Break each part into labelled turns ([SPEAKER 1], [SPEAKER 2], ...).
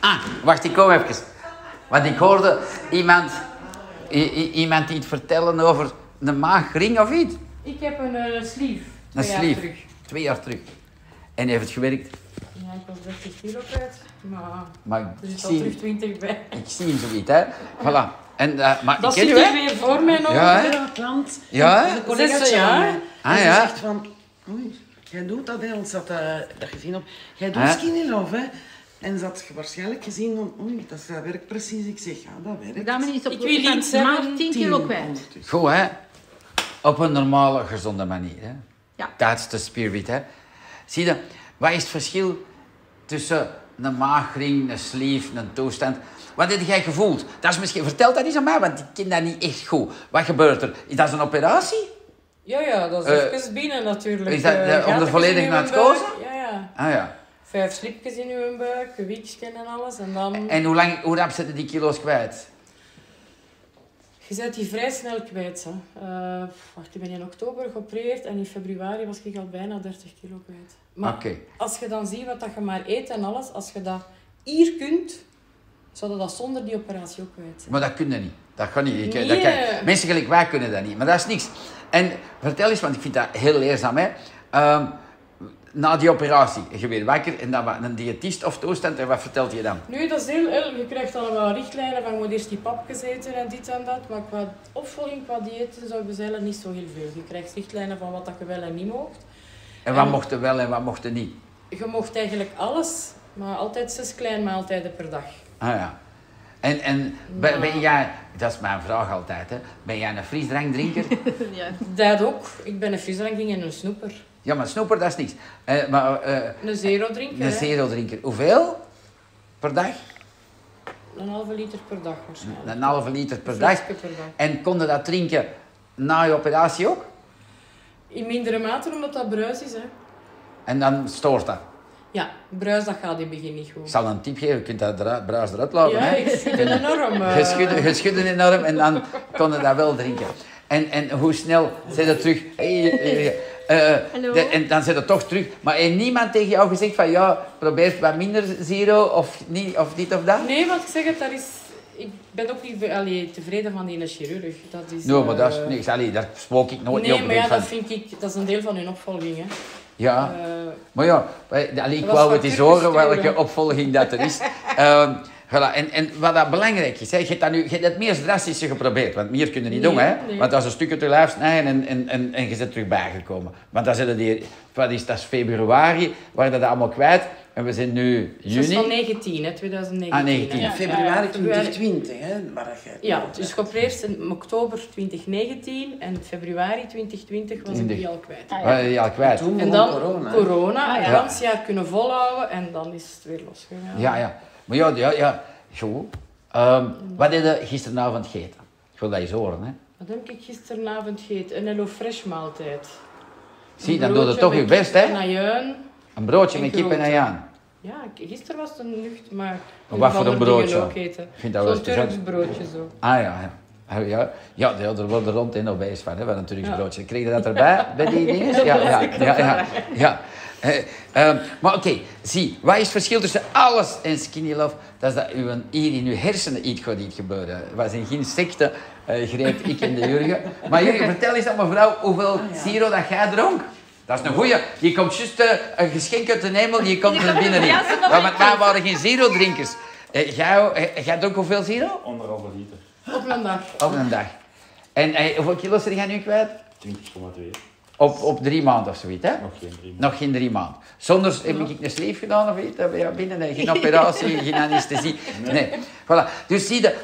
[SPEAKER 1] Ah, wacht, ik kom even. Want ik hoorde iemand, i- i- iemand iets vertellen over een maagring of iets.
[SPEAKER 2] Ik heb een eh, sleeve.
[SPEAKER 1] Een
[SPEAKER 2] twee jaar
[SPEAKER 1] sleeve.
[SPEAKER 2] terug.
[SPEAKER 1] Twee jaar terug. En heeft het gewerkt.
[SPEAKER 2] Ja, ik was 30 kilo kwijt, maar
[SPEAKER 1] Maar
[SPEAKER 2] er
[SPEAKER 1] ik
[SPEAKER 2] zit Dus al terug
[SPEAKER 1] zie,
[SPEAKER 2] 20 bij.
[SPEAKER 1] ik zie hem zoiets, hè. Voilà. En, eh, maar
[SPEAKER 2] Dat
[SPEAKER 1] ik ken
[SPEAKER 2] zit
[SPEAKER 1] u,
[SPEAKER 2] er
[SPEAKER 1] hè.
[SPEAKER 2] weer voor mij nog.
[SPEAKER 1] Ja, hè?
[SPEAKER 3] Ja, klant.
[SPEAKER 1] Ja,
[SPEAKER 3] Een collega
[SPEAKER 2] zes jaar.
[SPEAKER 3] van mij.
[SPEAKER 1] Ah,
[SPEAKER 3] En ze
[SPEAKER 1] ja.
[SPEAKER 3] zegt van, oei, jij doet dat, hè, want ze had eh, dat gezien op, jij doet
[SPEAKER 1] Ah.
[SPEAKER 3] skinny love, hè. En ze had ge- waarschijnlijk gezien van, oei, dat, dat werkt precies. Ik zeg, ja, dat werkt.
[SPEAKER 4] Daarmee is op
[SPEAKER 2] Ik wil
[SPEAKER 4] ben
[SPEAKER 2] iets zeggen.
[SPEAKER 4] maar 10 kilo kwijt.
[SPEAKER 3] ondertussen.
[SPEAKER 1] Goed, hè. Op een normale, gezonde manier, hè.
[SPEAKER 4] Ja.
[SPEAKER 1] Dat is de spirit, hè. Zie je, wat is het verschil tussen een maagring, een sleeve, een toestand? Wat heb jij gevoeld? Dat is misschien... Vertel dat eens aan mij, want ik ken dat niet echt goed. Wat gebeurt er? Is dat een operatie?
[SPEAKER 2] Ja, ja, dat is
[SPEAKER 1] Eh,
[SPEAKER 2] even binnen natuurlijk.
[SPEAKER 1] is dat,
[SPEAKER 2] Eh,
[SPEAKER 1] eh, om er
[SPEAKER 2] gaten
[SPEAKER 1] volledig
[SPEAKER 2] in
[SPEAKER 1] naar
[SPEAKER 2] uw
[SPEAKER 1] te
[SPEAKER 2] buik.
[SPEAKER 1] kozen?
[SPEAKER 2] Ja, ja.
[SPEAKER 1] Ah ja.
[SPEAKER 2] Vijf slipjes in uw buik, wiekjes en alles. En dan,
[SPEAKER 1] En hoe, lang, hoe rap zitten die kilo's kwijt?
[SPEAKER 2] je bent die vrij snel kwijt. Hè. Eh, wacht, ik ben in oktober geopereerd en in februari was ik al bijna 30 kilo kwijt. Maar
[SPEAKER 1] Oké.
[SPEAKER 2] als je dan ziet wat dat je maar eet en alles, als je dat hier kunt, zou je dat zonder die operatie ook kwijt zijn.
[SPEAKER 1] Maar dat kunnen niet. Dat kan niet. Ik,
[SPEAKER 2] Nee.
[SPEAKER 1] dat kan- mensen gelijk wij kunnen dat niet. Maar dat is niks. En vertel eens, want ik vind dat heel leerzaam. Hè. Ehm, na die operatie, je weer wakker en dan wat- een diëtist of toestand. En wat vertelt je dan?
[SPEAKER 2] Nu, dat is heel, heel- je krijgt allemaal richtlijnen van je moet eerst die papjes eten en dit en dat. Maar qua opvolging, qua diëten, zou ik bezeilen niet zo heel veel. Je krijgt richtlijnen van wat dat je wel en niet mocht.
[SPEAKER 1] En wat
[SPEAKER 2] Ehm.
[SPEAKER 1] mochten wel en wat mochten niet?
[SPEAKER 2] Je mocht eigenlijk alles, maar altijd zes kleinmaaltijden per dag.
[SPEAKER 1] Ah ja. En, en ben, ben jij, dat is mijn vraag altijd, hè. ben jij een frisdrankdrinker?
[SPEAKER 4] Ja.
[SPEAKER 2] Dat ook. Ik ben een frisdranking en een snoeper.
[SPEAKER 1] ja, maar snoeper, dat is niks. Eh, maar eh,
[SPEAKER 2] Een zero drinker,
[SPEAKER 1] een
[SPEAKER 2] hè.
[SPEAKER 1] zero-drinker, hoeveel per dag?
[SPEAKER 2] een halve liter per dag waarschijnlijk.
[SPEAKER 1] Een halve liter per
[SPEAKER 2] Een
[SPEAKER 1] dag.
[SPEAKER 2] flesje per dag.
[SPEAKER 1] En konden dat drinken na je operatie ook?
[SPEAKER 2] In mindere mate, omdat dat bruis is. Hè.
[SPEAKER 1] En dan stoort dat.
[SPEAKER 2] Ja, bruis dat gaat in het begin niet
[SPEAKER 1] Ik
[SPEAKER 2] goed.
[SPEAKER 1] zal een tip geven, je kunt dat eruit- bruis eruit laten.
[SPEAKER 2] Ja,
[SPEAKER 1] hè?
[SPEAKER 2] ik schud een enorm. eh.
[SPEAKER 1] Je schudde, je schudde enorm en dan kon je dat wel drinken. En, en hoe snel zijn ze terug. Hey, eh, eh, eh,
[SPEAKER 4] Hallo.
[SPEAKER 1] de- en dan zijn ze toch terug. Maar heeft niemand tegen jou gezegd van ja, probeer wat minder zero of, niet, of dit of dat?
[SPEAKER 2] Nee, want ik zeg het, daar is... Ik ben ook niet allee, tevreden van die ene chirurg. Dat is...
[SPEAKER 1] Nee, maar dat is
[SPEAKER 2] eh,
[SPEAKER 1] niks. Allee, daar spook ik nooit
[SPEAKER 2] Nee,
[SPEAKER 1] niet op.
[SPEAKER 2] maar ja,
[SPEAKER 1] Ik denk
[SPEAKER 2] dat
[SPEAKER 1] van,
[SPEAKER 2] vind ik... Dat is een deel van hun opvolging, hè.
[SPEAKER 1] ja.
[SPEAKER 2] Eh,
[SPEAKER 1] Maar ja, wij- allee, ik
[SPEAKER 2] Dat was
[SPEAKER 1] wou
[SPEAKER 2] van
[SPEAKER 1] het eens
[SPEAKER 2] Turkish
[SPEAKER 1] horen
[SPEAKER 2] Thriller.
[SPEAKER 1] welke opvolging dat er is. Ehm, voilà. en, en wat dat belangrijk is, hè, je hebt dat nu je hebt het meest drastische geprobeerd, want meer kunnen niet
[SPEAKER 2] Nee,
[SPEAKER 1] doen. Hè?
[SPEAKER 2] nee.
[SPEAKER 1] Want dat is een stukje te lijf snijden en, en, en, en je bent terug bijgekomen. Want dat, zitten die, wat is, dat is februari, waren dat allemaal kwijt en we zijn nu
[SPEAKER 2] dat is van
[SPEAKER 1] juni.
[SPEAKER 2] 19, hè, 2019.
[SPEAKER 1] Ah, 19.
[SPEAKER 2] hè.
[SPEAKER 1] Ja,
[SPEAKER 3] Februari
[SPEAKER 2] februari.
[SPEAKER 3] 2020, hè, waar jij...
[SPEAKER 2] Ja, dus geopereerd in oktober 2019 en februari 2020 was ik die al kwijt.
[SPEAKER 4] Ah,
[SPEAKER 1] Waren die al Eh, kwijt?
[SPEAKER 3] Toen
[SPEAKER 2] En
[SPEAKER 3] begon
[SPEAKER 2] dan
[SPEAKER 3] corona. hè.
[SPEAKER 2] corona,
[SPEAKER 1] ja.
[SPEAKER 2] een gans jaar kunnen volhouden en dan is het weer losgegaan.
[SPEAKER 1] Ja, ja. Maar ja, ja, ja. Goed. Ehm, wat heb je gisteravond gegeten? Ik wil dat eens horen. Hè?
[SPEAKER 2] Wat heb ik gisteravond gegeten? Een Hello Fresh maaltijd.
[SPEAKER 1] Zie,
[SPEAKER 2] Een
[SPEAKER 1] dan doe je
[SPEAKER 2] broodje
[SPEAKER 1] toch
[SPEAKER 2] met
[SPEAKER 1] je best,
[SPEAKER 2] kip
[SPEAKER 1] hè?
[SPEAKER 2] en ajuin.
[SPEAKER 1] Een broodje
[SPEAKER 2] en
[SPEAKER 1] met kip en
[SPEAKER 2] groenten.
[SPEAKER 1] ajaan.
[SPEAKER 2] Ja, ik- gisteren was het een lucht, maar...
[SPEAKER 1] Maar wat voor een
[SPEAKER 2] andere dingen
[SPEAKER 1] broodje?
[SPEAKER 2] ook eten.
[SPEAKER 1] Ik vind dat wel
[SPEAKER 2] Zo'n
[SPEAKER 1] speciaal.
[SPEAKER 2] Turks broodje zo.
[SPEAKER 1] Ah ja, ja. Ah, Ja, ja ja, er wordt er rond en nog bij is van, hè, van een Turks
[SPEAKER 2] Ja.
[SPEAKER 1] broodje. Kreeg je dat erbij, bij die dingen? Ja, ja, ja. ja, ja. Eh, ehm, maar oké, zie, wat is het verschil tussen alles en skinny love? Dat is dat uw, hier in uw hersenen iets gaat iets gebeuren. Wij zijn geen secte, eh, greep ik en de Jurgen. Maar Jurgen, vertel eens aan mevrouw hoeveel zero dat jij dronk. Dat is een goeie. Je komt juist eh, een geschenk uit de hemel, je komt er binnenin.
[SPEAKER 4] Ja, ze
[SPEAKER 1] Maar met mij waren geen zero-drinkers. Eh, jij, eh, jij dronk hoeveel zero?
[SPEAKER 5] Anderhalve liter,
[SPEAKER 2] Op een dag.
[SPEAKER 1] Op een dag. En eh, hoeveel kilo's zijn jij nu kwijt?
[SPEAKER 5] 20,2.
[SPEAKER 1] Op, op drie maanden of zoiets, hè?
[SPEAKER 5] Nog geen drie maanden.
[SPEAKER 1] Nog geen drie maanden. Zonder, heb ik een sleef gedaan of iets? Dan ben je binnen, hè. geen operatie, geen anesthesie. Nee. Voilà. Dus zie je,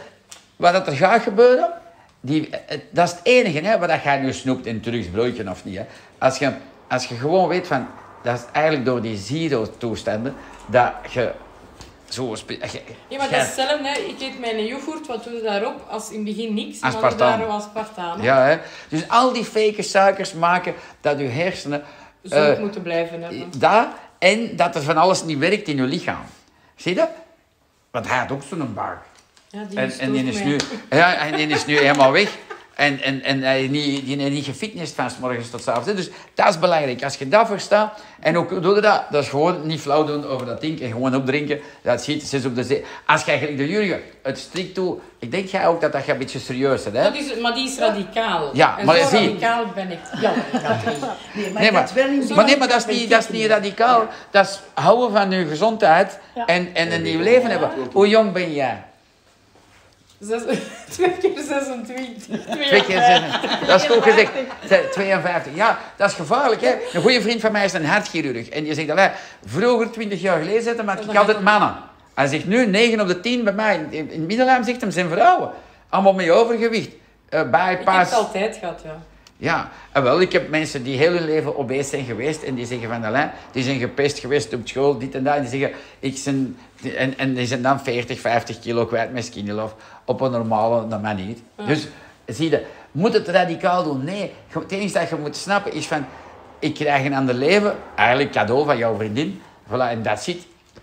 [SPEAKER 1] wat dat er gaat gebeuren, die, eh, dat is het enige, hè, wat dat jij nu snoept in Turks broodje of niet. Hè. Als, je, als je gewoon weet van, dat is eigenlijk door die zero-toestanden, dat je zo... spe- je-
[SPEAKER 2] Ja, maar
[SPEAKER 1] jij-
[SPEAKER 2] dat is hetzelfde, hè. Ik eet mijn yoghurt, wat doe je daarop? Als in het begin niks, maar doe
[SPEAKER 1] Aspartaam.
[SPEAKER 2] daar wel aspartaam. hè.
[SPEAKER 1] Ja, hè? Dus al die fake suikers maken dat je hersenen...
[SPEAKER 2] Zou ik
[SPEAKER 1] eh,
[SPEAKER 2] Dus moeten blijven hebben.
[SPEAKER 1] Dat en dat er van alles niet werkt in je lichaam. Zie je dat? Want hij had ook zo'n buik.
[SPEAKER 2] Ja, die
[SPEAKER 1] En, en die
[SPEAKER 2] stoort
[SPEAKER 1] is
[SPEAKER 2] mij.
[SPEAKER 1] nu, ja, en die is nu helemaal weg. Eh, En, en, en hij niet, die heeft niet gefitnessd van 's morgens tot 's avonds. hè. Dus dat is belangrijk. Als je daarvoor staat, en ook hoe doe je dat? Dat is gewoon niet flauw doen over dat ding en gewoon opdrinken. Dat schiet zes op de zee. Als jij gelijk de Jurgen het strikt toe, ik denk jij ook dat dat je een beetje serieus bent, hè?
[SPEAKER 2] Dat is, maar die is radicaal.
[SPEAKER 1] Ja,
[SPEAKER 2] en
[SPEAKER 1] maar
[SPEAKER 2] zo
[SPEAKER 1] zie-
[SPEAKER 2] radicaal ben ik. Ja, Katrien.
[SPEAKER 3] Nee, maar,
[SPEAKER 1] Nee,
[SPEAKER 3] dat wel in
[SPEAKER 1] maar, maar, nee, maar dat is niet, dat is niet radicaal. Dat is houden van je gezondheid en, en een nieuw leven hebben. Hoe jong ben jij?
[SPEAKER 2] Zes- Twee keer 26.
[SPEAKER 1] Twee keer zes. Dat is goed gezegd. Ze- 52. Ja, dat is gevaarlijk. Hè? Een goede vriend van mij is een hartchirurg. En die zegt dat wij vroeger, 20 jaar geleden, zitten, maak ik altijd mannen. Hij zegt nu 9 op de 10 bij mij. In in het middenlijn zegt hem zijn vrouwen. Allemaal met overgewicht. Eh,
[SPEAKER 2] Ik heb het
[SPEAKER 1] bypass.
[SPEAKER 2] altijd gehad, ja.
[SPEAKER 1] Ja, en wel, ik heb mensen die heel hun leven obese zijn geweest en die zeggen van Alain, die zijn gepest geweest op school, dit en dat. En die zeggen, ik zijn, en, en die zijn dan 40, 50 kilo kwijt met skinny love, op een normale manier. Dus, zie je, moet het radicaal doen? Nee. Je- Het enige dat je moet snappen is van, ik krijg een ander leven, eigenlijk cadeau van jouw vriendin, voilà, en dat zit.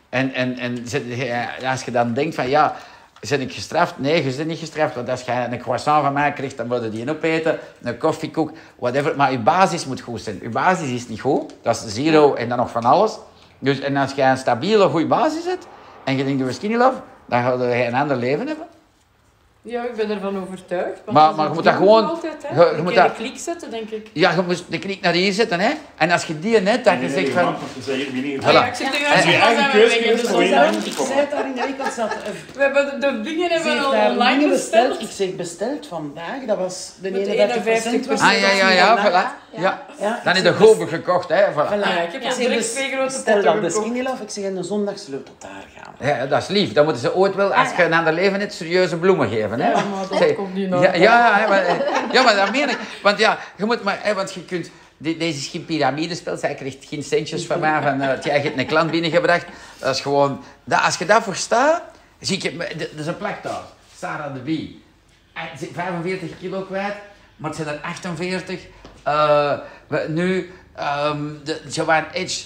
[SPEAKER 1] En, en, en ze- als je dan denkt van, ja, zijn ik gestraft? Nee, je bent niet gestraft. Want als je een croissant van mij krijgt, dan worden die een opeten. Een koffiekoek, whatever. Maar je basis moet goed zijn. Je basis is niet goed. Dat is zero en dan nog van alles. Dus, en als je een stabiele, goede basis hebt, en je denkt, we skinny love, dan ga je een ander leven hebben.
[SPEAKER 2] Ja, ik ben ervan overtuigd. want
[SPEAKER 1] Maar-
[SPEAKER 2] is
[SPEAKER 1] maar
[SPEAKER 2] een
[SPEAKER 1] je moet dat
[SPEAKER 2] triomf
[SPEAKER 1] gewoon-
[SPEAKER 2] Altijd,
[SPEAKER 1] je-
[SPEAKER 2] hè.
[SPEAKER 1] je
[SPEAKER 2] Je,
[SPEAKER 1] moet
[SPEAKER 2] moet dat...
[SPEAKER 1] dat-
[SPEAKER 2] klik zetten, denk ik.
[SPEAKER 1] Ja, je moet de kniek naar hier zetten, hè. En als je die net, dan je zegt van...
[SPEAKER 2] Ah, ja,
[SPEAKER 1] Voilà.
[SPEAKER 2] ik zit er
[SPEAKER 1] Als
[SPEAKER 2] juist
[SPEAKER 1] je
[SPEAKER 2] in,
[SPEAKER 1] je
[SPEAKER 2] dan
[SPEAKER 4] eigen
[SPEAKER 2] zijn we
[SPEAKER 4] keuze
[SPEAKER 2] weg,
[SPEAKER 4] geeft
[SPEAKER 2] dus
[SPEAKER 4] voor
[SPEAKER 2] we
[SPEAKER 4] je
[SPEAKER 2] zijn-
[SPEAKER 4] eigen-
[SPEAKER 3] Ik zei het daar in de winkel, zat, eh,
[SPEAKER 2] We hebben de, de dingen
[SPEAKER 3] ze
[SPEAKER 2] hebben we
[SPEAKER 3] heeft
[SPEAKER 2] al
[SPEAKER 3] daar
[SPEAKER 2] online
[SPEAKER 3] dingen besteld.
[SPEAKER 2] besteld.
[SPEAKER 3] Ik zeg besteld vandaag, dat was de
[SPEAKER 2] Met de
[SPEAKER 3] 51
[SPEAKER 2] 51%.
[SPEAKER 3] was
[SPEAKER 1] Ah, ja, ja, ja,
[SPEAKER 3] vandaag.
[SPEAKER 1] voilà. Ja.
[SPEAKER 3] Ja,
[SPEAKER 1] Dan
[SPEAKER 3] ik
[SPEAKER 1] is de
[SPEAKER 3] zeg,
[SPEAKER 1] gober gekocht, hè. Voilà.
[SPEAKER 3] Voilà.
[SPEAKER 2] Ah, ja, ik heb al
[SPEAKER 3] zeg,
[SPEAKER 2] direct
[SPEAKER 3] dus
[SPEAKER 2] twee grote
[SPEAKER 3] Stel
[SPEAKER 2] potten
[SPEAKER 3] dan de
[SPEAKER 2] gekocht.
[SPEAKER 3] skinny love, ik zeg, en de zondagsleutel daar gaan.
[SPEAKER 1] Ja, dat is lief. Dan moeten ze ooit wel, als je een ander leven hebt, serieuze bloemen geven. Hè?
[SPEAKER 2] Ah, Ja, maar dat
[SPEAKER 1] Zeg,
[SPEAKER 2] komt niet nog.
[SPEAKER 1] Ja, ja, hè, maar, eh, ja, maar dat meen ik. Want ja, je moet maar... Hè, want je kunt... de- Deze is geen piramidespel. Zij krijgt geen centjes van mij, van eh, dat jij hebt een klant binnengebracht. Dat is gewoon... Dat, als je daarvoor staat... Zie ik... Dat is een plak daar. Sarah de Bie. Hij is 45 kilo kwijt, maar het zijn er 48. Eh, we- nu... ehm de, Joanne Edge...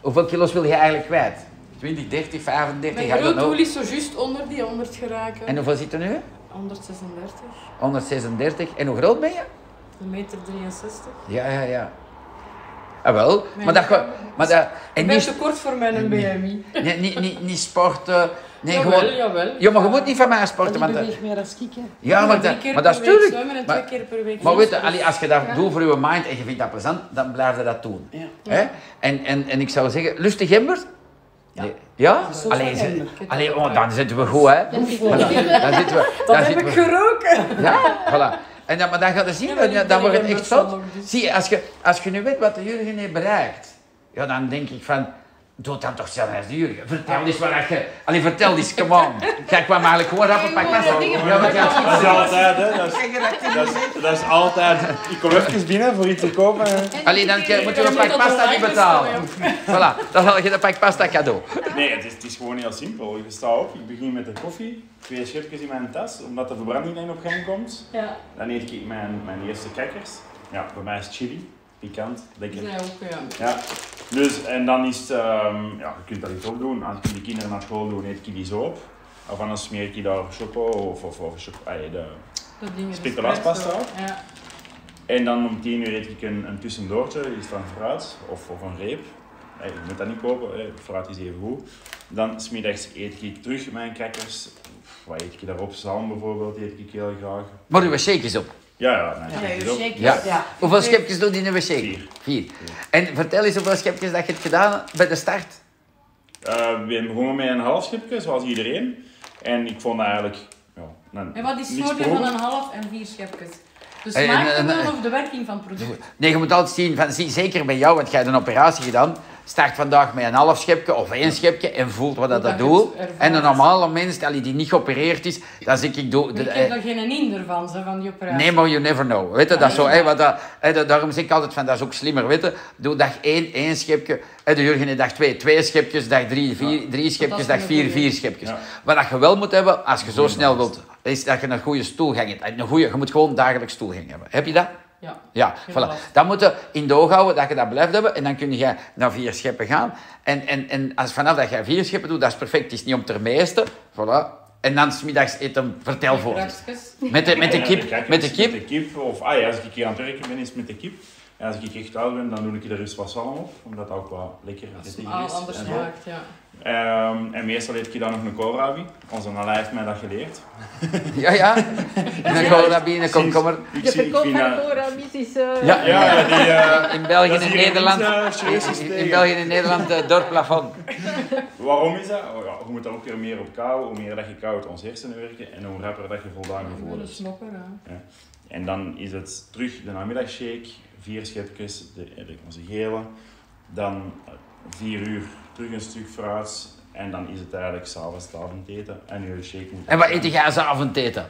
[SPEAKER 1] Hoeveel kilo's wil je eigenlijk kwijt? 20, 30, 35,
[SPEAKER 2] Mijn
[SPEAKER 1] I don't
[SPEAKER 2] groot doel
[SPEAKER 1] know.
[SPEAKER 2] is zo juist onder die 100 geraken.
[SPEAKER 1] nou En hoeveel zit er nu?
[SPEAKER 2] 136,
[SPEAKER 1] 136. En hoe groot ben je?
[SPEAKER 2] een meter 63.
[SPEAKER 1] Ja, ja, ja. Ah, wel. Maar dat... ge- Maar dat en
[SPEAKER 2] Ik ben
[SPEAKER 1] niet,
[SPEAKER 2] te kort voor mijn BMI.
[SPEAKER 1] nee, niet, niet, niet sporten. Nee,
[SPEAKER 2] jawel,
[SPEAKER 1] gewoon...
[SPEAKER 2] jawel.
[SPEAKER 1] Ja, maar je moet niet van mij sporten.
[SPEAKER 3] Die
[SPEAKER 1] Want, dat-
[SPEAKER 3] beweegt meer als ik, hè.
[SPEAKER 1] ja, maar,
[SPEAKER 2] Drie
[SPEAKER 1] dat,
[SPEAKER 2] keer
[SPEAKER 1] maar dat is
[SPEAKER 2] per week
[SPEAKER 1] tuurlijk.
[SPEAKER 2] zwemmen en
[SPEAKER 1] Maar-
[SPEAKER 2] twee keer per week
[SPEAKER 1] Maar weet je,
[SPEAKER 2] fietsen.
[SPEAKER 1] allee, als je dat doet voor je mind en je vindt dat plezant, dan blijf je dat doen.
[SPEAKER 3] Ja.
[SPEAKER 1] Hè? En, en, en ik zou zeggen, lustig emmer? Ja? ja?
[SPEAKER 3] Zo
[SPEAKER 1] Allee,
[SPEAKER 3] van
[SPEAKER 1] ze-
[SPEAKER 3] emmer.
[SPEAKER 1] allee, oh, dan zitten we goed, hè? Voilà, dan zitten we.
[SPEAKER 2] Dat
[SPEAKER 1] dan
[SPEAKER 2] heb
[SPEAKER 1] zitten
[SPEAKER 2] ik
[SPEAKER 1] we-
[SPEAKER 2] geroken.
[SPEAKER 1] Ja, voilà. En dan, maar dan gaat het zien,
[SPEAKER 2] Ja, maar
[SPEAKER 1] dan,
[SPEAKER 2] die
[SPEAKER 1] dan wordt het
[SPEAKER 2] ben ik
[SPEAKER 1] echt
[SPEAKER 2] wel
[SPEAKER 1] zot.
[SPEAKER 2] zo nog, dus.
[SPEAKER 1] Zie, je, als je, als je nu weet wat de Jurgen heeft bereikt, ja, dan denk ik van, doe dan toch zelf als de Jurgen. Vertel eens wat je... Allee, vertel eens, come on. Kijk, kwam eigenlijk gewoon rappen, pak
[SPEAKER 4] Dat
[SPEAKER 1] vast. Ja, maar ja.
[SPEAKER 4] is altijd, hè. Dat is, dat is, dat is altijd. Ik kom even binnen voor iets te kopen. hè.
[SPEAKER 1] Allee, dan ke- moeten we een
[SPEAKER 2] Ik
[SPEAKER 1] pak
[SPEAKER 2] moet
[SPEAKER 1] pasta
[SPEAKER 2] dat
[SPEAKER 1] niet
[SPEAKER 2] online
[SPEAKER 1] betalen. Voilà, dan haal je een pak pasta cadeau.
[SPEAKER 4] Nee, het is, het is gewoon heel simpel. Ik sta op, ik begin met de koffie, twee schepjes in mijn tas, omdat de verbranding dan op gang komt.
[SPEAKER 2] Ja,
[SPEAKER 4] Dan eet ik mijn, mijn eerste crackers. Ja, bij mij is chili, pikant,
[SPEAKER 2] die
[SPEAKER 4] lekker.
[SPEAKER 2] zijn ook, ja.
[SPEAKER 4] Ja. Dus, en dan is het, ehm, ja, je kunt dat iets opdoen. Als ik de kinderen naar school doe, eet ik die zo op. Of anders smeer ik die daar choco of, of, of choco, ah, de-
[SPEAKER 2] Dat ding is
[SPEAKER 4] Speculaatspasta
[SPEAKER 2] espresso.
[SPEAKER 4] ook?
[SPEAKER 2] Ja.
[SPEAKER 4] En dan om 10 uur eet ik een, een tussendoortje, iets van fruit of, of een reep. Hey, je moet dat niet kopen, hey, fruit is even goed. Dan smiddags eet ik terug mijn crackers. Pff, Wat eet ik daarop? Zalm bijvoorbeeld eet ik heel graag.
[SPEAKER 1] Maar uw shakejes op.
[SPEAKER 4] Ja, ja, dan eet ik het op.
[SPEAKER 1] Ja.
[SPEAKER 3] Ja.
[SPEAKER 1] Hoeveel schepjes doe je in uw shake?
[SPEAKER 4] Vier.
[SPEAKER 1] Vier. En vertel eens hoeveel schepjes dat je hebt gedaan bij de start.
[SPEAKER 4] Eh, ik ben begonnen met een half schipje, zoals iedereen. En ik vond dat eigenlijk... Ja, nou,
[SPEAKER 2] En wat is het
[SPEAKER 4] niks
[SPEAKER 2] voordeel van
[SPEAKER 4] proper.
[SPEAKER 2] een half en vier schepjes? Dus De
[SPEAKER 1] En-
[SPEAKER 2] smaak
[SPEAKER 1] en-
[SPEAKER 2] ervan
[SPEAKER 1] en-
[SPEAKER 2] of de werking van het product?
[SPEAKER 1] Nee, je moet altijd zien, van, zie, zeker bij jou, want jij hebt een operatie gedaan. Start vandaag met een half schepje of één schepje en voelt wat dat,
[SPEAKER 2] Hoe
[SPEAKER 1] dat
[SPEAKER 2] dat je het
[SPEAKER 1] doet.
[SPEAKER 2] ervaart.
[SPEAKER 1] En een normale mens allee, die niet geopereerd is, dan zeg ik... Doe, de-
[SPEAKER 2] Ik
[SPEAKER 1] eh,
[SPEAKER 2] heb daar geen hinder van, zo, van die operatie.
[SPEAKER 1] Nee, maar you never know. Weet je, dat is zo, hè, wat dat, hè, dat- daarom zeg ik altijd van, dat is ook slimmer, weet je. Doe dag één, één schepje. En de Jurgen in dag twee, twee schepjes. Dag drie, vier, drie schepjes.
[SPEAKER 2] Dat
[SPEAKER 1] Dag
[SPEAKER 2] is
[SPEAKER 1] vier,
[SPEAKER 2] een goeie.
[SPEAKER 1] vier schepjes.
[SPEAKER 4] Ja.
[SPEAKER 1] Wat dat je wel moet hebben, als je zo snel wilt, is dat je een goede stoelgang hebt. En Een goede, je moet gewoon dagelijks stoelgang hebben. Heb je dat?
[SPEAKER 2] Ja.
[SPEAKER 1] Ja,
[SPEAKER 2] Heel
[SPEAKER 1] voilà.
[SPEAKER 2] lastig.
[SPEAKER 1] Dat moet je in de oog houden, dat je dat blijft hebben. En dan kun je naar vier scheppen gaan. En, en, en als, vanaf dat je vier scheppen doet, dat is perfect. Het is niet om te meeste. Voilà. En dan smiddags eten, vertel voor.
[SPEAKER 2] Kraksjes.
[SPEAKER 1] Met de, met de
[SPEAKER 4] Ja,
[SPEAKER 1] kip,
[SPEAKER 4] crackers,
[SPEAKER 1] met de kip.
[SPEAKER 4] Met Eh, de kip. Of ah, ja, als ik hier aan het werken ben, is het met de kip. En als ik echt oud ben, dan doe ik er eens wat zalm op, omdat dat ook wat lekker
[SPEAKER 2] Een
[SPEAKER 4] vettiger
[SPEAKER 2] aal
[SPEAKER 4] is.
[SPEAKER 2] anders
[SPEAKER 4] en, zo.
[SPEAKER 2] smaakt, ja.
[SPEAKER 4] Ehm, en meestal eet ik dan nog een koolrabi. Onze Nala heeft mij dat geleerd.
[SPEAKER 1] Ja, ja. En dan gewoon naar binnen, kom, kom maar.
[SPEAKER 4] Ik,
[SPEAKER 5] De
[SPEAKER 4] zie- ik
[SPEAKER 5] verkoop
[SPEAKER 4] vind
[SPEAKER 5] van de
[SPEAKER 4] dat-
[SPEAKER 5] koolrabies is... eh,
[SPEAKER 1] Ja.
[SPEAKER 4] Ja, ja, die... eh,
[SPEAKER 1] In België
[SPEAKER 4] dat
[SPEAKER 1] en
[SPEAKER 4] is hier
[SPEAKER 1] Nederland.
[SPEAKER 4] niet, eh, serieus
[SPEAKER 1] in- In, in
[SPEAKER 4] tegen.
[SPEAKER 1] België en Nederland eh, door het plafond.
[SPEAKER 4] Waarom is dat? Oh ja, je moet daar ook weer meer op kauwen. Hoe meer dat je kauwt, ons hersenen werken. En hoe rapper dat je voldaan gevoel
[SPEAKER 2] Een
[SPEAKER 4] hebt.
[SPEAKER 2] snokker, ja.
[SPEAKER 4] En dan is het terug de namiddagshake, vier schepjes, de, eh, de, onze gele. Dan eh, vier uur terug een stuk fruit. En dan is het eigenlijk s'avonds het avondeten. En je shake moet...
[SPEAKER 1] En wat eet jij als avondeten?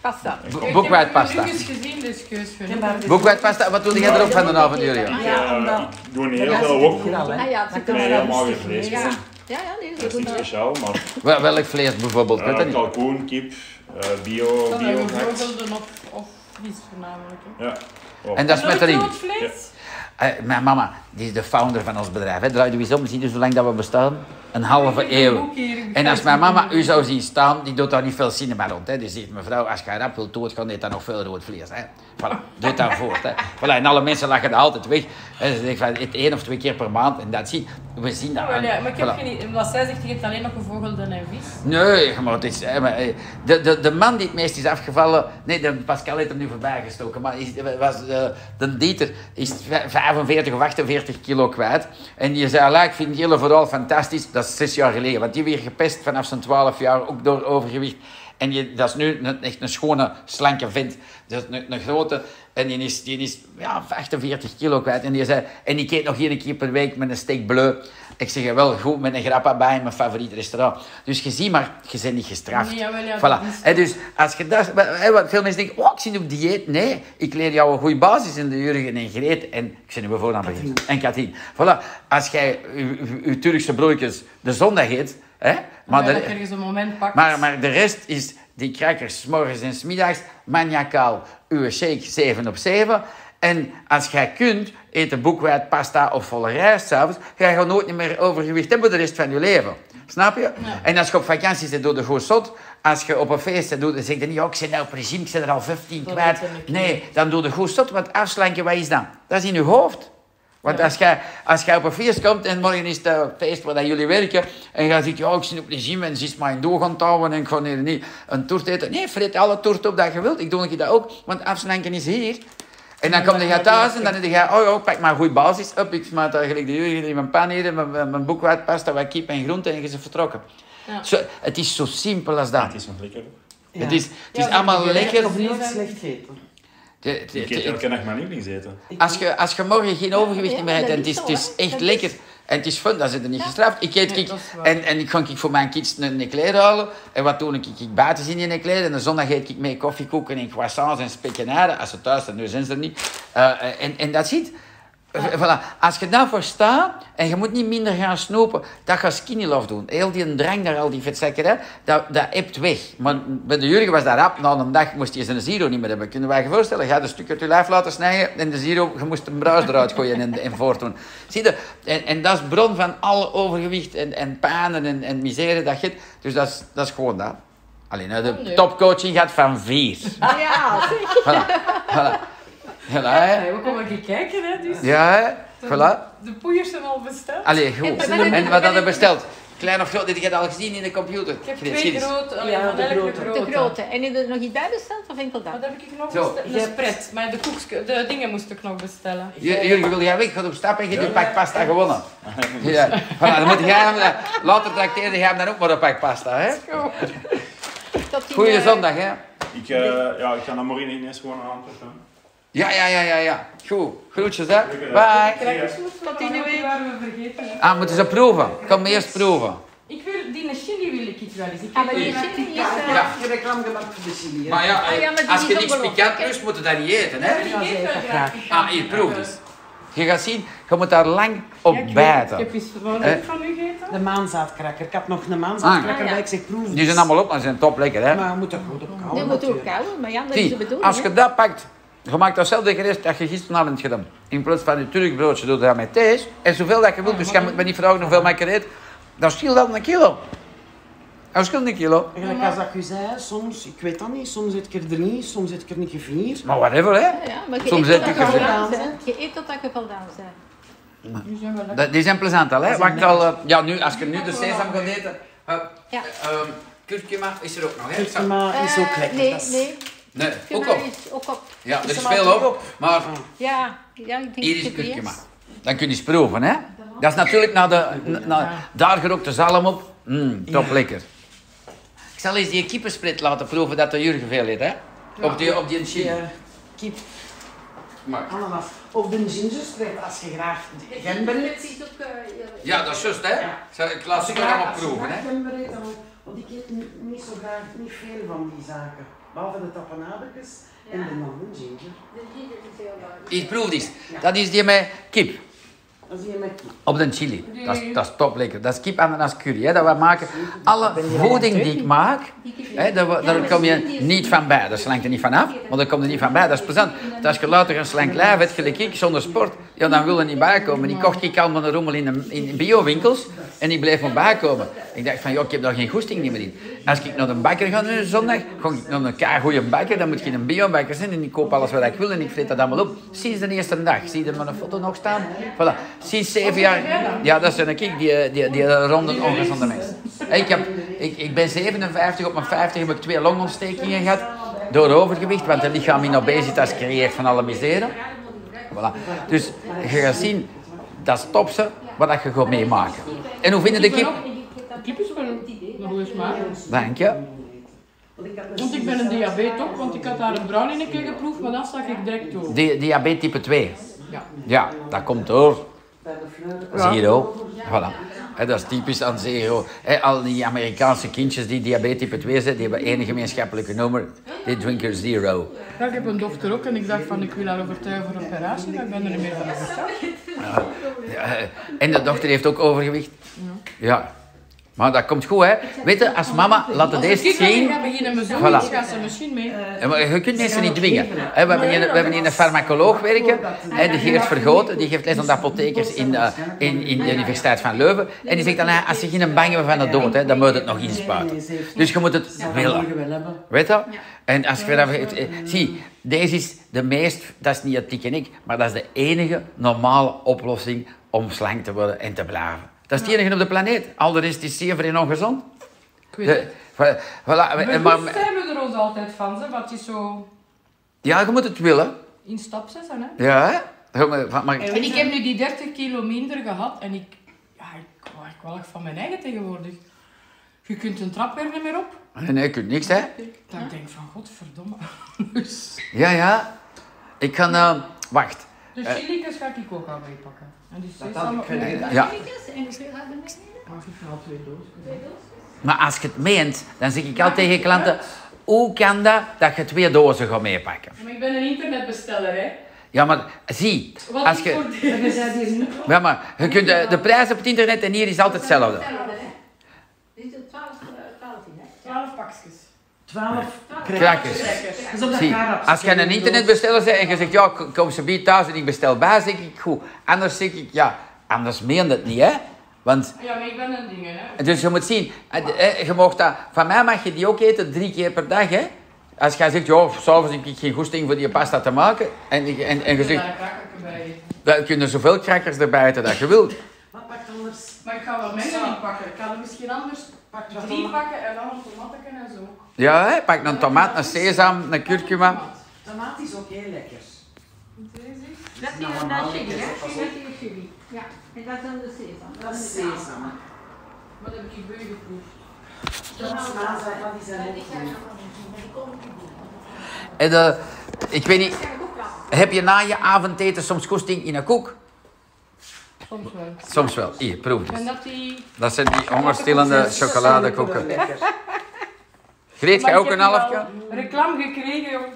[SPEAKER 5] Pasta.
[SPEAKER 1] B-
[SPEAKER 2] Kijk,
[SPEAKER 1] Boekwijdpasta.
[SPEAKER 2] Ik heb het nu eens gezien, dus keus
[SPEAKER 6] Ja,
[SPEAKER 2] genoeg.
[SPEAKER 6] maar dit-
[SPEAKER 1] Boekwijdpasta, wat doe jij erop van de avond, Julia?
[SPEAKER 4] Ik, eh,
[SPEAKER 6] Ja, omdat-
[SPEAKER 4] ik doe een
[SPEAKER 6] Ja,
[SPEAKER 4] heel
[SPEAKER 6] ze
[SPEAKER 4] veel
[SPEAKER 6] doen
[SPEAKER 4] wok.
[SPEAKER 6] hier al, hè.
[SPEAKER 5] Ah ja, ze
[SPEAKER 6] Dan
[SPEAKER 5] kunnen
[SPEAKER 6] kan
[SPEAKER 4] Nee,
[SPEAKER 6] je dat
[SPEAKER 4] helemaal geen
[SPEAKER 6] rustig
[SPEAKER 4] vlees.
[SPEAKER 6] mee.
[SPEAKER 5] Ja, ja, ja nee, ze
[SPEAKER 4] Dat is
[SPEAKER 5] doen
[SPEAKER 4] niet
[SPEAKER 5] dat.
[SPEAKER 4] speciaal, maar
[SPEAKER 1] Wel- Welk vlees bijvoorbeeld? Ik weet dat
[SPEAKER 4] eh
[SPEAKER 1] niet.
[SPEAKER 4] kalkoen, kip, eh, bio,
[SPEAKER 2] Dan hebben
[SPEAKER 4] bio
[SPEAKER 2] we voorbeelden of, of vis voornamelijk. hè.
[SPEAKER 4] Ja. Oh.
[SPEAKER 1] En dat is met
[SPEAKER 2] Nooit
[SPEAKER 1] erin.
[SPEAKER 2] rood vlees?
[SPEAKER 1] Eh, mijn mama, die is de founder van ons bedrijf. Hè. Draai je eens om, zie je zolang dat we bestaan? Een halve
[SPEAKER 2] Ik heb een
[SPEAKER 1] eeuw.
[SPEAKER 2] boek hier, ik
[SPEAKER 1] En als
[SPEAKER 2] ga
[SPEAKER 1] mijn
[SPEAKER 2] het
[SPEAKER 1] mama
[SPEAKER 2] doen.
[SPEAKER 1] u zou zien staan, die doet daar niet veel cinema rond. Hè. Die zegt, mevrouw, als je rap wilt doodgaan, eet dan nog veel rood vlees. Hè. Voilà, doe dat voort. Hè. Voilà, en alle mensen lachen er altijd weg. En ze zeggen, van, eet één of twee keer per maand. En dat zie we zien dat.
[SPEAKER 2] Oh, Ja, maar,
[SPEAKER 1] aan.
[SPEAKER 2] ja, maar ik heb
[SPEAKER 1] Voilà.
[SPEAKER 2] geen Wat zij zegt, je hebt alleen nog gevogelden en vis.
[SPEAKER 1] Nee, maar het is... hè, maar, eh, de, de, de man die het meest is afgevallen... Nee, de Pascal heeft hem nu voorbij gestoken. Maar is, was, eh, de Dieter is vij- 45 of 48 kilo kwijt. En die zei, "Allee, ik vind jullie vooral fantastisch. Dat is zes jaar geleden. Want die werd gepest vanaf zijn 12 jaar, ook door overgewicht. En die, dat is nu een- echt een schone, slanke vent. Dat is een, een grote. En die is, die is ja, 48 kilo kwijt. En die zei, en ik eet nog één keer per week met een steak bleu. Ik zeg wel goed met een grappa bij in mijn favoriet restaurant. Dus je ziet maar, je bent niet gestraft.
[SPEAKER 2] Nee, jawel, ja, dat
[SPEAKER 1] voilà.
[SPEAKER 2] is-
[SPEAKER 1] En dus als je dat, wa- hè, want veel mensen denken, oh, ik zit op dieet. Nee, ik leer jou een goede basis in de Jurgen en Greet. En ik zit nu mijn voornaam vergeten. En Katin. Voilà. Als jij je, Turkse broodjes de zondag eet, hè, maar
[SPEAKER 2] Maar dat
[SPEAKER 1] de-
[SPEAKER 2] je ergens een moment pakt.
[SPEAKER 1] maar, maar de rest is die crackers s morgens en 's middags, maniacaal, uw shake 7 op 7. En als jij kunt, eet een boekwijd, pasta of volle rijst s'avonds, ga je nooit meer overgewicht hebben de rest van je leven. Snap je? En als je op vakantie zit, doe je goed zot. Als je op een feest zit, doe je, zeg je niet, oh, ik zit nou op regime, ik zit er al 15
[SPEAKER 2] Dat
[SPEAKER 1] kwijt.
[SPEAKER 2] weet ik niet.
[SPEAKER 1] Nee, dan doe je goed zot, want afslanken, wat is dat? Dat is in je hoofd. Want als jij, als jij op een feest komt en morgen is het eh, feest waar dat jullie werken en jij zegt, ja, ik zit op de gym en ze is mijn doel gaan touwen en ik ga hier niet een toert eten. Nee, vreet alle toert op dat je wilt. Ik doe een keer dat ook, want afslanken is hier. En dan kom je thuis en dan denk je, oh ja, ik pak maar een goede basis op. Ik smaak daar gelijk de jullie in mijn pan hier, mijn, mijn, mijn boekwaard, pasta, wat kip en groente en je is vertrokken.
[SPEAKER 2] Ja.
[SPEAKER 1] Zo, het is zo simpel als dat.
[SPEAKER 4] Het is nog lekker.
[SPEAKER 3] Ja.
[SPEAKER 1] Het is, het is
[SPEAKER 2] Ja,
[SPEAKER 1] allemaal
[SPEAKER 2] maar-
[SPEAKER 1] lekker.
[SPEAKER 3] Ik heb
[SPEAKER 2] Nee,
[SPEAKER 3] nooit
[SPEAKER 2] dat-
[SPEAKER 3] slecht gegeten.
[SPEAKER 1] Het- het-
[SPEAKER 4] Ik eet
[SPEAKER 1] het-
[SPEAKER 4] elke nacht mijn lievelingseten.
[SPEAKER 3] Ik
[SPEAKER 1] Als je, als je morgen geen overgewicht
[SPEAKER 5] Ja,
[SPEAKER 1] meer hebt,
[SPEAKER 5] dat
[SPEAKER 1] en het
[SPEAKER 5] is
[SPEAKER 1] is, het
[SPEAKER 5] zo,
[SPEAKER 1] is
[SPEAKER 5] hè.
[SPEAKER 1] echt
[SPEAKER 5] Dat is-
[SPEAKER 1] lekker. En het is fun, dan zitten er niet gestraft. Ik eet,
[SPEAKER 2] Nee,
[SPEAKER 1] ik,
[SPEAKER 2] dat is waar.
[SPEAKER 1] en, en ik ga ik voor mijn kids een, een kleed halen. En wat doe ik? Ik buiten zien in een kleed. En de zondag eet ik mee koffiekoeken en croissants en spekenaren. Als ze thuis zijn, nu zijn ze er niet. Eh, en, en dat zit. Eh, Voilà. Als je daarvoor staat en je moet niet minder gaan snoepen, dat gaat skinny love doen. Heel die drang naar al die vetzakken, hè, dat, dat ebt weg. Maar bij de Jurgen was dat rap. Na een dag moest hij zijn zero niet meer hebben. Kunnen wij je voorstellen? Je had een stuk uit je lijf laten snijden en de zero, je moest een bruis eruit gooien en, en voortdoen. Zie je? En, en dat is bron van alle overgewicht en, en pijnen en, en misère dat je hebt. Dus dat is, dat is gewoon dat. Alleen, hè, de
[SPEAKER 2] Leuk.
[SPEAKER 1] topcoaching gaat van vier.
[SPEAKER 5] Ja, zeg.
[SPEAKER 1] Voilà. Voilà. Voilà, hè.
[SPEAKER 2] Hey, we komen even kijken, hè. Dus
[SPEAKER 1] Ja, hè. Voilà.
[SPEAKER 2] de poeiers zijn al besteld.
[SPEAKER 1] Allee, goed.
[SPEAKER 5] En-
[SPEAKER 1] En wat hadden we besteld? Klein of groot? Dit heb je al gezien in de computer.
[SPEAKER 2] Ik heb
[SPEAKER 1] Dit
[SPEAKER 2] twee
[SPEAKER 1] is-
[SPEAKER 2] grote, allee,
[SPEAKER 3] Ja,
[SPEAKER 2] van
[SPEAKER 3] de
[SPEAKER 2] elk
[SPEAKER 3] grote.
[SPEAKER 2] de
[SPEAKER 5] De
[SPEAKER 2] grote.
[SPEAKER 5] grote. En heb je er nog iets bij besteld of enkel dat?
[SPEAKER 2] Wat heb ik nog
[SPEAKER 1] Zo.
[SPEAKER 2] besteld?
[SPEAKER 3] Je
[SPEAKER 2] Een
[SPEAKER 3] hebt-
[SPEAKER 2] spread, maar de, koeks, de dingen moest ik nog bestellen.
[SPEAKER 1] J- Jurgen, wil jij weg? Gaat op stap en je hebt een pak pasta gewonnen. Ja. Voilà, dan moet jij hem, eh, later tracteerde jij hem dan ook maar een pak pasta. Hè?
[SPEAKER 5] Tot die,
[SPEAKER 1] Goeie
[SPEAKER 5] eh,
[SPEAKER 1] zondag, hè?
[SPEAKER 4] Ik, eh, ja, ik ga dat morgen ineens gewoon aanpakken.
[SPEAKER 1] Ja, ja, ja, ja, ja. Goed. Groetjes, hè?
[SPEAKER 2] De
[SPEAKER 1] Bye.
[SPEAKER 2] crackers moesten
[SPEAKER 5] Tot die
[SPEAKER 2] nog,
[SPEAKER 5] week.
[SPEAKER 2] waren we vergeten. hè.
[SPEAKER 1] Ah, moeten ze proeven? Kom eerst proeven.
[SPEAKER 2] Ik wil, die chili wil ik iets wel eens. Ik
[SPEAKER 5] Ah, maar
[SPEAKER 2] wil
[SPEAKER 5] die
[SPEAKER 2] met
[SPEAKER 5] chili is...
[SPEAKER 3] Ja,
[SPEAKER 5] eh,
[SPEAKER 3] ik heb reclame gemaakt voor de chili. hè.
[SPEAKER 1] Maar ja,
[SPEAKER 5] Ah, ja,
[SPEAKER 1] eh,
[SPEAKER 5] maar die
[SPEAKER 1] als je
[SPEAKER 5] is
[SPEAKER 1] niks
[SPEAKER 5] opgelopen,
[SPEAKER 1] pikant
[SPEAKER 5] hè?
[SPEAKER 1] lust, moet je dat niet eten, hè?
[SPEAKER 2] Ik eet wel
[SPEAKER 3] zeker,
[SPEAKER 2] graag
[SPEAKER 1] Ah, hier, proef
[SPEAKER 5] dus.
[SPEAKER 1] eens. Je gaat zien, je moet daar lang op
[SPEAKER 2] Ik
[SPEAKER 1] bijten.
[SPEAKER 2] heb iets wat
[SPEAKER 1] Eh.
[SPEAKER 2] heb ik van u gegeten.
[SPEAKER 3] De maanzaadkrakker. Ik had nog een maanzaadkrakker
[SPEAKER 5] Ah, ja.
[SPEAKER 3] bij. Ik zeg, proef
[SPEAKER 1] Die zijn allemaal op, maar ze zijn top lekker, hè?
[SPEAKER 3] Maar je moet er goed op
[SPEAKER 5] Die
[SPEAKER 3] kouwen
[SPEAKER 5] moet ook
[SPEAKER 3] natuurlijk.
[SPEAKER 5] kouden, maar ja, dat is de
[SPEAKER 1] Zie,
[SPEAKER 5] bedoeling.
[SPEAKER 1] als je
[SPEAKER 5] hè.
[SPEAKER 1] dat pakt, je maakt datzelfde gerest dat je gisteravond gedaan. In plaats van je Turkbroodje doe je dat met thee. En zoveel dat je wilt, dus je moet me niet vragen hoeveel ik er eet. Dan scheelt dat een kilo. verschillende kilo.
[SPEAKER 3] En gelijk als dat ik u zei, soms, ik weet dat niet, soms zit ik er drie, soms zit ik er een keer vier.
[SPEAKER 1] Maar whatever, hè.
[SPEAKER 5] Ja, maar je
[SPEAKER 1] Soms
[SPEAKER 5] eet
[SPEAKER 1] eet ik
[SPEAKER 5] totdat je
[SPEAKER 3] er-
[SPEAKER 5] voldaan bent. Je eet totdat je voldaan bent.
[SPEAKER 2] Nu zijn we lekker.
[SPEAKER 1] Dat- die zijn plezant al, hè.
[SPEAKER 3] zijn
[SPEAKER 1] Wacht al, eh, ja, nu, als je nu de sesam gaat eten... eh,
[SPEAKER 5] Ja.
[SPEAKER 1] ehm, curcuma is er ook nog, hè.
[SPEAKER 3] Maar Dus is ook
[SPEAKER 5] Eh,
[SPEAKER 3] lekker.
[SPEAKER 5] Nee,
[SPEAKER 3] dat is-
[SPEAKER 5] nee.
[SPEAKER 1] Nee, ook
[SPEAKER 5] Curcuma
[SPEAKER 1] op.
[SPEAKER 5] is ook op.
[SPEAKER 1] Ja, er
[SPEAKER 3] Is
[SPEAKER 1] is
[SPEAKER 3] er
[SPEAKER 1] veel
[SPEAKER 3] maar
[SPEAKER 1] op, maar
[SPEAKER 5] Ja, ja, ik denk
[SPEAKER 1] hier is
[SPEAKER 5] dat het
[SPEAKER 1] curcuma.
[SPEAKER 5] is.
[SPEAKER 1] Dan kun je eens proeven, hè. Dat is natuurlijk na de, na, na- daar gerookte zalm op. Mm, top lekker. Ik zal eens die kippensplit laten proeven dat de Jurgen veel eet, hè. Op die, op die chili.
[SPEAKER 3] Die, eh, kip,
[SPEAKER 1] Maar-
[SPEAKER 3] ananas. Of de gingerstreep, als je graag gember eet.
[SPEAKER 1] Ja, dat is juist, hè. Zal- Ik laat
[SPEAKER 3] Als je
[SPEAKER 1] ze allemaal
[SPEAKER 3] graag, als je
[SPEAKER 1] proeven, hè.
[SPEAKER 3] graag gember eet, dan... Want ik eet n- niet zo graag, niet veel van die zaken. Behalve de tapenadekes en de man ginger.
[SPEAKER 1] Hier, proef eens. Dat is die met kip.
[SPEAKER 3] Dat is hier met kip.
[SPEAKER 1] Op de chili. Dat is, dat is top lekker. Dat is kip ananas curry. Hè, dat we maken. Alle voeding die ik maak, hè, dat we, daar kom je niet van bij. Dat slankt er niet van af, maar daar kom je niet van bij. Dat is plezant. Want als je louter een slank lijf hebt, gelijk ik, zonder sport, ja, dan wil je niet bijkomen. Die kocht ik allemaal een rommel in, de, in biowinkels en die bleef me bijkomen. Ik dacht van, joh, ik heb daar geen goesting meer in. Als ik naar de bakker ga nu zondag, ga ik naar een keigoeie bakker, dan moet je een biobakker zijn en ik koop alles wat ik wil en ik vreet dat allemaal op. Sinds de eerste dag, zie je er een foto nog staan? Voilà. Sinds zeven jaar, ja dat zijn ik, die, die, die, die ronde ongezonde mensen. Ik, heb, ik, ik ben 57, op mijn 50 heb ik twee longontstekingen gehad door overgewicht, want het lichaam in obesitas creëert van alle miseren. Voilà. Dus je gaat zien, dat is top ze, wat dat je gaat meemaken. En hoe vinden de kip?
[SPEAKER 2] De kip is wel een een goede smaak.
[SPEAKER 1] Dank je.
[SPEAKER 2] Want ik ben een diabeet ook, want ik had daar een bruin in een keer geproefd, maar dat stak ik direct door.
[SPEAKER 1] Di- diabetes type 2.
[SPEAKER 2] Ja.
[SPEAKER 1] Ja, dat komt door.
[SPEAKER 3] Bij de fleur.
[SPEAKER 1] Zero. Voilà. Hè, dat is typisch aan zero. Hè, al die Amerikaanse kindjes die diabetes type 2 zijn, die hebben één gemeenschappelijke nummer. Die drinken zero.
[SPEAKER 2] Ja, ik heb een dochter ook en ik dacht van ik wil haar overtuigen voor een operatie, maar ik ben er niet meer van overtuigd.
[SPEAKER 1] Ja, Eh, en de dochter heeft ook overgewicht. Ja. Maar dat komt goed, hè. Weet je, als mama laat het eerst
[SPEAKER 2] Kijk, ik
[SPEAKER 1] zien...
[SPEAKER 2] ga beginnen met
[SPEAKER 1] Voilà.
[SPEAKER 2] zoiets, gaat ze misschien mee.
[SPEAKER 1] Ja, maar je kunt mensen niet dwingen. hè. We hebben hier, we hebben hier een farmacoloog werken, hè, de Geert Vergoten, die geeft les aan de apothekers in, eh, in, in de Universiteit van Leuven. En die zegt dan, hè, als je geen bang bent van de dood, hè, dan moet je het nog inspuiten. Dus je moet het
[SPEAKER 3] Dat wil
[SPEAKER 1] willen.
[SPEAKER 3] je wel hebben.
[SPEAKER 1] Weet dat? En als je dat... eh, Zie, deze is de meest... Dat is niet het tik en ik, maar dat is de enige normale oplossing om slank te worden en te blijven. Dat is de enige op de planeet. Al de rest is zeer en ongezond.
[SPEAKER 2] Ik weet het.
[SPEAKER 1] De- voilà,
[SPEAKER 2] Maar
[SPEAKER 1] maar,
[SPEAKER 2] goed
[SPEAKER 1] maar,
[SPEAKER 2] zijn we er ons altijd van, ze, wat je zo
[SPEAKER 1] ja, je moet het willen.
[SPEAKER 2] in stap zetten. Hè?
[SPEAKER 1] Ja, hè? Ja, maar- maar- maar-
[SPEAKER 2] En ik heb nu die 30 kilo minder gehad en ik, ja, ik word kwallig van mijn eigen tegenwoordig. Je kunt een trap weer niet meer op.
[SPEAKER 1] Ah, nee, je kunt niks, hè?
[SPEAKER 2] Dat ik denk van, godverdomme. Dus
[SPEAKER 1] Ja, ja. Ik kan... eh, wacht.
[SPEAKER 2] de
[SPEAKER 1] Eh.
[SPEAKER 2] chilikes ga ik ook al meepakken. En die
[SPEAKER 3] Dat had
[SPEAKER 2] sesam
[SPEAKER 3] ik
[SPEAKER 2] ook mee.
[SPEAKER 3] kunnen
[SPEAKER 2] Ik
[SPEAKER 3] gedaan.
[SPEAKER 1] Ja.
[SPEAKER 5] ah,
[SPEAKER 2] ga al twee dozen.
[SPEAKER 1] Maar als je het meent, dan zeg ik altijd tegen klanten... Hoe kan dat dat je twee dozen gaat meepakken?
[SPEAKER 2] Maar ik ben een internetbesteller, hè.
[SPEAKER 1] Ja, maar zie,
[SPEAKER 2] Wat
[SPEAKER 1] als
[SPEAKER 2] ik
[SPEAKER 1] je...
[SPEAKER 2] voor-
[SPEAKER 3] En je zei hier nu...
[SPEAKER 1] Ja, maar je kunt de, de prijs op het internet en hier is altijd hetzelfde.
[SPEAKER 5] Dit is 12, 12 hè?
[SPEAKER 2] 12 pakjes.
[SPEAKER 3] 12
[SPEAKER 1] Krakjes.
[SPEAKER 3] Dus op dat
[SPEAKER 1] Zie,
[SPEAKER 3] kaartje
[SPEAKER 1] als je
[SPEAKER 3] staan
[SPEAKER 1] een
[SPEAKER 3] die
[SPEAKER 1] internetbesteller bent en je zegt, ja, k- kom ze bij thuis en ik bestel bij, zeg ik, goed. Anders zeg ik, ja, anders meen dat niet, hè. Want,
[SPEAKER 2] Ja, maar ik ben een ding, hè.
[SPEAKER 1] dus je moet zien, eh, de- eh, je mag dat, van mij mag je die ook eten drie keer per dag, hè. Als jij zegt, ja, s'avonds heb ik geen goesting voor die pasta te maken, en, ik- en, en je zegt,
[SPEAKER 2] Daar raak ik erbij.
[SPEAKER 1] dan kunnen zoveel crackers erbij eten dat je wilt.
[SPEAKER 3] doos. Wat pakt anders?
[SPEAKER 2] Maar ik ga wel mengen niet pakken. Ik ga er misschien anders
[SPEAKER 3] Pak wat
[SPEAKER 2] drie
[SPEAKER 3] dan-
[SPEAKER 2] pakken en dan een tomaten en zo.
[SPEAKER 1] Ja, hè, pak een tomaat, een sesam, een curcuma.
[SPEAKER 3] Tomaat is ook heel lekker.
[SPEAKER 5] Dat is
[SPEAKER 3] Nou,
[SPEAKER 5] een
[SPEAKER 3] normaal
[SPEAKER 5] chili,
[SPEAKER 3] is
[SPEAKER 5] hè?
[SPEAKER 3] dat
[SPEAKER 5] Dat
[SPEAKER 3] pas
[SPEAKER 5] is een chili. Ja, en dat is dan de sesam.
[SPEAKER 3] Dat is sesam.
[SPEAKER 2] Wat heb ik hier bij geproefd?
[SPEAKER 3] Dat is naza, dat is een
[SPEAKER 1] En, eh, ik weet niet, heb je na je avondeten soms goesting in een koek?
[SPEAKER 2] Soms wel.
[SPEAKER 1] Soms wel. Hier, proef
[SPEAKER 2] En
[SPEAKER 1] eens.
[SPEAKER 2] dat die...
[SPEAKER 1] Dat zijn die hongerstillende chocoladekoeken. Greet, jij
[SPEAKER 2] Maar
[SPEAKER 1] ook
[SPEAKER 2] ik
[SPEAKER 1] een
[SPEAKER 2] heb
[SPEAKER 1] halfje?
[SPEAKER 2] hier wel Reclame gekregen. op-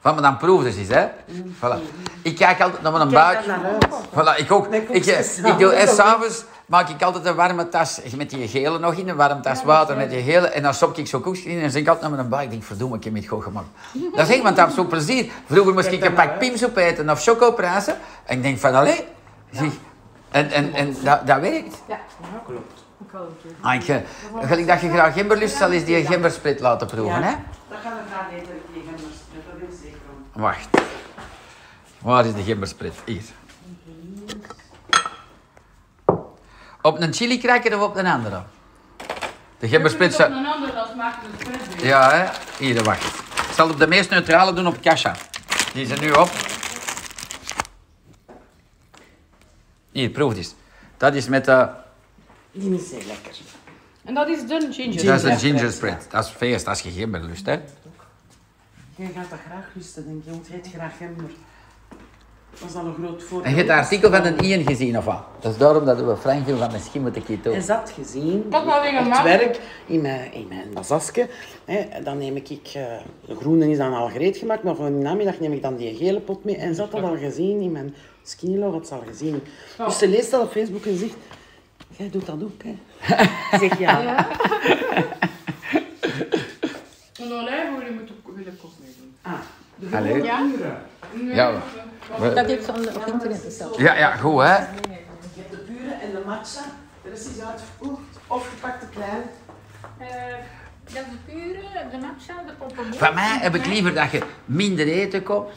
[SPEAKER 1] Van, maar dan proef dus eens, hè. Voilà. Ik kijk altijd naar mijn buik.
[SPEAKER 3] Kijk daar naar uit.
[SPEAKER 1] Voilà, ik ook.
[SPEAKER 3] Nee, ik
[SPEAKER 1] Ik,
[SPEAKER 3] ook
[SPEAKER 1] eh,
[SPEAKER 3] zes.
[SPEAKER 1] ik doe eh, s'avonds maak ik altijd een warme tas met die gele nog in, een warme tas water met die gele. En dan stop ik zo koekjes in en zeg ik altijd naar mijn buik. Ik denk, verdomme, ik heb het goed gemaakt. Dat is echt, want dat is zo plezier. Vroeger moest ik een pak piemsoep eten of chocoprazen. En ik denk van, allee, zeg. En, en, en dat, dat werkt.
[SPEAKER 5] Ja.
[SPEAKER 3] Ja, klopt.
[SPEAKER 2] Ik wel een keer.
[SPEAKER 1] Ah, ik, eh, gelijk dat je graag gember lust, zal eens die gembersplit laten proeven,
[SPEAKER 2] Ja.
[SPEAKER 1] hè?
[SPEAKER 3] Dat gaan we graag eten, die gembersplit, dat wil zeker. om.
[SPEAKER 1] Wacht. Waar is de gembersplit? Hier. Op een chili cracker of op een andere? De gembersplit
[SPEAKER 6] Als je het
[SPEAKER 1] zou...
[SPEAKER 6] op een ander dat maakt het pret weer.
[SPEAKER 1] Ja, hè? Hier, wacht. Ik zal op de meest neutrale doen op Kasha. Die is er nu op. Hier, proef eens. Dat is met eh, de...
[SPEAKER 3] Die is heel lekker.
[SPEAKER 6] En dat is dun ginger.
[SPEAKER 1] Dat is een
[SPEAKER 3] Gingerspread,
[SPEAKER 1] gingerspread. Dat is feest, als je gember lust, hè?
[SPEAKER 3] Jij gaat dat graag lusten, denk je, want jij eet graag gember. Dat is al een groot voordeel.
[SPEAKER 1] En je hebt het artikel van een Ian gezien, of wat? Dat is daarom dat we Frank heel van misschien moeten kiezen.
[SPEAKER 3] Is dat gezien?
[SPEAKER 6] Wat nou weer een
[SPEAKER 3] Op
[SPEAKER 6] man?
[SPEAKER 3] het werk, in mijn, in mijn bazasje, hè, dan neem ik, eh, de groene is dan al gereed gemaakt, maar voor de namiddag neem ik dan die gele pot mee. En ze had dat al gezien in mijn skinny log, had ze al gezien. Dus ze leest dat op Facebook en zegt, jij doet dat ook, hè? Ik zeg ja.
[SPEAKER 6] Een olijfolie moet ik willen kost mee doen.
[SPEAKER 3] Ah,
[SPEAKER 1] Allee.
[SPEAKER 3] ja.
[SPEAKER 1] Ja,
[SPEAKER 2] eh,
[SPEAKER 1] we-
[SPEAKER 7] Dat heeft ze on- op internet besteld.
[SPEAKER 1] ja, ja, goed, hè?
[SPEAKER 3] Je hebt de pure en de matcha, er is iets uitverkocht, of gepakt te klein.
[SPEAKER 5] Eh, Dat is de pure, de matcha, de poppenboer.
[SPEAKER 1] Van mij heb ik liever dat je minder eten koopt.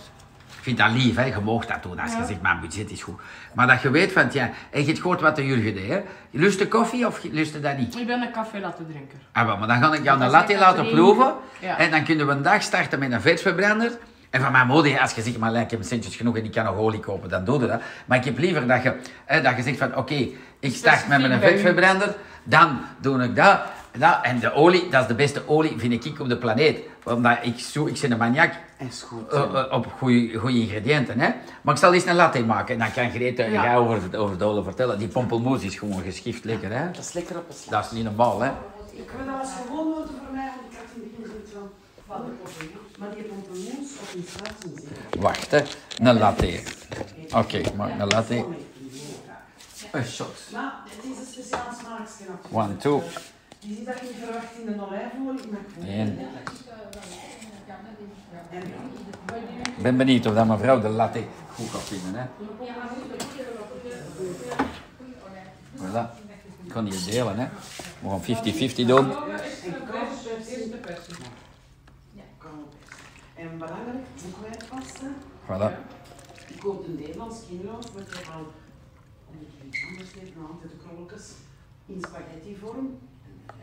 [SPEAKER 1] Ik vind dat lief, hè? je mag dat doen als je zegt, mijn budget is goed. Maar dat je weet van, ja, en je hebt gehoord wat de Jurgen deed. Hè? Lust je koffie of je- lust je dat niet?
[SPEAKER 6] Ik ben een café laten drinken.
[SPEAKER 1] Ah, wel, maar dan ga ik jou een
[SPEAKER 6] Dat
[SPEAKER 1] latte
[SPEAKER 6] zegt dat
[SPEAKER 1] laten
[SPEAKER 6] erin.
[SPEAKER 1] proeven.
[SPEAKER 6] Ja.
[SPEAKER 1] En dan kunnen we een dag starten met een vetverbrander. En van mijn moeder, als je zegt, maar ik heb centjes genoeg en ik kan nog olie kopen, dan doe je dat. Maar ik heb liever dat je, hè, dat je zegt van, oké, ik start met
[SPEAKER 6] Specifiek
[SPEAKER 1] mijn
[SPEAKER 6] bij u.
[SPEAKER 1] vetverbrander. Dan doe ik dat. dat. En de olie, dat is de beste olie, vind ik, op de planeet. Omdat ik, zo, ik ben een maniak
[SPEAKER 3] Is goed.
[SPEAKER 1] eh, eh, op goede ingrediënten. Hè? Maar ik zal eens een latte maken. En dan kan Greta en
[SPEAKER 6] Ja.
[SPEAKER 1] jij over, over Dolen vertellen. Die pompelmoes is gewoon geschift lekker. Hè?
[SPEAKER 3] Dat is lekker op een slag.
[SPEAKER 1] Dat is niet normaal, hè?
[SPEAKER 3] Ik wil dat als gewoon worden voor mij, want ik had in het begin zoiets van, wat een pompoenmoes. Maar die pompoenmoes op een straat zien zitten.
[SPEAKER 1] Wacht, hè. Een latte. Oké, ik maak een latte. Een shot.
[SPEAKER 3] Maar het is een speciaal smaakje natuurlijk.
[SPEAKER 1] One, two.
[SPEAKER 3] Je ziet dat je niet verwacht in een olijfolie, maar ik vond het
[SPEAKER 1] Eén.
[SPEAKER 3] heel lekker. En
[SPEAKER 1] Ik ben benieuwd of dat mevrouw de latte goed gaat vinden, hè. Voilà. Ik kan hier delen, hè. We gaan 50-50 doen.
[SPEAKER 3] koud. En belangrijk, boekwijdpasta.
[SPEAKER 1] Voilà.
[SPEAKER 3] Ik koop een Nederlands kinderhoofd, want je al, omdat je iets anders deed, maar altijd de krolletjes in spaghettivorm.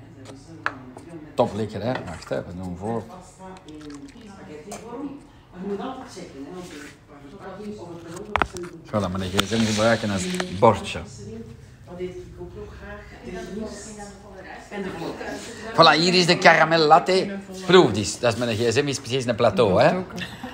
[SPEAKER 3] En dat is een veel met
[SPEAKER 1] Top lekker, hè. Wacht, hè. We doen voor.
[SPEAKER 3] pasta in spaghettivorm. Maar je moet altijd checken, hè, want de verpakking of het eronder zijn.
[SPEAKER 1] Ik ga dat mijn gsm gebruiken als bordje.
[SPEAKER 3] Wat eet ik ook nog graag? De niets. En de vlot.
[SPEAKER 1] Voilà, hier is de caramel latte. Proef die. eens. Dat is mijn gsm, is precies een plateau, hè.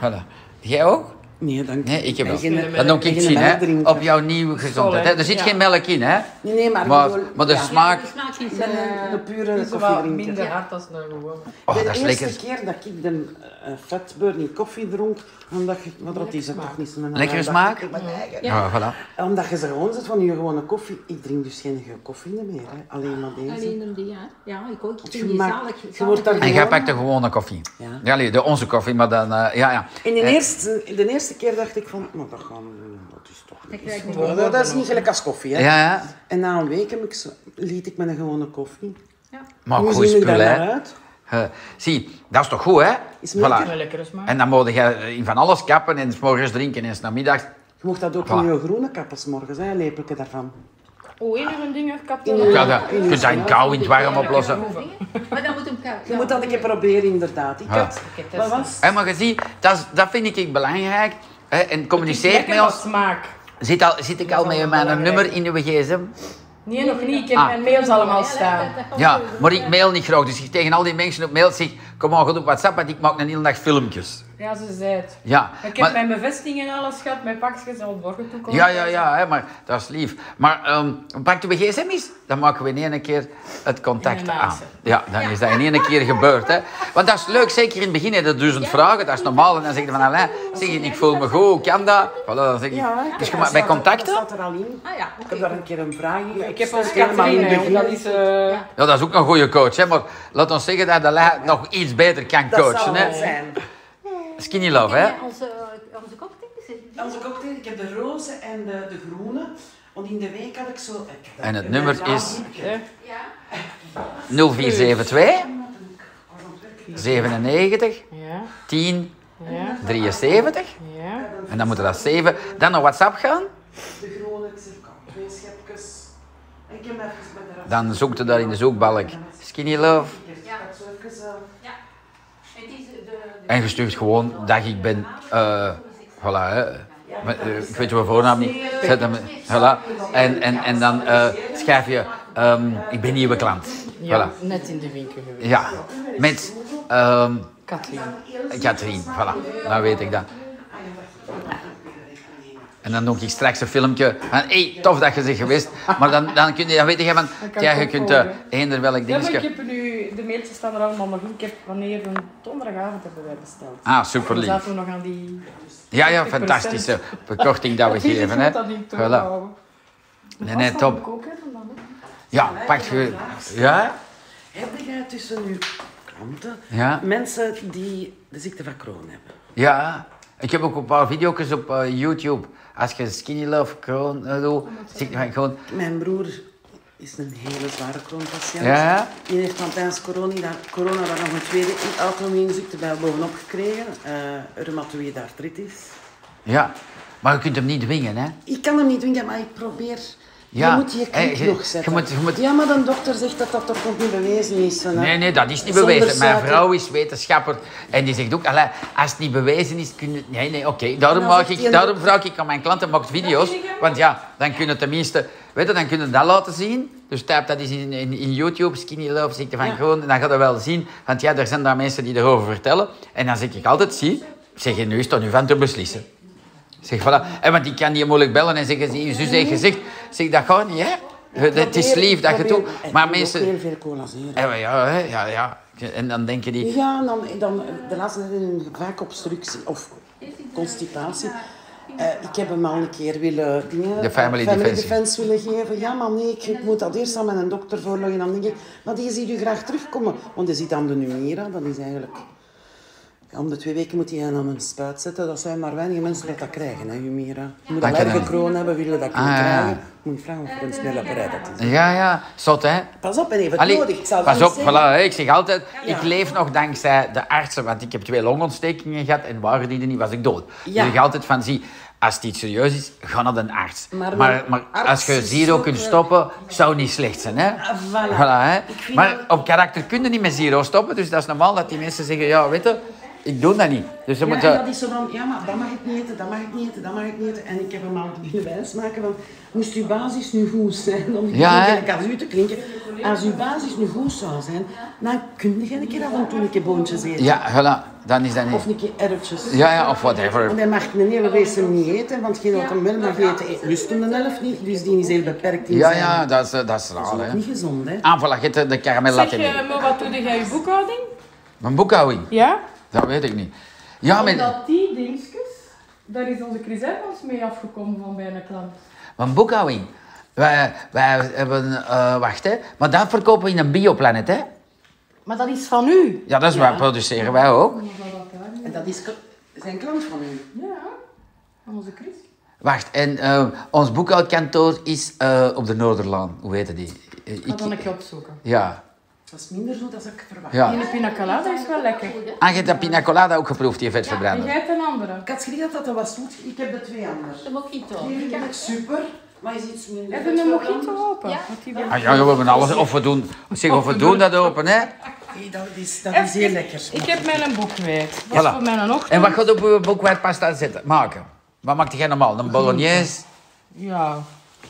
[SPEAKER 1] Voilà. Jij ook?
[SPEAKER 3] Nee, dank
[SPEAKER 1] Nee, ik heb
[SPEAKER 3] En
[SPEAKER 1] wel.
[SPEAKER 3] geen melk-
[SPEAKER 1] Dat doe ik
[SPEAKER 3] geen
[SPEAKER 1] zien,
[SPEAKER 3] melk
[SPEAKER 1] hè.
[SPEAKER 3] drinken.
[SPEAKER 1] Op jouw nieuwe gezondheid, hè. Er zit geen melk in, hè.
[SPEAKER 3] Nee, nee, maar, ik
[SPEAKER 1] Maar,
[SPEAKER 3] bedoel-
[SPEAKER 1] maar dus de
[SPEAKER 3] ja.
[SPEAKER 1] smaak...
[SPEAKER 7] De smaak is...
[SPEAKER 3] Ik ben
[SPEAKER 7] eh,
[SPEAKER 3] een, een pure
[SPEAKER 2] Het is wel
[SPEAKER 3] koffiedrinker.
[SPEAKER 2] minder hard als een gewone.
[SPEAKER 1] Oh,
[SPEAKER 3] de
[SPEAKER 1] dat is
[SPEAKER 3] eerste
[SPEAKER 1] lekker.
[SPEAKER 3] keer dat ik de eh, fat burning koffie dronk, omdat je, maar dat is het toch niet zo'n
[SPEAKER 1] Lekkere
[SPEAKER 3] dat-
[SPEAKER 1] smaak?
[SPEAKER 3] ik ben eigen.
[SPEAKER 1] Ja, voilà.
[SPEAKER 3] Omdat je ze gewoon zit van je gewone koffie. Ik drink dus geen koffie meer, hè. alleen maar deze.
[SPEAKER 7] Alleen om die, ja. Ja, ik ook. Ik
[SPEAKER 3] Je
[SPEAKER 7] vind die
[SPEAKER 3] maakt-
[SPEAKER 7] zalig.
[SPEAKER 3] je wordt daar-
[SPEAKER 7] zalig.
[SPEAKER 1] En jij pakt de gewone koffie.
[SPEAKER 3] Ja.
[SPEAKER 1] Ja, nee, de onze koffie, maar dan... eh, ja, ja.
[SPEAKER 3] En de
[SPEAKER 1] Eh,
[SPEAKER 3] eerste, de eerste keer dacht ik van, maar dat, gaan we, dat is toch niet.
[SPEAKER 7] krijg je
[SPEAKER 3] Dat, dat is niet gelijk als koffie. Hè?
[SPEAKER 1] Ja, ja.
[SPEAKER 3] En na een week heb ik zo, liet ik met een gewone koffie.
[SPEAKER 1] Maar
[SPEAKER 3] Hoe
[SPEAKER 1] goed
[SPEAKER 3] zien ik
[SPEAKER 1] Ah, spul, hè.
[SPEAKER 3] daar naar uit?
[SPEAKER 1] Eh, zie, dat is toch goed, hè?
[SPEAKER 3] Is meer
[SPEAKER 2] Een lekkere smaak.
[SPEAKER 1] En dan moet je in van alles kappen en 's morgens drinken en 's namiddags.
[SPEAKER 3] Je mocht dat ook
[SPEAKER 1] Voilà.
[SPEAKER 3] in je groene kappers morgens, hè, een lepeltje daarvan.
[SPEAKER 6] Oh, in een ding een kapot.
[SPEAKER 2] eh,
[SPEAKER 1] Ja, dat, je kunt dat in kou, in het warm oplossen.
[SPEAKER 7] Maar dan moet hem koud.
[SPEAKER 3] Je moet dat een keer proberen, inderdaad. Ik
[SPEAKER 1] Ja.
[SPEAKER 3] had, wat was
[SPEAKER 1] Hé, maar je ziet, dat, is- dat vind ik belangrijk. hè, en communiceer met
[SPEAKER 2] Lekker
[SPEAKER 1] ons.
[SPEAKER 2] als smaak.
[SPEAKER 1] Zit, al, zit ik al met mijn
[SPEAKER 2] belangrijk.
[SPEAKER 1] nummer in uw gsm?
[SPEAKER 2] Nee, nog niet. Ik heb
[SPEAKER 1] Ah.
[SPEAKER 2] mijn mails allemaal staan.
[SPEAKER 1] Ja, maar ik mail niet graag. Dus ik tegen al die mensen op mail zeg, kom aan, goed op WhatsApp, want ik maak een hele dag filmpjes.
[SPEAKER 2] Ja, ze zei het.
[SPEAKER 1] Ja,
[SPEAKER 2] Ik heb
[SPEAKER 1] maar-
[SPEAKER 2] mijn bevestiging en alles gehad, mijn pakjes al borgen toekomen.
[SPEAKER 1] Ja, ja, ja, hè, maar dat is lief. Maar ehm pakt we gsm eens, dan maken we in één keer het contact
[SPEAKER 2] In een
[SPEAKER 1] aan.
[SPEAKER 2] maatse.
[SPEAKER 1] Ja, dan is dat in één keer gebeurd. Hè. Want dat is leuk, zeker in het begin, hè, de duizend vragen, dat is normaal. En dan zeg je van, Alain, zeg je, ik voel me goed, hoe kan dat? Voilà, dan zeg je,
[SPEAKER 3] Ja, ik
[SPEAKER 1] dus je
[SPEAKER 3] heb-
[SPEAKER 1] ma- bij
[SPEAKER 3] dat staat er-
[SPEAKER 1] contacten?
[SPEAKER 3] Dat staat er al in.
[SPEAKER 7] Ah ja,
[SPEAKER 3] Ik
[SPEAKER 7] oké.
[SPEAKER 3] heb daar een keer een vraag in.
[SPEAKER 2] Ik heb
[SPEAKER 3] ons
[SPEAKER 2] ons Catherine, hè, want dat is... eh,
[SPEAKER 1] Ja, dat is ook een goede coach, hè, maar laat ons zeggen dat Alain nog iets beter kan
[SPEAKER 3] Dat zal
[SPEAKER 1] coachen.
[SPEAKER 3] wel
[SPEAKER 1] Hè.
[SPEAKER 3] zijn.
[SPEAKER 1] Skinny love, hè?
[SPEAKER 7] Ja, Onze, onze cocktail is het.
[SPEAKER 3] Onze cocktail, ik heb de roze en de, de groene. Want in de week had ik zo... ik heb dat-
[SPEAKER 1] En het
[SPEAKER 3] ik
[SPEAKER 1] nummer
[SPEAKER 3] heb dat
[SPEAKER 1] is-
[SPEAKER 3] liedje.
[SPEAKER 7] Ja,
[SPEAKER 1] 0472 97
[SPEAKER 2] Ja,
[SPEAKER 1] 10
[SPEAKER 2] ja,
[SPEAKER 1] 73.
[SPEAKER 2] ja.
[SPEAKER 1] En dan moeten dat 7. Dan naar WhatsApp gaan.
[SPEAKER 3] De groene, ik zeg, kan twee schepjes. En ik heb even met de rest.
[SPEAKER 1] Dan zoekt u daar in de zoekbalk Skinny Love.
[SPEAKER 3] Ik heb zo even, eh,
[SPEAKER 5] Het is de...
[SPEAKER 1] En gestuurd gewoon dat ik ben. eh voilà, hè. Maar, eh, ik weet mijn voornaam niet. Zet hem, voilà. En, en, en dan eh schrijf je, ehm, ik ben nieuwe klant.
[SPEAKER 2] Ja,
[SPEAKER 1] Voilà.
[SPEAKER 2] net in de winkel geweest.
[SPEAKER 1] Ja, met ehm
[SPEAKER 2] Katrien.
[SPEAKER 1] Katrien. Voilà, dan weet ik dat. En dan doe ik straks een filmpje van, hey, tof dat je bent geweest. Maar dan, dan, kun je, dan weet je van,
[SPEAKER 2] kan
[SPEAKER 1] ja,
[SPEAKER 2] ik
[SPEAKER 1] je
[SPEAKER 2] ook
[SPEAKER 1] kunt eh
[SPEAKER 2] volgen.
[SPEAKER 1] eender welk
[SPEAKER 2] Ja, maar ik
[SPEAKER 1] dingetje...
[SPEAKER 2] heb er nu, de mailtjes staan er allemaal nog in. Ik heb wanneer een donderdagavond hebben wij besteld. Dus
[SPEAKER 1] Ah, super
[SPEAKER 2] Dan
[SPEAKER 1] lief.
[SPEAKER 2] zaten we nog aan die...
[SPEAKER 1] Ja, ja, fantastische korting dat we geven. Hè.
[SPEAKER 2] Dat niet
[SPEAKER 1] Voilà.
[SPEAKER 2] voilà.
[SPEAKER 1] Nee, nee, top. Ja, pak je... Ja?
[SPEAKER 3] Heb jij tussen uw klanten
[SPEAKER 1] Ja?
[SPEAKER 3] mensen die de ziekte van Crohn hebben?
[SPEAKER 1] Ja, ik heb ook een paar video's op eh, YouTube. Als je skinny love, kroon eh, doet, zie je gewoon...
[SPEAKER 3] Mijn broer is een hele zware Crohn-patiënt.
[SPEAKER 1] Ja?
[SPEAKER 3] Die heeft van tijdens corona, corona daar nog een tweede auto-immuunziekte bij bovenop gekregen. eh rheumatoïde artritis.
[SPEAKER 1] Ja, maar je kunt hem niet dwingen, hè?
[SPEAKER 3] Ik kan hem niet doen, maar ik probeer...
[SPEAKER 1] Ja,
[SPEAKER 3] je moet je
[SPEAKER 1] eh,
[SPEAKER 3] kind
[SPEAKER 1] je-
[SPEAKER 3] nog zetten.
[SPEAKER 1] je moet- je moet-
[SPEAKER 3] Ja, maar de dokter zegt dat dat toch nog niet bewezen is. En, eh,
[SPEAKER 1] Nee, nee, dat is niet
[SPEAKER 3] zonder
[SPEAKER 1] bewezen. Mijn
[SPEAKER 3] suiker.
[SPEAKER 1] vrouw is wetenschapper en die zegt ook, "Allee, als het niet bewezen is, kun je... Nee, nee, oké. Daarom
[SPEAKER 3] En dan
[SPEAKER 1] maak
[SPEAKER 3] zegt die
[SPEAKER 1] ik, daarom
[SPEAKER 3] een-
[SPEAKER 1] vraag ik aan mijn klanten, maak video's. Want ja, dan kunnen tenminste... Weet je, dan kunnen ze dat laten zien. Dus typ dat eens in, in, in YouTube, skinny love, ziekte van gewoon. En dan gaat dat wel zien. Want ja, er zijn daar mensen die erover vertellen. En dan zeg ik altijd, zie, zeg je nu is het aan u van te beslissen. Zeg, voilà. En want ik kan niet moeilijk bellen en zeggen, zie, je zus heeft gezegd. Zeg, dat gaat niet, hè. Het is
[SPEAKER 3] Probeer-
[SPEAKER 1] lief dat je
[SPEAKER 3] probeer-
[SPEAKER 1] doet.
[SPEAKER 3] en
[SPEAKER 1] Maar
[SPEAKER 3] ik doe ook
[SPEAKER 1] mensen...
[SPEAKER 3] heel veel colaseren.
[SPEAKER 1] Ja, Eh, maar ja, hè, ja, ja. En dan denken die...
[SPEAKER 3] Ja, en dan, dan de laatste tijd in vaak obstructie of constipatie. Eh, ik heb hem al een keer willen dingen, eh,
[SPEAKER 1] De family defense.
[SPEAKER 3] willen geven. Ja, maar nee, ik, ik moet dat eerst aan mijn dokter voorleggen. Dan denk ik, maar die ziet u graag terugkomen. Want die ziet aan de numera, dat is eigenlijk... Om de twee weken moet hij hen aan een spuit zetten. Dat zijn maar weinige mensen dat dat krijgen, hè, Humira. Je moet
[SPEAKER 1] Dat
[SPEAKER 3] al
[SPEAKER 1] kan
[SPEAKER 3] erge
[SPEAKER 1] niet.
[SPEAKER 3] kroon hebben, willen dat kunnen
[SPEAKER 1] Ah, ja.
[SPEAKER 3] krijgen. Moet je vragen of er een snelle apparaat dat is.
[SPEAKER 1] Ja, ja. Zot, hè.
[SPEAKER 3] Pas op, en even
[SPEAKER 1] Allee,
[SPEAKER 3] nodig. Ik zal het
[SPEAKER 1] pas
[SPEAKER 3] niet
[SPEAKER 1] op, voilà,
[SPEAKER 3] zeggen.
[SPEAKER 1] hè. ik zeg altijd,
[SPEAKER 3] Ja.
[SPEAKER 1] ik leef nog dankzij de artsen, want ik heb twee longontstekingen gehad en waren die er niet, was ik dood. Dus
[SPEAKER 3] Ja.
[SPEAKER 1] ik zeg altijd van, zie, als het iets serieus is, ga naar een arts. Maar,
[SPEAKER 3] Maar
[SPEAKER 1] maar,
[SPEAKER 3] mijn
[SPEAKER 1] als
[SPEAKER 3] arts
[SPEAKER 1] je
[SPEAKER 3] is
[SPEAKER 1] zero
[SPEAKER 3] ook
[SPEAKER 1] kunt
[SPEAKER 3] wel-
[SPEAKER 1] stoppen, zou niet slecht zijn, hè?
[SPEAKER 3] Ah, voilà.
[SPEAKER 1] hè.
[SPEAKER 3] Ik vind
[SPEAKER 1] Maar
[SPEAKER 3] dat-
[SPEAKER 1] op karakter kun je niet met zero stoppen, dus dat is normaal dat die mensen zeggen, ja, weet je, ik doe dat niet. Dus ze
[SPEAKER 3] Ja,
[SPEAKER 1] moeten...
[SPEAKER 3] en dat is zo van, ja, maar dat mag ik niet eten, dat mag ik niet eten, dat mag ik niet eten. En ik heb hem al willen wijsmaken van, moest uw basis nu goed zijn, om
[SPEAKER 1] Ja,
[SPEAKER 3] ja,
[SPEAKER 1] hè?
[SPEAKER 3] een kazuut te klinken. Als uw basis nu goed zou zijn, dan kun je een keer af en toe een keer boontjes eten.
[SPEAKER 1] Ja, voilà, dan is dat niet...
[SPEAKER 3] Of een keer erwtjes.
[SPEAKER 1] Ja, ja, of whatever.
[SPEAKER 3] Want hij mag een hele wees hem niet eten, want geen dat hem wel mag eten, eet lust hem een elf niet. Dus die is heel beperkt in
[SPEAKER 1] Ja,
[SPEAKER 3] zijn...
[SPEAKER 1] ja, dat is, eh, dat is
[SPEAKER 3] Dat
[SPEAKER 1] raar,
[SPEAKER 3] is ook
[SPEAKER 1] hè.
[SPEAKER 3] niet gezond, hè.
[SPEAKER 1] Ah, voilà, je hebt de- de caramel
[SPEAKER 2] Zeg,
[SPEAKER 1] latte
[SPEAKER 2] eh, maar wat doe jij je boekhouding?
[SPEAKER 1] Mijn boekhouding,
[SPEAKER 2] Ja?
[SPEAKER 1] dat weet ik niet. Ja, mijn,
[SPEAKER 6] Omdat die dingetjes, daar is onze Chris ons mee afgekomen van bij een klant.
[SPEAKER 1] mijn boekhouding. Wij, wij hebben, eh, wacht hè, maar dat verkopen we in een bioplanet hè.
[SPEAKER 2] Maar dat is van u.
[SPEAKER 1] Ja, dat is waar, produceren wij ook.
[SPEAKER 3] En dat is k- zijn klant van u.
[SPEAKER 6] Ja, van onze Chris.
[SPEAKER 1] Wacht, en eh, ons boekhoudkantoor is eh, op de Noorderlaan, hoe heette die? Eh,
[SPEAKER 2] Dat
[SPEAKER 1] ik-
[SPEAKER 2] dan een keer opzoeken.
[SPEAKER 1] ja,
[SPEAKER 3] Dat is minder zo dan ik verwacht.
[SPEAKER 1] ja.
[SPEAKER 2] Die de pina colada is wel lekker.
[SPEAKER 1] Ah, je hebt dat pina colada ook geproefd, die
[SPEAKER 2] En
[SPEAKER 1] vetverbrander.
[SPEAKER 2] jij hebt een andere.
[SPEAKER 3] Ik had schrik dat dat was goed. Ik heb de twee anders.
[SPEAKER 5] De mojito.
[SPEAKER 3] Die vind ik super, maar is iets minder.
[SPEAKER 2] Hebben we een mojito open?
[SPEAKER 5] Ja.
[SPEAKER 2] Want die wil-
[SPEAKER 1] Ah ja, we hebben alles, of we doen, zeg, of we doen dat open hè.
[SPEAKER 3] Hey, dat is, dat is heel lekker.
[SPEAKER 2] Ik heb mijn boek kwijt. Dat is
[SPEAKER 1] Voilà.
[SPEAKER 2] voor mijn ochtend.
[SPEAKER 1] En wat gaat op uw boekhoudpasta zetten, maken? Wat maakt jij normaal, een bolognese?
[SPEAKER 2] Ja.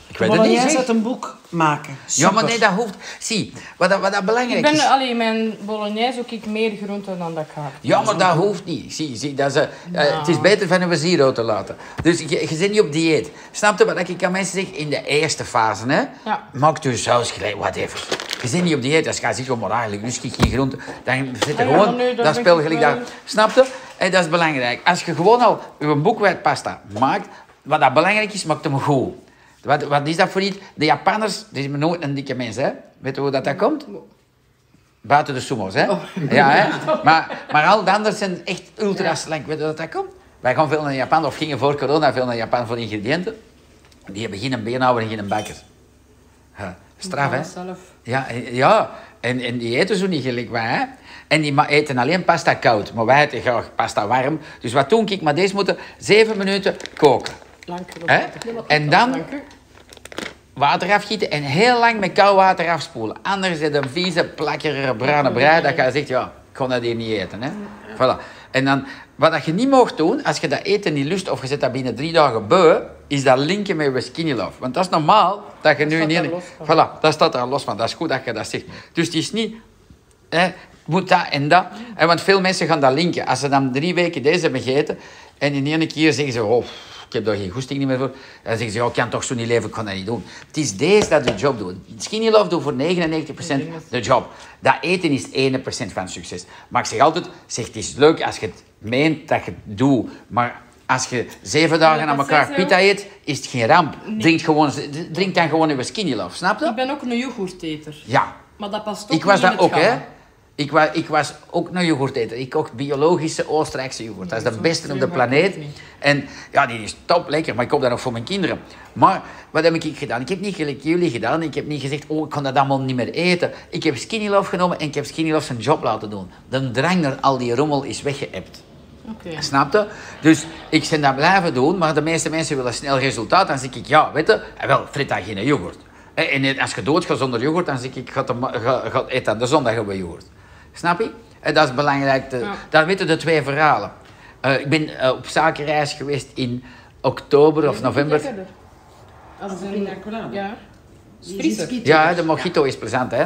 [SPEAKER 1] Ik weet het niet, zeg.
[SPEAKER 3] een boek maken.
[SPEAKER 1] Ja, maar nee, dat hoeft. Zie, wat dat, wat dat belangrijk
[SPEAKER 2] Ik ben
[SPEAKER 1] is.
[SPEAKER 2] alleen mijn bolognese ook ik meer groenten dan dat ik had.
[SPEAKER 1] Ja, maar dat hoeft niet. Zie, zie, dat is, eh, eh, Het is beter van een zero te laten. Dus je, je zit niet op dieet. Snap je wat ik aan mensen zeg? In de eerste fase, hè?
[SPEAKER 2] Ja.
[SPEAKER 1] Maak je saus gelijk, whatever. Je zit niet op dieet, als je gaat zeggen, oh, maar eigenlijk lust ik geen groente. Dan zit er
[SPEAKER 2] Ah ja,
[SPEAKER 1] gewoon
[SPEAKER 2] nee, dat
[SPEAKER 1] dat
[SPEAKER 2] ben
[SPEAKER 1] spel
[SPEAKER 2] ik
[SPEAKER 1] gelijk
[SPEAKER 2] wel.
[SPEAKER 1] daar. Snap je? En dat is belangrijk. Als je gewoon al je boekwijdpasta maakt, wat dat belangrijk is, maakt hem goed. Wat, wat is dat voor iets? De Japanners, die zijn nooit een dikke mens, hè? Weet je hoe dat, dat komt? Buiten de sumo's, hè?
[SPEAKER 2] Oh.
[SPEAKER 1] Ja, hè? Maar, maar al de anderen zijn echt ultra slank. Weet je hoe dat, dat komt? Wij gaan veel naar Japan, of gingen voor corona veel naar Japan voor ingrediënten. Die hebben geen beenhouwer en geen bakker. Ja, Straf, hè?
[SPEAKER 2] Zelf.
[SPEAKER 1] Ja, en- ja. En, en die eten zo niet gelijk wij. Hè? En die ma- eten alleen pasta koud. Maar wij eten graag pasta warm. Dus wat doe ik? Maar deze moeten zeven minuten koken.
[SPEAKER 2] Lanker.
[SPEAKER 1] Hè? En dan water afgieten en heel lang met koud water afspoelen. Anders is het een vieze, plakkerige, bruine brei dat je zegt, ja, ik kon dat hier niet eten. Hè? Voilà. En dan, wat dat je niet mag doen, als je dat eten niet lust of je zet dat binnen drie dagen beu, is dat linken met je skinny love. Want dat is normaal dat je nu
[SPEAKER 3] staat
[SPEAKER 1] in
[SPEAKER 3] daar
[SPEAKER 1] één-
[SPEAKER 3] los
[SPEAKER 1] Voilà, dat staat daar los van. Dat is goed dat je dat zegt. Dus het is niet hè, moet dat en dat. Hè, want veel mensen gaan dat linken. Als ze dan drie weken deze hebben gegeten en in één keer zeggen ze, oh, ik heb daar geen goesting niet meer voor. Dan zeggen ze, ja, ik kan toch zo niet leven, ik kan dat niet doen. Het is deze dat de job doet. Skinny Love doet voor 99% de job. Dat eten is 1% van succes. Maar ik zeg altijd, zeg, het is leuk als je het meent dat je het doet. Maar als je zeven dagen aan
[SPEAKER 2] dat
[SPEAKER 1] elkaar
[SPEAKER 2] zei ze
[SPEAKER 1] pita eet, is het geen ramp. Drink, gewoon, drink dan gewoon uw Skinny Love, snap je?
[SPEAKER 2] Ik ben ook een yoghurteter.
[SPEAKER 1] Ja,
[SPEAKER 2] Maar dat past ook
[SPEAKER 1] ik was
[SPEAKER 2] niet in
[SPEAKER 1] dat
[SPEAKER 2] het
[SPEAKER 1] ook, hè?
[SPEAKER 2] gamma.
[SPEAKER 1] Ik, wa ik was ook een yoghurteter. Ik kocht biologische Oostenrijkse yoghurt. dat is de
[SPEAKER 2] zo'n
[SPEAKER 1] beste op de
[SPEAKER 2] yoghurt koop ik
[SPEAKER 1] planeet.
[SPEAKER 2] niet.
[SPEAKER 1] En ja, die is top lekker, maar ik koop dat nog voor mijn kinderen. Maar wat heb ik gedaan? Ik heb niet gelijk jullie gedaan. Ik heb niet gezegd, oh, ik kan dat allemaal niet meer eten. Ik heb Skinny Love genomen en ik heb Skinny Love zijn job laten doen. De drang naar al die rommel is weggeëpt.
[SPEAKER 2] Oké.
[SPEAKER 1] Snap je? Dus ik ben dat blijven doen, maar de meeste mensen willen snel resultaat. Dan zeg ik, ja, weet je, eh, wel, frit dan geen yoghurt. Eh, En als je doodgaat zonder yoghurt, dan zeg ik, ga, de, ma- ga, ga eet aan de zondag hebben we yoghurt. Snap je? En dat is belangrijk. te- Daar weten de twee verhalen. Eh, ik ben eh, op zakenreis geweest in oktober of november.
[SPEAKER 2] Als een
[SPEAKER 3] pina colada.
[SPEAKER 2] Ja.
[SPEAKER 3] Vriezer.
[SPEAKER 1] Ja, de mojito is plezant, hè?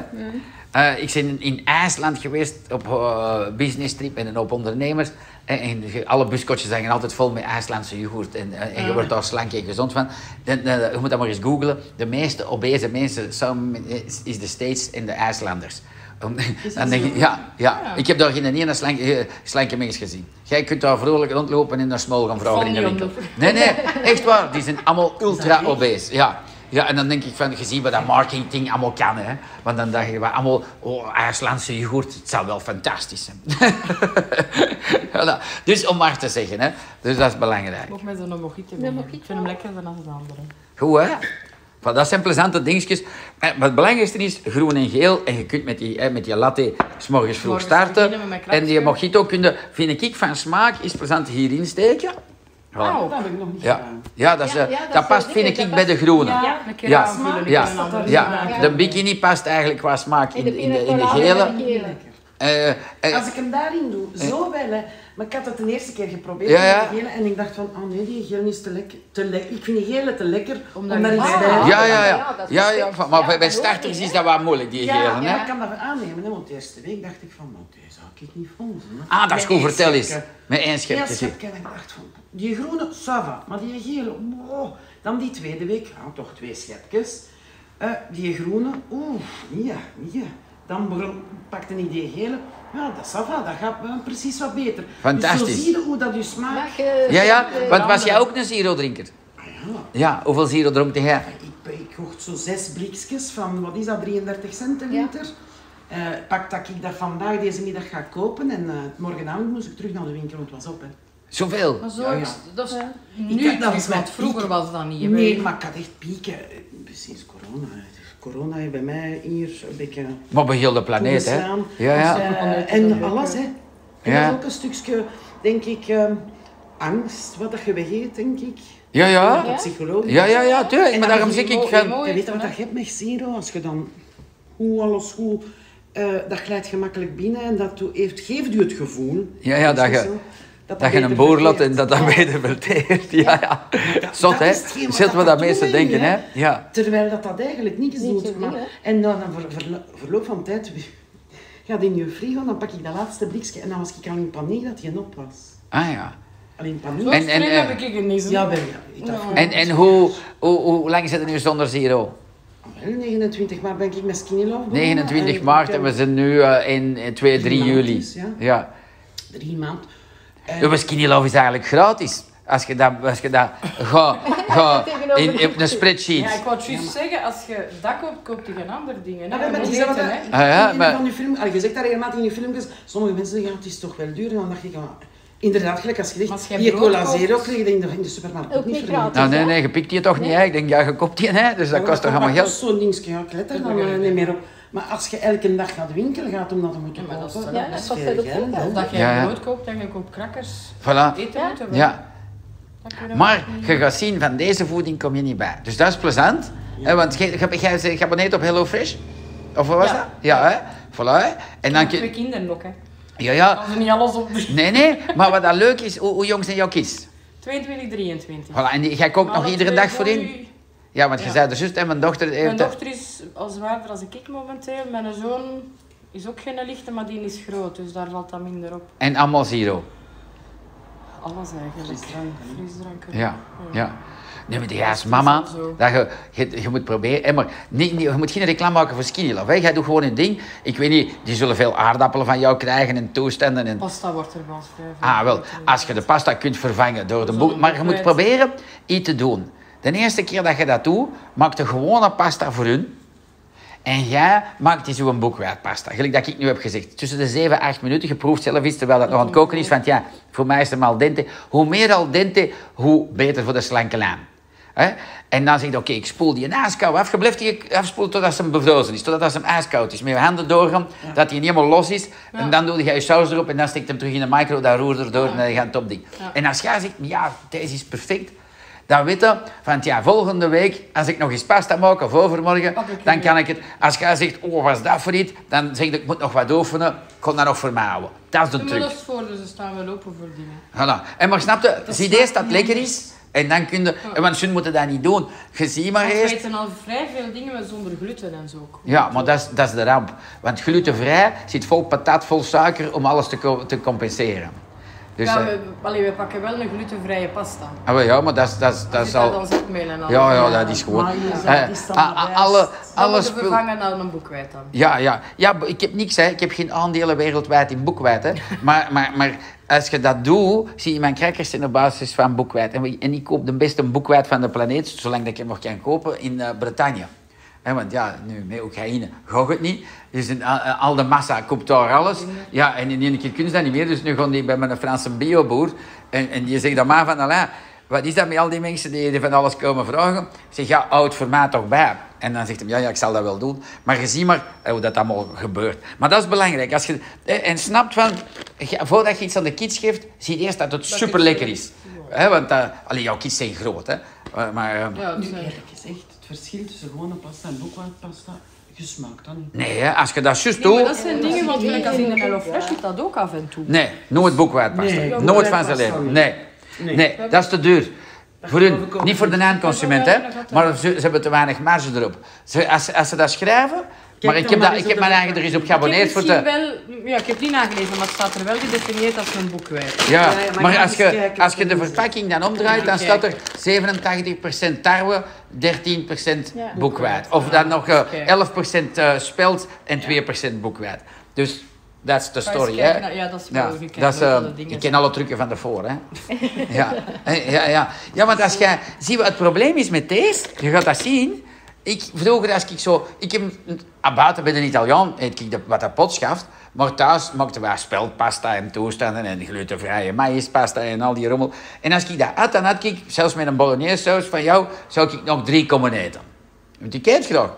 [SPEAKER 1] Eh, ik ben in IJsland geweest op eh business trip met een hoop ondernemers. En, en je- alle buskotjes zijn altijd vol met IJslandse yoghurt. En, eh, en je wordt daar slank en gezond van. Dan- dan- je moet dat maar eens googlen. De meeste obese mensen samen met- is- is de States en de IJslanders. Om- dan denk je, ja, ja, ik heb daar geen ene slank, eh, slanke mens gezien. Jij kunt daar vrolijk rondlopen en naar smol gaan vragen in de
[SPEAKER 2] niet
[SPEAKER 1] winkel. Nee, nee, echt waar. Die zijn allemaal ultra obese. Ja. ja, en dan denk ik van, gezien wat dat marketing allemaal kan. Hè? Want dan dacht je, wat allemaal, oh, IJslandse yoghurt, het zou wel fantastisch zijn. voilà. Dus om maar te zeggen, hè. dus dat is belangrijk.
[SPEAKER 2] Nog met zo'n mojito.
[SPEAKER 7] mojito.
[SPEAKER 2] Ik vind hem lekkerder dan de andere.
[SPEAKER 1] Goed, hè? Van, dat zijn plezante dingetjes. Eh, Maar het belangrijkste is groen en geel. En je kunt met die, hè, met die latte s'morgens vroeg
[SPEAKER 2] Morgens
[SPEAKER 1] starten.
[SPEAKER 2] beginnen met mijn
[SPEAKER 1] En die
[SPEAKER 2] krapje.
[SPEAKER 1] mojito kun je, vind ik, van smaak is plezant hierin steken. Voilà.
[SPEAKER 3] Dat heb ik nog niet
[SPEAKER 1] Ja,
[SPEAKER 3] gedaan.
[SPEAKER 1] ja, dat, is,
[SPEAKER 7] Ja,
[SPEAKER 1] eh,
[SPEAKER 7] ja, dat
[SPEAKER 1] dat,
[SPEAKER 7] is, eh,
[SPEAKER 1] past,
[SPEAKER 7] dingen,
[SPEAKER 1] vind ik,
[SPEAKER 7] dat
[SPEAKER 1] bij de
[SPEAKER 7] past-
[SPEAKER 1] groene. Ja,
[SPEAKER 2] Ja, een keer
[SPEAKER 1] Ja.
[SPEAKER 2] aanvullen. ik
[SPEAKER 1] Ja.
[SPEAKER 2] wil een andere smaak.
[SPEAKER 1] de bikini past eigenlijk qua smaak in, in, de, in de gele. Eh, eh,
[SPEAKER 3] Als ik hem daarin doe, zo wel hè. Maar ik had het de eerste keer geprobeerd
[SPEAKER 1] Ja, ja.
[SPEAKER 3] met die gele en ik dacht van, oh nee, die gele is te lekker. Te lekker. Ik vind die gele te lekker om daar
[SPEAKER 2] je-
[SPEAKER 3] iets
[SPEAKER 2] Ah.
[SPEAKER 3] bij te
[SPEAKER 1] ja, ja,
[SPEAKER 3] doen.
[SPEAKER 1] ja.
[SPEAKER 7] dat is
[SPEAKER 1] ja, ja,
[SPEAKER 7] perfect.
[SPEAKER 1] van- maar
[SPEAKER 7] Ja,
[SPEAKER 1] bij, bij
[SPEAKER 7] dat hoort
[SPEAKER 1] starters
[SPEAKER 7] niet,
[SPEAKER 1] is dat wel moeilijk, die
[SPEAKER 3] Ja,
[SPEAKER 1] gele.
[SPEAKER 3] ja,
[SPEAKER 1] Hè?
[SPEAKER 3] ik kan dat wel aannemen, hè, want de eerste week dacht ik van, nou, deze zou ik niet volgen. hè.
[SPEAKER 1] Ah, dat is goed,
[SPEAKER 3] Met
[SPEAKER 1] vertel
[SPEAKER 3] één
[SPEAKER 1] eens.
[SPEAKER 3] schepje.
[SPEAKER 1] Met één
[SPEAKER 3] Ja,
[SPEAKER 1] schepje. zie.
[SPEAKER 3] schepje. En ik dacht van, die groene, sava, maar die gele, wow. Dan die tweede week, ja, toch twee schepjes. Eh, die groene, oeh, ja, ja. Dan begon, pakte ik die gele, ja, dat sava, dat gaat wel precies wat beter. Dus
[SPEAKER 1] Fantastisch.
[SPEAKER 3] zo zie je hoe dat je smaak...
[SPEAKER 5] eh,
[SPEAKER 1] Ja, ja, want was jij ook een zero-drinker?
[SPEAKER 3] Ah, ja.
[SPEAKER 1] Ja, hoeveel zero dronk jij?
[SPEAKER 3] Ik, ik kocht zo zes blikjes van, wat is dat, 33 cent een
[SPEAKER 7] Ja.
[SPEAKER 3] liter. Eh, pak dat ik dat vandaag, deze middag ga kopen en eh, morgenavond moest ik terug naar de winkel, want het was op. Hè.
[SPEAKER 1] Zoveel.
[SPEAKER 2] Maar zo
[SPEAKER 3] Ja, ja.
[SPEAKER 2] is dat is
[SPEAKER 3] Ik
[SPEAKER 2] nu
[SPEAKER 3] had dat
[SPEAKER 2] terug,
[SPEAKER 3] met
[SPEAKER 2] want vroeger
[SPEAKER 3] piek.
[SPEAKER 2] was dat niet. hè.
[SPEAKER 3] Nee, maar ik had echt pieken. eh, Sinds corona. Corona heeft bij mij hier een beetje
[SPEAKER 1] Maar bij heel de planeet, hè?
[SPEAKER 3] toegeslaan.
[SPEAKER 1] Ja,
[SPEAKER 3] Dus,
[SPEAKER 1] ja.
[SPEAKER 3] eh, en alles, hè. En
[SPEAKER 1] Ja.
[SPEAKER 3] dat is ook een stukje, denk ik, eh, angst wat dat je weggeet, denk ik.
[SPEAKER 1] Ja, ja.
[SPEAKER 3] Dat psychologisch.
[SPEAKER 1] Ja, ja, ja, tuurlijk.
[SPEAKER 3] En
[SPEAKER 1] Maar
[SPEAKER 3] dan
[SPEAKER 1] daarom
[SPEAKER 3] is die
[SPEAKER 1] zeg ik...
[SPEAKER 2] mo-
[SPEAKER 1] ga-
[SPEAKER 2] emo-
[SPEAKER 3] Je weet je wat dat je hebt met zero, als je dan hoe alles goed, eh, dat glijdt gemakkelijk binnen en dat doe- heeft, geeft u het gevoel.
[SPEAKER 1] Ja, ja, dat
[SPEAKER 3] is
[SPEAKER 1] je-
[SPEAKER 3] zo, dat
[SPEAKER 1] Dat je een
[SPEAKER 3] beter
[SPEAKER 1] boer laat
[SPEAKER 3] verteert.
[SPEAKER 1] en dat dat beter verteert. Ja, ja.
[SPEAKER 3] dat-
[SPEAKER 1] Zot,
[SPEAKER 3] dat
[SPEAKER 1] hè?
[SPEAKER 3] is hetgeen wat
[SPEAKER 1] Zet
[SPEAKER 3] dat
[SPEAKER 1] wat dat
[SPEAKER 3] doen,
[SPEAKER 1] mensen
[SPEAKER 3] hè,
[SPEAKER 1] denken,
[SPEAKER 3] hè?
[SPEAKER 1] hè? Ja.
[SPEAKER 3] Terwijl dat, dat eigenlijk niks
[SPEAKER 7] Niet zo
[SPEAKER 3] doet. maar-
[SPEAKER 7] ding, hè?
[SPEAKER 3] en dan na ver- verlo- verloop van tijd gaat in je frigo, dan pak ik dat laatste blikje en dan was ik al in paniek dat die op was.
[SPEAKER 1] Ah, ja.
[SPEAKER 3] Al in paniek.
[SPEAKER 2] Zo
[SPEAKER 1] En-
[SPEAKER 2] en,
[SPEAKER 1] en, eh,
[SPEAKER 2] heb ik het niet.
[SPEAKER 3] Ja, ben ja. Ik
[SPEAKER 2] Oh.
[SPEAKER 3] dacht,
[SPEAKER 1] En, en hoe, hoe, hoe lang zit het nu zonder zero?
[SPEAKER 3] wel, 29 maart ben ik met Skinny Love begonnen.
[SPEAKER 1] 29
[SPEAKER 3] En
[SPEAKER 1] maart
[SPEAKER 3] ik
[SPEAKER 1] en we
[SPEAKER 3] heb
[SPEAKER 1] zijn nu eh, in eh, 2, 3
[SPEAKER 3] Drie
[SPEAKER 1] juli.
[SPEAKER 3] maandjes, ja.
[SPEAKER 1] Ja.
[SPEAKER 3] Drie maanden.
[SPEAKER 1] Ja, maar Skinny Love is eigenlijk gratis. Als je dat, als je dat ga, ga in, in een
[SPEAKER 2] Ja, ik
[SPEAKER 1] spreadsheet.
[SPEAKER 2] wou het juist zeggen, als je dat koopt, koop je geen andere dingen. Hè?
[SPEAKER 3] Ja, maar
[SPEAKER 2] Dat
[SPEAKER 3] het is
[SPEAKER 2] weten,
[SPEAKER 3] wel wat-
[SPEAKER 2] hè.
[SPEAKER 1] Ah, ja,
[SPEAKER 3] in een
[SPEAKER 1] maar-
[SPEAKER 3] van uw film, allee, je zegt dat regelmatig in je filmpjes. Sommige mensen zeggen, ja, het is toch wel duur. En dan dacht ik, ja, Inderdaad, gelijk als je
[SPEAKER 2] Maar als
[SPEAKER 3] zegt,
[SPEAKER 2] jij
[SPEAKER 3] hier
[SPEAKER 2] brood
[SPEAKER 3] cola
[SPEAKER 2] koopt-
[SPEAKER 3] zero kreeg je in de, in de supermarkt ook
[SPEAKER 7] Ook
[SPEAKER 3] niet
[SPEAKER 7] niet
[SPEAKER 3] verdiend.
[SPEAKER 7] gratis.
[SPEAKER 1] Nou, nee, nee, je pikt die toch niet hè? Ik denk, ja, je koopt die, hè? Dus dat kost toch allemaal
[SPEAKER 3] Dat
[SPEAKER 1] geld?
[SPEAKER 3] kost zo'n dingetje, ja, ik let daar dan eh, niet meer op. Maar als je elke dag naar de winkel gaat om dat te moeten
[SPEAKER 2] Ja, maar dat is
[SPEAKER 3] kopen,
[SPEAKER 2] toch-
[SPEAKER 7] Ja, dat
[SPEAKER 3] is
[SPEAKER 7] kost
[SPEAKER 3] veel
[SPEAKER 7] veel
[SPEAKER 3] geld, hè.
[SPEAKER 7] geld.
[SPEAKER 2] Of dat jij
[SPEAKER 1] Ja, ja.
[SPEAKER 2] brood koopt en je koopt crackers.
[SPEAKER 1] Voilà.
[SPEAKER 2] Eten moeten we.
[SPEAKER 1] Ja.
[SPEAKER 2] Dat kunnen we
[SPEAKER 1] Maar
[SPEAKER 2] ook niet.
[SPEAKER 1] je gaat zien, van deze voeding kom je niet bij. Dus dat is plezant. Hè, want jij- jij- jij jij abonneert op HelloFresh? Of wat was
[SPEAKER 2] Ja.
[SPEAKER 1] dat? Ja, hè? Voilà, hè? En dan kun
[SPEAKER 2] Twee kinderen ook, hè.
[SPEAKER 1] Ja, ja.
[SPEAKER 2] Als ze niet alles op de-
[SPEAKER 1] Nee, nee. Maar wat dat leuk is, hoe, hoe jong zijn jouw kids?
[SPEAKER 2] 22, 23.
[SPEAKER 1] Voilà, en die- jij koopt nog
[SPEAKER 2] Alle
[SPEAKER 1] iedere
[SPEAKER 2] twee
[SPEAKER 1] dag voor in?
[SPEAKER 2] nu-
[SPEAKER 1] Ja, want je
[SPEAKER 2] Ja.
[SPEAKER 1] zei er zus en mijn dochter heeft...
[SPEAKER 2] Mijn dochter is al zwaarder als ik momenteel. Mijn zoon is ook geen lichte, maar die is groot, dus daar valt dat minder op.
[SPEAKER 1] En allemaal zero.
[SPEAKER 2] Alles eigenlijk. Drank, frisdranken.
[SPEAKER 1] Ja, ja. Nee, maar jij als
[SPEAKER 2] is
[SPEAKER 1] mama,
[SPEAKER 2] wel zo.
[SPEAKER 1] dat je, je, je moet proberen... hè, maar niet, niet- je moet geen reclame maken voor Skinny Love. Hè. Jij doet gewoon je ding. Ik weet niet, die zullen veel aardappelen van jou krijgen en toestanden. En,
[SPEAKER 2] Pasta wordt er wel vrij veel
[SPEAKER 1] ah, wel.
[SPEAKER 2] gegeten.
[SPEAKER 1] Als je de pasta kunt vervangen door de
[SPEAKER 2] Zo'n
[SPEAKER 1] boek... Maar je moet
[SPEAKER 2] boekwijd.
[SPEAKER 1] proberen iets te doen. De eerste keer dat je dat doet, maak een gewone pasta voor hun. En jij maakt die zo'n boekwijdpasta. Gelijk dat ik nu heb gezegd. Tussen de 7 en 8 minuten. Je proeft zelf iets terwijl dat nog aan het koken is. Want ja, voor mij is het al dente. Hoe meer al dente, hoe beter voor de slanke lijn. Hè? En dan zeg je, oké, ik spoel die ijskoud af. Je blijft die afspoelen totdat ze hem bevrozen is. Totdat ze hem ijskoud is. Met je handen doorgaan, dat hij niet helemaal los is. En dan doe je je saus erop en dan steekt hem terug in de micro. Dan roer erdoor en dan gaat het opding. En als jij zegt, ja, deze is perfect. Dan weet je, van ja, volgende week, als ik nog eens pasta maak of overmorgen,
[SPEAKER 2] Pak ik
[SPEAKER 1] dan
[SPEAKER 2] hem
[SPEAKER 1] kan ik het. Als jij zegt, oh, was dat voor iets? Dan zeg ik, ik moet nog wat oefenen, ik kon dat nog voor mij houden. Dat is de
[SPEAKER 2] Maar dat
[SPEAKER 1] truc.
[SPEAKER 2] is voor, dus ze staan wel open voor dingen.
[SPEAKER 1] Voilà. En maar snap je, het idee is dat het lekker is. En dan kun je, en want ze moeten dat niet doen. Je ziet maar
[SPEAKER 2] Want we
[SPEAKER 1] eerst.
[SPEAKER 2] eten al vrij veel dingen met zonder gluten en zo. ook.
[SPEAKER 1] Ja, maar dat is, dat is de ramp. Want glutenvrij zit vol patat, vol suiker om alles te, co- te compenseren. Dus,
[SPEAKER 2] ja,
[SPEAKER 1] eh,
[SPEAKER 2] we, allee, we pakken wel een glutenvrije pasta.
[SPEAKER 1] ah, wel, ja, maar dat is, dat is, dat
[SPEAKER 2] Dat
[SPEAKER 1] is
[SPEAKER 2] al...
[SPEAKER 1] al.
[SPEAKER 2] dan zetmeel en al.
[SPEAKER 1] Ja, ja, dat is gewoon.
[SPEAKER 3] Maar inderdaad,
[SPEAKER 1] eh,
[SPEAKER 3] is dan
[SPEAKER 1] a- a-
[SPEAKER 3] de
[SPEAKER 1] alle,
[SPEAKER 3] rest.
[SPEAKER 2] Dat
[SPEAKER 1] alle
[SPEAKER 2] moeten we
[SPEAKER 1] spullen.
[SPEAKER 2] vervangen aan een boekwijd dan.
[SPEAKER 1] Ja, ja. ja, b- ik heb niks, hè. ik heb geen aandelen wereldwijd in boekwijd. Hè. Maar, maar, maar als je dat doet, zie je mijn crackers zijn op basis van boekwijd. En, we- en ik koop de beste boekwijd van de planeet, zolang dat ik hem nog kan kopen, in eh Bretagne. Hè, want ja, nu met Oekraïne gaat het niet. Dus in, a- al de massa koopt daar alles. Ja, en in één keer kunnen ze dat niet meer. Dus nu gaan die bij mijn Franse bioboer. En, en die zegt dan maar van, Alain, wat is dat met al die mensen die die van alles komen vragen? Ik zeg, ja, houd voor mij toch bij. En dan zegt hij, ja, ja, ik zal dat wel doen. Maar je ziet maar eh, hoe dat allemaal gebeurt. Maar dat is belangrijk. Als je, eh, en snapt van, ja, voordat je iets aan de kids geeft, zie eerst dat het super lekker is. hè want eh, allee, jouw kids zijn groot, hè. Eh, maar, eh,
[SPEAKER 2] Ja,
[SPEAKER 3] Nu,
[SPEAKER 2] dus, eh,
[SPEAKER 3] eerlijk gezegd, het verschil tussen gewone pasta en boekwaardpasta, je smaakt dat niet.
[SPEAKER 1] nee, hè, als je dat juist
[SPEAKER 2] Nee, maar
[SPEAKER 1] doet...
[SPEAKER 2] dat zijn dingen, want gelijk als in de HelloFresh zit dat ook af en toe.
[SPEAKER 1] Nee, nooit boekwaardpasta.
[SPEAKER 3] Nee,
[SPEAKER 1] nooit van
[SPEAKER 3] boekwaardpasta
[SPEAKER 1] zijn leven.
[SPEAKER 3] niet.
[SPEAKER 1] Nee. Nee.
[SPEAKER 3] Nee.
[SPEAKER 1] dat is te duur. Voor
[SPEAKER 3] geloof
[SPEAKER 1] hun,
[SPEAKER 3] ik ook
[SPEAKER 1] niet voor de
[SPEAKER 3] niet.
[SPEAKER 1] eindconsument, hè. Maar ze, ze hebben te weinig marge erop. Ze, als, ze- als ze dat schrijven... maar
[SPEAKER 3] dan
[SPEAKER 1] ik heb,
[SPEAKER 3] maar
[SPEAKER 1] dat, ik
[SPEAKER 3] eens
[SPEAKER 1] heb
[SPEAKER 3] op de
[SPEAKER 1] mijn eigen er eens op geabonneerd
[SPEAKER 2] Ik
[SPEAKER 1] voor de...
[SPEAKER 2] heb misschien wel, ja, ik heb niet nagelezen, maar het staat er wel gedefinieerd als een boekwijd.
[SPEAKER 1] Ja,
[SPEAKER 3] Ja, ja,
[SPEAKER 1] maar,
[SPEAKER 3] maar je
[SPEAKER 1] als,
[SPEAKER 3] moet
[SPEAKER 1] je,
[SPEAKER 3] eens kijken
[SPEAKER 1] als je
[SPEAKER 3] wat
[SPEAKER 1] de
[SPEAKER 3] er in
[SPEAKER 1] verpakking dan omdraait, dan staat er 87% tarwe, 13%
[SPEAKER 7] Ja.
[SPEAKER 1] boekwijd. Of dan nog eh,
[SPEAKER 2] Oké.
[SPEAKER 1] 11% eh, spelt en 2% boekwijd. Dus dat is de
[SPEAKER 2] Ga eens
[SPEAKER 1] story,
[SPEAKER 2] kijken
[SPEAKER 1] hè?
[SPEAKER 2] naar- ja, dat is
[SPEAKER 1] Ja,
[SPEAKER 2] wel gekend,
[SPEAKER 1] dat is,
[SPEAKER 2] wat
[SPEAKER 1] eh,
[SPEAKER 2] alle dingen
[SPEAKER 1] ik
[SPEAKER 2] zijn.
[SPEAKER 1] ken alle trucken van daarvoor, hè. ja. Eh, ja, ja. ja, want als jij... Zie, wat het probleem is met deze, je gaat dat zien... Ik, vroeger als ik zo... Ik heb, een- ah, buiten bij de Italiaan eet ik de, wat dat pot schaft. Maar thuis maakten wij speldpasta en toestanden en glutenvrije maïspasta en al die rommel. En als ik dat at, dan had ik, zelfs met een bolognese saus van jou, zou ik nog drie komen eten. Want ik eet graag.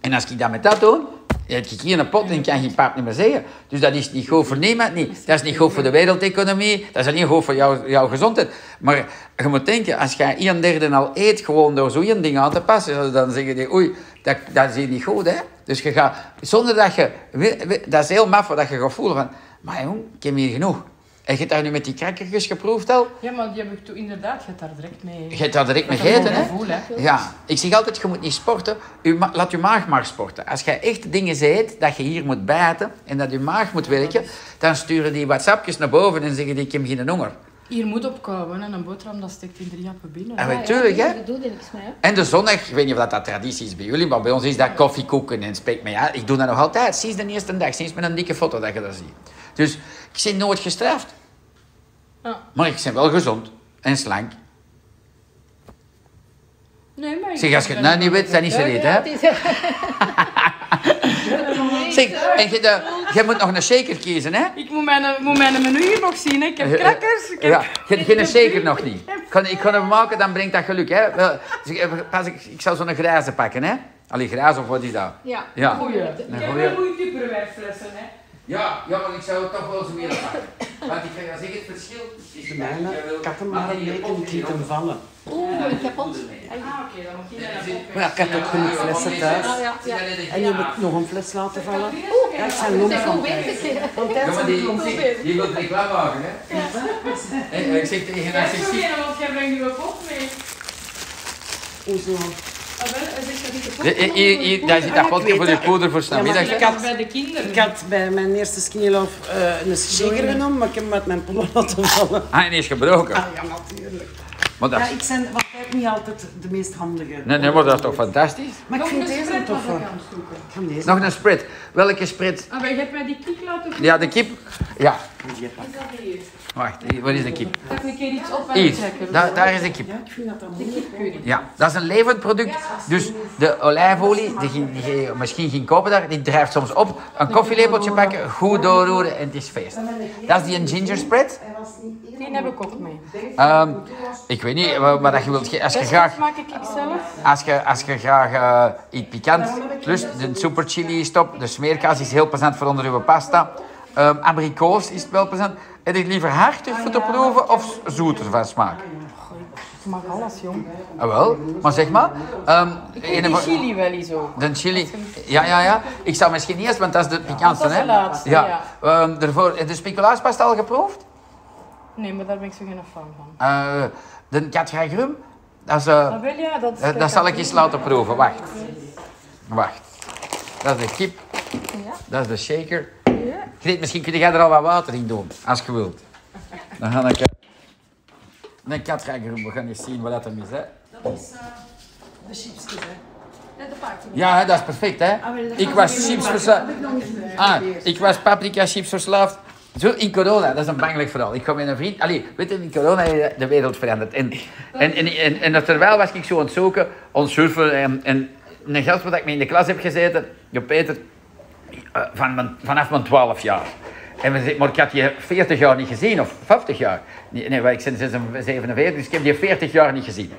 [SPEAKER 1] En als ik dat met dat doe, heb ik hier een pot en kan geen paard niet meer zeggen. Dus dat is niet goed voor niemand, niet. Dat is niet goed voor de wereldeconomie, dat is niet goed voor jouw, jouw gezondheid. Maar je moet denken, als jij een derde al eet, gewoon door zo'n ding aan te passen, dan zeggen die, oei, dat, dat is hier niet goed, hè. Dus je gaat, zonder dat je, we- we- dat is heel maf, dat je gaat voelen van, maar jong, ik heb hier genoeg. En je hebt dat nu met die krakkertjes geproefd al,
[SPEAKER 2] Ja, maar die heb ik toen inderdaad, je hebt daar direct mee.
[SPEAKER 1] je hebt daar direct mee
[SPEAKER 2] Dat is een
[SPEAKER 1] gegeten,
[SPEAKER 2] goed
[SPEAKER 1] hè.
[SPEAKER 2] gevoel, hè.
[SPEAKER 1] Ja, ik zeg altijd, je moet niet sporten. Uw ma- laat je maag maar sporten. Als jij echt dingen eet, dat je hier moet bijten en dat je maag moet werken, dan sturen die whatsappjes naar boven en zeggen die, ik heb geen honger.
[SPEAKER 2] Hier moet opkomen en een boterham dat steekt in drie appen binnen.
[SPEAKER 1] Ah,
[SPEAKER 2] hè.
[SPEAKER 1] wel. tuurlijk, hè.
[SPEAKER 7] Dat doe je niks mee, hè.
[SPEAKER 1] En de zondag, ik weet niet of dat, dat traditie is bij jullie, maar bij ons is dat koffiekoeken en spek. Maar ja, ik doe dat nog altijd, sinds de eerste dag, sinds met een dikke foto dat je dat ziet. Dus ik ben nooit gestraft.
[SPEAKER 2] Ja.
[SPEAKER 1] Maar ik ben wel gezond en slank.
[SPEAKER 2] Nee, maar ik
[SPEAKER 1] Zeg, als je het nou niet weet, dan is het niet, hè?
[SPEAKER 7] Ja, het is-
[SPEAKER 1] Zeg, en je, de, Jij moet nog een shaker kiezen, hè?
[SPEAKER 6] Ik moet
[SPEAKER 2] eh,
[SPEAKER 6] mijn, moet mijn menu hier nog zien. hè. Ik heb crackers. Ik heb...
[SPEAKER 1] Eh, Ja, geen, geen shaker nog niet. Ik kan, ik kan hem maken, dan brengt dat geluk, hè? Wel, dus ik- Pas, ik, ik zou zo'n grijze pakken, hè? Allee, grijs of wat is dat?
[SPEAKER 5] Ja.
[SPEAKER 1] Ja.
[SPEAKER 6] Goeie.
[SPEAKER 1] Een goeie.
[SPEAKER 6] goede tupperwareflessen, hè.
[SPEAKER 1] Ja, ja, maar ik zou het toch wel zo willen pakken. Want ik ga je zeggen, het verschil is
[SPEAKER 3] De mijne kattenmaal weten niet lieten vallen.
[SPEAKER 7] Oeh, ik heb ons.
[SPEAKER 6] Ah, oké, dan mag je dat
[SPEAKER 3] Maar ja, ik heb ook genoeg flessen thuis.
[SPEAKER 7] Ah, ja, ja.
[SPEAKER 3] En je moet nog een fles laten vallen.
[SPEAKER 2] Oh,
[SPEAKER 7] Oeh,
[SPEAKER 3] Ja, ik zijn long
[SPEAKER 7] zijn
[SPEAKER 3] van
[SPEAKER 7] goed bezig.
[SPEAKER 3] Van
[SPEAKER 1] Ja,
[SPEAKER 3] tijd
[SPEAKER 1] maar
[SPEAKER 3] zijn
[SPEAKER 1] die,
[SPEAKER 3] die long van.
[SPEAKER 1] die wil reclame maken, hè? En, eh, ik zeg tegen haar, ik zeg, zie-
[SPEAKER 6] want jij brengt je pop mee.
[SPEAKER 3] Hoezo?
[SPEAKER 6] Ah, wel, het is niet de pop.
[SPEAKER 1] Hier- hier- hier, daar zit dat
[SPEAKER 3] Ah, ik
[SPEAKER 1] potje
[SPEAKER 3] weet
[SPEAKER 1] voor de
[SPEAKER 3] dat.
[SPEAKER 1] poeder voor
[SPEAKER 3] Ja, maar
[SPEAKER 1] snamiddag.
[SPEAKER 3] ik
[SPEAKER 6] Ik
[SPEAKER 3] had-
[SPEAKER 6] had bij de kinderen.
[SPEAKER 3] Ik had bij mijn eerste skinny love eh, een shaker genomen, maar ik heb hem uit mijn pollen laten vallen.
[SPEAKER 1] Hij is gebroken.
[SPEAKER 3] Ah, ja, natuurlijk.
[SPEAKER 1] Maar dat,
[SPEAKER 3] Ja,
[SPEAKER 1] is-
[SPEAKER 3] ik ben wat tijd niet altijd de meest handige.
[SPEAKER 1] nee, nee, maar dat is toch fantastisch?
[SPEAKER 3] Maar ik
[SPEAKER 6] Nog
[SPEAKER 3] vind
[SPEAKER 6] een
[SPEAKER 3] deze een
[SPEAKER 6] spread
[SPEAKER 3] toffe.
[SPEAKER 6] was ik
[SPEAKER 3] Ik
[SPEAKER 6] aan het zoeken.
[SPEAKER 3] ga hem deze
[SPEAKER 1] Nog een spread. Welke spread?
[SPEAKER 6] Ah, maar je hebt mij die kiek laten voelen.
[SPEAKER 1] Ja, de kip. Ja,
[SPEAKER 3] hier pakken.
[SPEAKER 1] wacht, hier, waar is de kip?
[SPEAKER 6] Dat ik een keer iets op wil
[SPEAKER 1] Hier,
[SPEAKER 6] trekken.
[SPEAKER 1] daar, daar is de kip.
[SPEAKER 3] Ja, ik vind dat dan heel goed.
[SPEAKER 1] Ja, dat is een levend product. Dus de olijfolie, die, ging- die je misschien ging kopen daar, die drijft soms op. Een koffielepeltje pakken, goed doorroeren en het is feest. Dat is die een ginger spread.
[SPEAKER 6] Die heb ik ook mee.
[SPEAKER 1] Ehm, ik weet niet, wa- maar dat je wilt, ge- als je graag,
[SPEAKER 6] Dat maak ik ik zelf.
[SPEAKER 1] als je, als je graag eh, iets pikant lust, de super chili is top, de smeerkaas is heel plezant voor onder uw pasta. Ehm abrikoos is wel plezant. Heb je het liever hartig
[SPEAKER 6] Oh
[SPEAKER 1] voor te proeven of zoeter van smaak?
[SPEAKER 6] Ik mag alles, jong.
[SPEAKER 1] Ah, wel, maar zeg maar. ehm,
[SPEAKER 6] Ik
[SPEAKER 1] ene
[SPEAKER 6] die
[SPEAKER 1] van-
[SPEAKER 6] chili wel eens ook.
[SPEAKER 1] De chili. Ja, ja, ja. Ik zou misschien eerst, want dat is de pikantste,
[SPEAKER 6] Dat is
[SPEAKER 1] hè?
[SPEAKER 6] de laatste,
[SPEAKER 1] Ehm, daarvoor, heb je de speculaaspasta al geproefd?
[SPEAKER 6] Nee, maar daar ben ik zo geen fan van.
[SPEAKER 1] Eh, de katgagrum? Dat is... eh,
[SPEAKER 6] Dat wil je? Dat, is
[SPEAKER 1] Eh, dat zal ik eens laten proeven. Wacht. Wacht. Dat is de kip. Dat is de shaker. Greet, misschien kun jij er al wat water in doen, als je wilt. Dan ga ik... eh, Een kat ga ik erom. We gaan eens zien wat dat hem is, eh, hè. Ja, Ah, hè, dat is perfect, hè. Ik was chips verslaafd. Ah, ik was paprika chips verslaafd. Zo, in corona, dat is een bangelijk verhaal. Ik ga met een vriend... Allee, weet je, in corona is de wereld veranderd. En, en, en, en, en, terwijl was ik zo aan het zoeken, aan het surfen. En, en een gast wat ik mee in de klas heb gezeten, de Peter, eh, van mijn, vanaf mijn 12 jaar. En we zeggen, maar ik had je 40 jaar niet gezien, of 50 jaar. Nee, nee ik ben 46, 47, dus ik heb je 40 jaar niet gezien.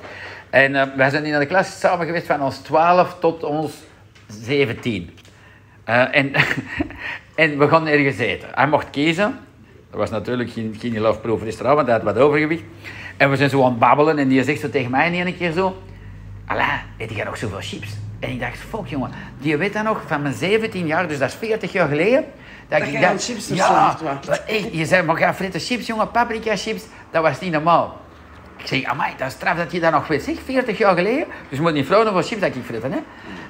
[SPEAKER 1] En eh, wij zijn in de klas samen geweest van ons 12 tot ons 17. Eh, en, en we gaan ergens eten. Hij mocht kiezen. Dat was natuurlijk geen, geen lafproef restaurant, want hij had wat overgewicht. En we zijn zo aan het babbelen en die zegt zo tegen mij in een keer zo... Alain, eet jij nog zoveel chips? En ik dacht, fuck jongen, die weet dat nog van mijn 17 jaar, dus dat is 40 jaar geleden. Dat,
[SPEAKER 3] jij aan chips
[SPEAKER 1] ja,
[SPEAKER 3] verslaafd was.
[SPEAKER 1] maar echt, je zei, maar ga fritten chips jongen, paprika chips, dat was niet normaal. Ik zeg, amai, dat is straf dat je dat nog weet. Zeg, 40 jaar geleden. Dus je moet niet vragen hoeveel chips dat ik fritten, hè.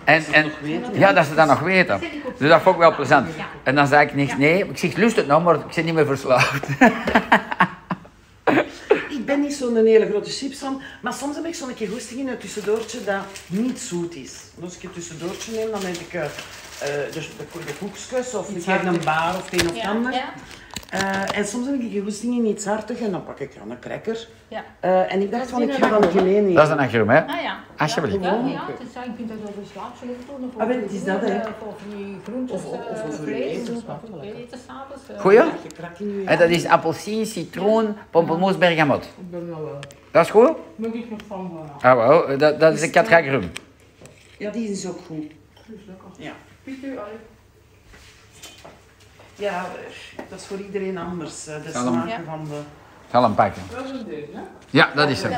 [SPEAKER 1] En, en, ja, dat ze dat nog weten. Dus dat vond ik wel plezant. En dan zei ik niks, nee. Ik zeg, lust het nog, maar ik zit niet meer verslaafd.
[SPEAKER 3] Ik ben niet zo'n hele grote chipsfan, maar soms heb ik zo'n keer goesting in een tussendoortje dat niet zoet is. En Als ik een tussendoortje neem, dan eet ik eh, eh, de, de, ko- de koekjes of een keer een baar of het een of het ander.
[SPEAKER 5] ja.
[SPEAKER 3] Eh, en soms heb ik een goesting in iets hartig en dan pak ik dan een cracker.
[SPEAKER 5] Ja.
[SPEAKER 3] Eh, en ik dacht van, ik ga dan een geleen
[SPEAKER 1] Dat is een agrum, hè.
[SPEAKER 5] Ah ja.
[SPEAKER 1] Alsjeblieft.
[SPEAKER 5] Ja, ja, het is, ja, ik vind dat wel geslaagd. Ze legt toch nog
[SPEAKER 3] Ah, wel, het is dat, hè.
[SPEAKER 5] eh, Of die groentes,
[SPEAKER 3] Of- of- of
[SPEAKER 5] eh,
[SPEAKER 3] over je
[SPEAKER 5] vlees,
[SPEAKER 3] eten,
[SPEAKER 5] of
[SPEAKER 3] smaakt wel
[SPEAKER 5] over je eten s'avonds, eh.
[SPEAKER 1] Goeie?
[SPEAKER 3] crack in je
[SPEAKER 1] En dat is appelsien, citroen, pompelmoes, bergamot.
[SPEAKER 6] Ik ben wel wel.
[SPEAKER 1] Dat is goed?
[SPEAKER 6] Moet ik nog van worden.
[SPEAKER 1] Ah, wel. Dat, dat is een katrakrum.
[SPEAKER 3] Ja, die is ook goed. Ja. Ja, eh, dat is voor iedereen anders, eh, de
[SPEAKER 1] Zal hem-
[SPEAKER 3] smaken van de...
[SPEAKER 1] Ik zal hem pakken. Ja, dat is hem.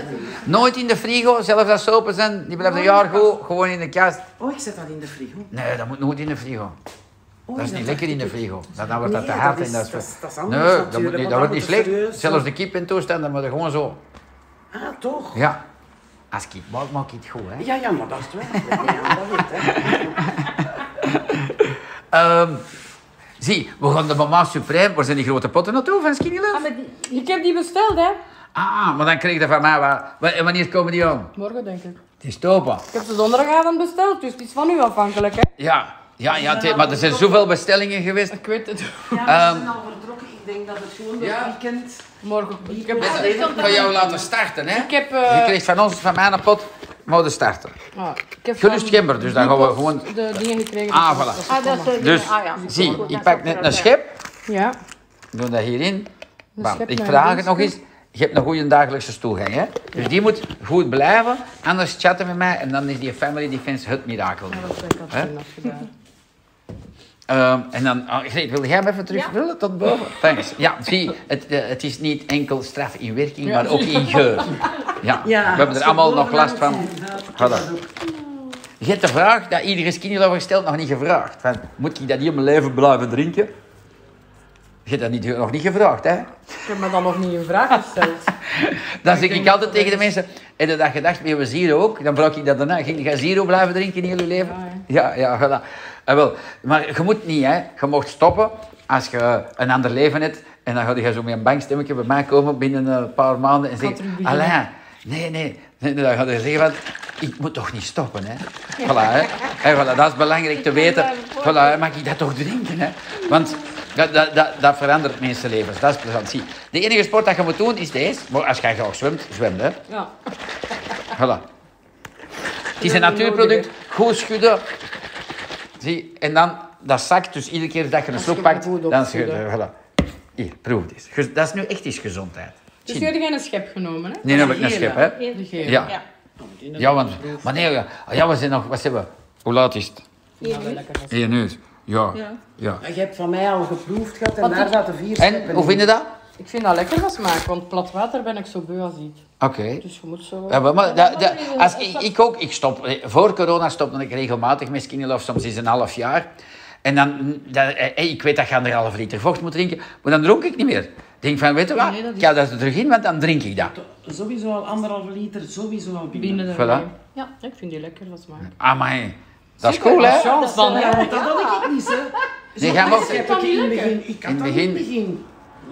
[SPEAKER 1] Nooit in de frigo, zelfs als ze open zijn. Die blijven een jaar goed, gewoon in de kast.
[SPEAKER 3] Oh, ik zet dat in de frigo.
[SPEAKER 1] Nee, dat moet nooit in de frigo.
[SPEAKER 3] Oh,
[SPEAKER 1] Dat is niet lekker in de frigo. Dan, dan wordt dat te
[SPEAKER 3] Nee,
[SPEAKER 1] hard
[SPEAKER 3] dat
[SPEAKER 1] en dat is...
[SPEAKER 3] is- dat is- dat is
[SPEAKER 1] nee,
[SPEAKER 3] anders
[SPEAKER 1] dat, moet
[SPEAKER 3] natuurlijk,
[SPEAKER 1] niet, dat
[SPEAKER 3] want dan
[SPEAKER 1] wordt
[SPEAKER 3] moet
[SPEAKER 1] niet
[SPEAKER 3] het
[SPEAKER 1] slecht.
[SPEAKER 3] serieus
[SPEAKER 1] Zelfs de
[SPEAKER 3] zijn.
[SPEAKER 1] kip in toestand, dan moet je gewoon zo.
[SPEAKER 3] Ah, toch?
[SPEAKER 1] Ja. Als ik het maak, maak ik het goed, hè.
[SPEAKER 3] Ja, ja, maar dat is wel. Ja, dat weet, hè.
[SPEAKER 1] Ehm, zie, we gaan de mama supreme. Waar zijn die grote potten naartoe van Skinny Love?
[SPEAKER 6] Ik heb Ah, die besteld, hè?
[SPEAKER 1] Ah, maar dan krijg je van mij wat... wa- En wanneer komen die aan?
[SPEAKER 6] Morgen, denk ik.
[SPEAKER 1] Het is topa.
[SPEAKER 6] Ik heb ze donderdagavond besteld, dus het is van u afhankelijk, hè?
[SPEAKER 1] Ja. Ja, ja, het- maar er zijn zoveel bestellingen geweest.
[SPEAKER 6] Ik weet het.
[SPEAKER 3] Ja, we zijn al vertrokken. Ik denk dat het gewoon door
[SPEAKER 1] Ehm, Ja.
[SPEAKER 3] het weekend...
[SPEAKER 6] Morgen. Ik heb,
[SPEAKER 1] Ik ga jou laten starten, hè.
[SPEAKER 6] ik heb
[SPEAKER 1] Je
[SPEAKER 6] eh,
[SPEAKER 1] krijgt van ons, van mij een pot. mogen starten.
[SPEAKER 2] Ah, ik heb
[SPEAKER 1] Gerust
[SPEAKER 2] van
[SPEAKER 1] gember, dus dan gaan we gewoon-
[SPEAKER 2] De dingen gekregen.
[SPEAKER 1] Ah, voilà.
[SPEAKER 2] Dat is
[SPEAKER 7] Ah, dat is, eh,
[SPEAKER 1] Dus,
[SPEAKER 7] ah, ja.
[SPEAKER 1] zie,
[SPEAKER 7] Goed,
[SPEAKER 1] ik
[SPEAKER 7] dat
[SPEAKER 1] pak
[SPEAKER 7] is
[SPEAKER 1] net een
[SPEAKER 7] ook-
[SPEAKER 1] schep,
[SPEAKER 2] Ja.
[SPEAKER 1] doe dat hierin. Bam.
[SPEAKER 2] schep
[SPEAKER 1] Ik
[SPEAKER 2] naar
[SPEAKER 1] vraag het
[SPEAKER 2] links.
[SPEAKER 1] nog eens. Je hebt een goede dagelijkse toegang, hè? Dus die moet goed blijven, anders chatten met mij en dan is die family defense het mirakel.
[SPEAKER 2] Ja, dat heb ik al
[SPEAKER 1] Hè?
[SPEAKER 2] toen afgedaan.
[SPEAKER 1] Ehm, en dan, oh, Greet, wil jij hem even terugvullen tot boven? Thanks. Ja, zie, het, eh, het is niet enkel straf in werking, maar ook in geur. Ja, we hebben er allemaal nog last van. Voilà. Je hebt de vraag dat iedere skinnylover stelt nog niet gevraagd. Van, moet ik dat hier mijn leven blijven drinken? Je hebt dat niet, nog niet gevraagd, hè?
[SPEAKER 2] Ik heb me dan nog niet een vraag gesteld.
[SPEAKER 1] Dan zeg ik altijd tegen de mensen, heb je dat gedacht, maar we zero ook? Dan vraag ik dat daarna. Ging je zero blijven drinken in heel je leven? Ja, ja, voilà. Ah, wel. Maar je moet niet, hè. Je mag stoppen als je een ander leven hebt. En dan ga je zo met een bankstemmetje bij mij komen binnen een paar maanden en zeggen...
[SPEAKER 2] terug beginnen.
[SPEAKER 1] Alain, nee, nee. nee dan ga je zeggen, want ik moet toch niet stoppen, hè. Voilà, hè. Hé, voilà, dat is belangrijk te weten. Voilà, hè, mag ik dat toch drinken, hè. Want... Dat, dat, dat, dat verandert mensenlevens, dat is plezant. Zie, de enige sport dat je moet doen is deze. Maar als jij graag zwemt, zwem, hè.
[SPEAKER 2] Ja.
[SPEAKER 1] Voilà. Het is een natuurproduct, goed schudden. Zie, en dan, dat zakt, dus iedere keer dat je een
[SPEAKER 2] Als
[SPEAKER 1] slok
[SPEAKER 2] je maar
[SPEAKER 1] pakt,
[SPEAKER 2] goed
[SPEAKER 1] dan
[SPEAKER 2] opschudden.
[SPEAKER 1] schudden. Voilà. Hier, proef dit. Gez- Dat is nu echt eens gezondheid.
[SPEAKER 2] Dus
[SPEAKER 1] Zie.
[SPEAKER 2] jullie hebben een schep genomen, hè?
[SPEAKER 1] Nee, dan heb ik een schep, hè.
[SPEAKER 2] De gele.
[SPEAKER 1] Ja. Ja, want... Maar nee, ja, Ah, ja, we zijn nog... Wat zijn we? Hoe laat is het?
[SPEAKER 2] Ja, wel lekker.
[SPEAKER 1] Eén uur. Ja. ja.
[SPEAKER 3] Je hebt van mij al geproefd gehad en
[SPEAKER 2] Wat
[SPEAKER 3] daar
[SPEAKER 2] ik-
[SPEAKER 3] zaten vier
[SPEAKER 1] En, hoe vind je dat?
[SPEAKER 2] Ik vind dat lekker van smaak, want plat water ben ik zo beu als iets.
[SPEAKER 1] Oké.
[SPEAKER 2] Dus je moet zo...
[SPEAKER 1] Ja, maar, maar dat- dat- als ik, ik ook, ik stop, eh, voor corona stopte ik regelmatig met Skinny Love, soms is een half jaar. En dan, mm, dat, eh, eh, ik weet dat je anderhalf liter vocht moet drinken, maar dan dronk ik niet meer. Ik denk van, weet je wat, ik ga dat er terug in, want dan drink ik dat.
[SPEAKER 3] Sowieso al anderhalve liter, sowieso al binnen.
[SPEAKER 2] Binnen
[SPEAKER 1] Voilà.
[SPEAKER 2] ermee. Ja, ik vind die lekker van smaak.
[SPEAKER 1] Amai, dat is cool, hè?
[SPEAKER 2] Chance dan, hè?
[SPEAKER 3] Ja, want dat had ik niet, hè.
[SPEAKER 1] Nee, ga maar.
[SPEAKER 3] Ik heb ik in het begin. Ik had
[SPEAKER 1] In
[SPEAKER 3] dat
[SPEAKER 1] het
[SPEAKER 3] in het
[SPEAKER 1] begin.
[SPEAKER 3] begin.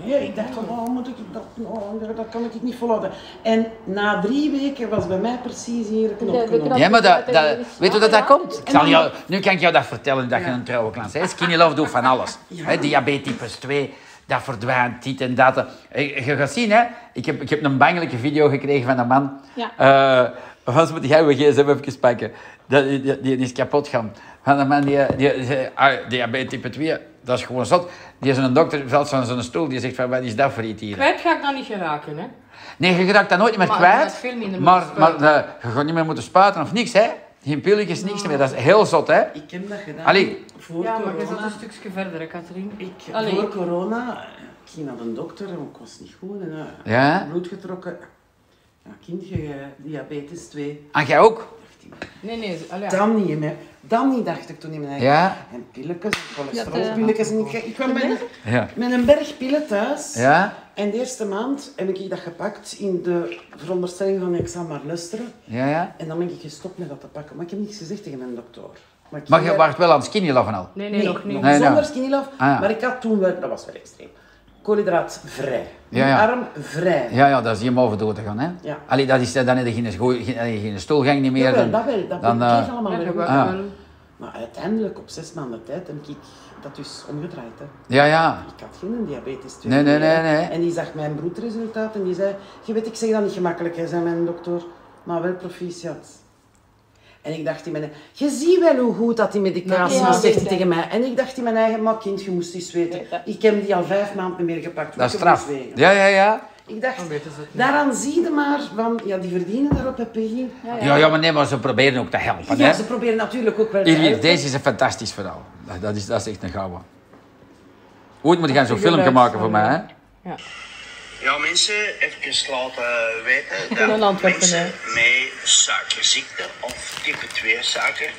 [SPEAKER 3] Nee, ik dacht van, oh, moet ik dat, oh, dat kan ik niet volhouden. En na drie weken was bij mij precies hier een knop
[SPEAKER 7] De- de
[SPEAKER 3] genomen.
[SPEAKER 7] knop.
[SPEAKER 1] Ja, maar dat, dat, weet je hoe dat, dat komt? Ik zal
[SPEAKER 3] En-
[SPEAKER 1] jou, nu kan ik jou dat vertellen, dat je een trouwe klant bent. Skinny Love doet van alles. Hè, diabetes types 2, dat verdwijnt, dit en dat. Eh, Je gaat zien, hè? Ik heb, ik heb een bangelijke video gekregen van een man. Ja. Hans, moet jij mijn gsm even pakken? Dat, die, die, die is kapot gaan. Van een man die, die, die- ah, diabetes type 2, dat is gewoon zot. Die is een dokter, valt van zijn stoel, die zegt van, wat is dat voor iets hier?
[SPEAKER 2] Kwijt ga ik dan niet geraken, hè?
[SPEAKER 1] Nee, je raakt dat nooit meer
[SPEAKER 2] Maar je
[SPEAKER 1] kwijt.
[SPEAKER 2] gaat veel minder
[SPEAKER 1] maar
[SPEAKER 2] moeten
[SPEAKER 1] maar
[SPEAKER 2] spuiten.
[SPEAKER 1] eh, je gaat niet meer moeten spuiten of niks, hè? Geen pilletjes, niks meer. Dat is heel zot, hè?
[SPEAKER 3] Ik heb dat gedaan.
[SPEAKER 1] Allee.
[SPEAKER 3] Voor
[SPEAKER 2] Ja, maar je zat
[SPEAKER 3] corona.
[SPEAKER 2] een stukje verder, hè, Katrien.
[SPEAKER 3] Ik,
[SPEAKER 2] Allee.
[SPEAKER 3] voor corona, eh, ik ging naar de dokter en ik was niet goed. En, eh,
[SPEAKER 1] Ja?
[SPEAKER 3] Bloed getrokken. Ja, kindje, eh, diabetes 2.
[SPEAKER 1] En jij ook?
[SPEAKER 2] Nee, nee. ze- allee, ja.
[SPEAKER 3] Dan niet, hè. Dan niet, dacht ik toen in mijn eigen...
[SPEAKER 1] Ja?
[SPEAKER 3] En pilletjes, cholesterolpilletjes. en ik, ik kwam met, een-
[SPEAKER 1] Ja.
[SPEAKER 3] met een berg pillen thuis.
[SPEAKER 1] Ja?
[SPEAKER 3] En de eerste maand heb ik dat gepakt in de veronderstelling van ik zal maar luisteren.
[SPEAKER 1] Ja, ja.
[SPEAKER 3] En dan ben ik gestopt met dat te pakken. Maar ik heb niks gezegd tegen mijn dokter. Maar, ik
[SPEAKER 1] Maar
[SPEAKER 3] ging
[SPEAKER 1] je
[SPEAKER 3] daar-
[SPEAKER 1] waart wel aan het skinny loven al.
[SPEAKER 2] Nee, nee,
[SPEAKER 3] Nee,
[SPEAKER 2] nog niet.
[SPEAKER 1] Nee,
[SPEAKER 3] zonder
[SPEAKER 1] nou.
[SPEAKER 3] skinny love.
[SPEAKER 1] ja.
[SPEAKER 3] Maar ik had toen wel, dat was wel extreem, koolhydraatvrij.
[SPEAKER 1] Ja, ja.
[SPEAKER 3] Armvrij.
[SPEAKER 1] Ja, ja, dat is hier over door te gaan, hè?
[SPEAKER 3] Ja.
[SPEAKER 1] Allee, dat is, eh, dan heb je geen, scho- geen, eh, geen stoelgang niet meer.
[SPEAKER 3] Jawel,
[SPEAKER 1] dan-
[SPEAKER 3] dat wel, dat
[SPEAKER 1] dan,
[SPEAKER 3] dan,
[SPEAKER 1] eh,
[SPEAKER 3] allemaal
[SPEAKER 2] Ja,
[SPEAKER 3] wel
[SPEAKER 2] je
[SPEAKER 3] goed.
[SPEAKER 2] wou
[SPEAKER 1] Ah.
[SPEAKER 2] wel-
[SPEAKER 3] Maar uiteindelijk, op zes maanden tijd, heb ik dat dus omgedraaid. Hè.
[SPEAKER 1] Ja, ja.
[SPEAKER 3] Ik had geen diabetes 2.
[SPEAKER 1] Nee, nee, nee, nee.
[SPEAKER 3] En die zag mijn bloedresultaat en die zei, je weet, ik zeg dat niet gemakkelijk, hè, zei mijn dokter, maar wel proficiat. En ik dacht in mijn je ziet wel hoe goed dat die medicatie
[SPEAKER 7] Ja,
[SPEAKER 3] was, zegt hij
[SPEAKER 7] weet
[SPEAKER 3] tegen mij. En ik dacht in mijn eigen, maar kind, je moest eens weten. Ik heb die al vijf maanden niet meer gepakt.
[SPEAKER 1] Dat is
[SPEAKER 3] moet je
[SPEAKER 1] straf.
[SPEAKER 3] eens wegen."
[SPEAKER 1] Ja, ja, ja.
[SPEAKER 3] Ik dacht,
[SPEAKER 2] weten ze het niet.
[SPEAKER 3] daaraan zie je maar van, ja, die verdienen daarop, hè, Peggy.
[SPEAKER 1] Ja, ja, maar nee, maar ze proberen ook te helpen,
[SPEAKER 3] Ja,
[SPEAKER 1] hè?
[SPEAKER 3] ze proberen natuurlijk ook wel te
[SPEAKER 1] Hier, hier,
[SPEAKER 3] helpen.
[SPEAKER 1] deze is een fantastisch verhaal. Dat- Dat is, dat is echt een gouden. Ooit moet gaan zo'n
[SPEAKER 2] je
[SPEAKER 1] filmpje
[SPEAKER 2] geluid
[SPEAKER 1] maken voor
[SPEAKER 2] van,
[SPEAKER 1] mij, hè?
[SPEAKER 2] eh,
[SPEAKER 8] Ja, mensen, even laten weten
[SPEAKER 2] ben
[SPEAKER 8] dat
[SPEAKER 2] een Antwerpen,
[SPEAKER 8] mensen met suikerziekte of type 2 suiker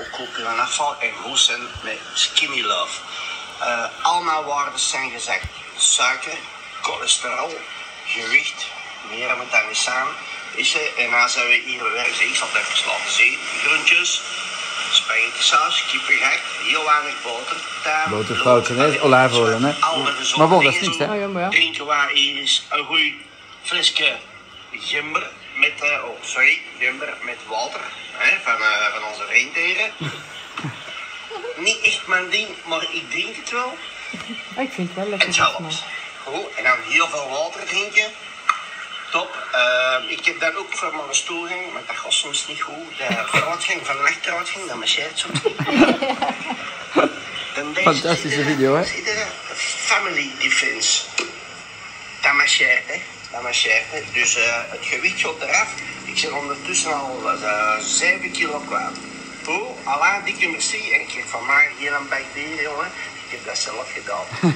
[SPEAKER 8] ook goed kunnen afvallen en goed zijn met Skinny Love. Eh, allemaal waarden zijn gezegd. Suiker, cholesterol, gewicht, meer met dat niet samen. Is er, en dan zijn we hier weg. Ik zal het even laten zien. Groentjes, spaghetti saus, kippengek, heel weinig boter. tuin,
[SPEAKER 1] Boterfoutje, hè?
[SPEAKER 8] lood,
[SPEAKER 1] Olijfolie, hè?
[SPEAKER 8] alle gezonde
[SPEAKER 1] Maar bon, dat is
[SPEAKER 8] dingen
[SPEAKER 1] niks, hè?
[SPEAKER 8] zo.
[SPEAKER 2] Ah, ja, maar ja.
[SPEAKER 8] Drinken waar hier is een goeie friske gember met, eh, oh sorry, gember met water hè, van, eh, van onze reindieren. Niet echt mijn ding, maar ik drink het wel.
[SPEAKER 2] Ah, Ik vind het wel lekker
[SPEAKER 8] En
[SPEAKER 2] van smaak.
[SPEAKER 8] nou, zelfs. Goed, en dan heel veel water drinken. top. Ehm, ik heb daar ook voor mijn stoel gehangen, maar dat gaat soms niet goed. De vooruitgang van de achteruitgang, dat marcheert soms niet. Dan denk je,
[SPEAKER 1] Fantastische
[SPEAKER 8] zie je dat?
[SPEAKER 1] video, hè?
[SPEAKER 8] Zie je dat? Family defense. Dat marcheert, hè. Dat marcheert, hè. Dus eh, het gewicht gaat eraf. Ik zit ondertussen al eh, 7 kilo kwijt. Poel, Allah, dikke merci. En ik heb van mij hier een bak bier, jongen. Ik heb dat zelf gedaan.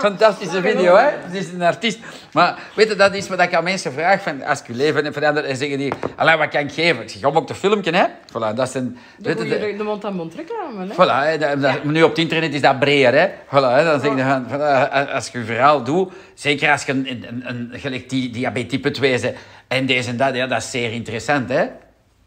[SPEAKER 1] Fantastische video, hè? Het is een artiest. Maar weet je, dat is wat ik aan mensen vraag. Van, als ik je leven heb veranderd en zeggen die... Allee, wat kan ik geven? Ik zeg, kom op de filmpje, hè? Voilà, dat zijn...
[SPEAKER 2] De,
[SPEAKER 1] weet je,
[SPEAKER 2] goeie- de, de mond-aan-mond reclame, hè?
[SPEAKER 1] Voilà, hè, dat- dat- nu op het internet is dat breder. Hè? Voilà, hè, dan zeg je van, van, eh, als je je verhaal doet, zeker als je een, een, een, een gelijk die, diabetes type 2 bent en deze en dat, ja, dat is zeer interessant. Hè?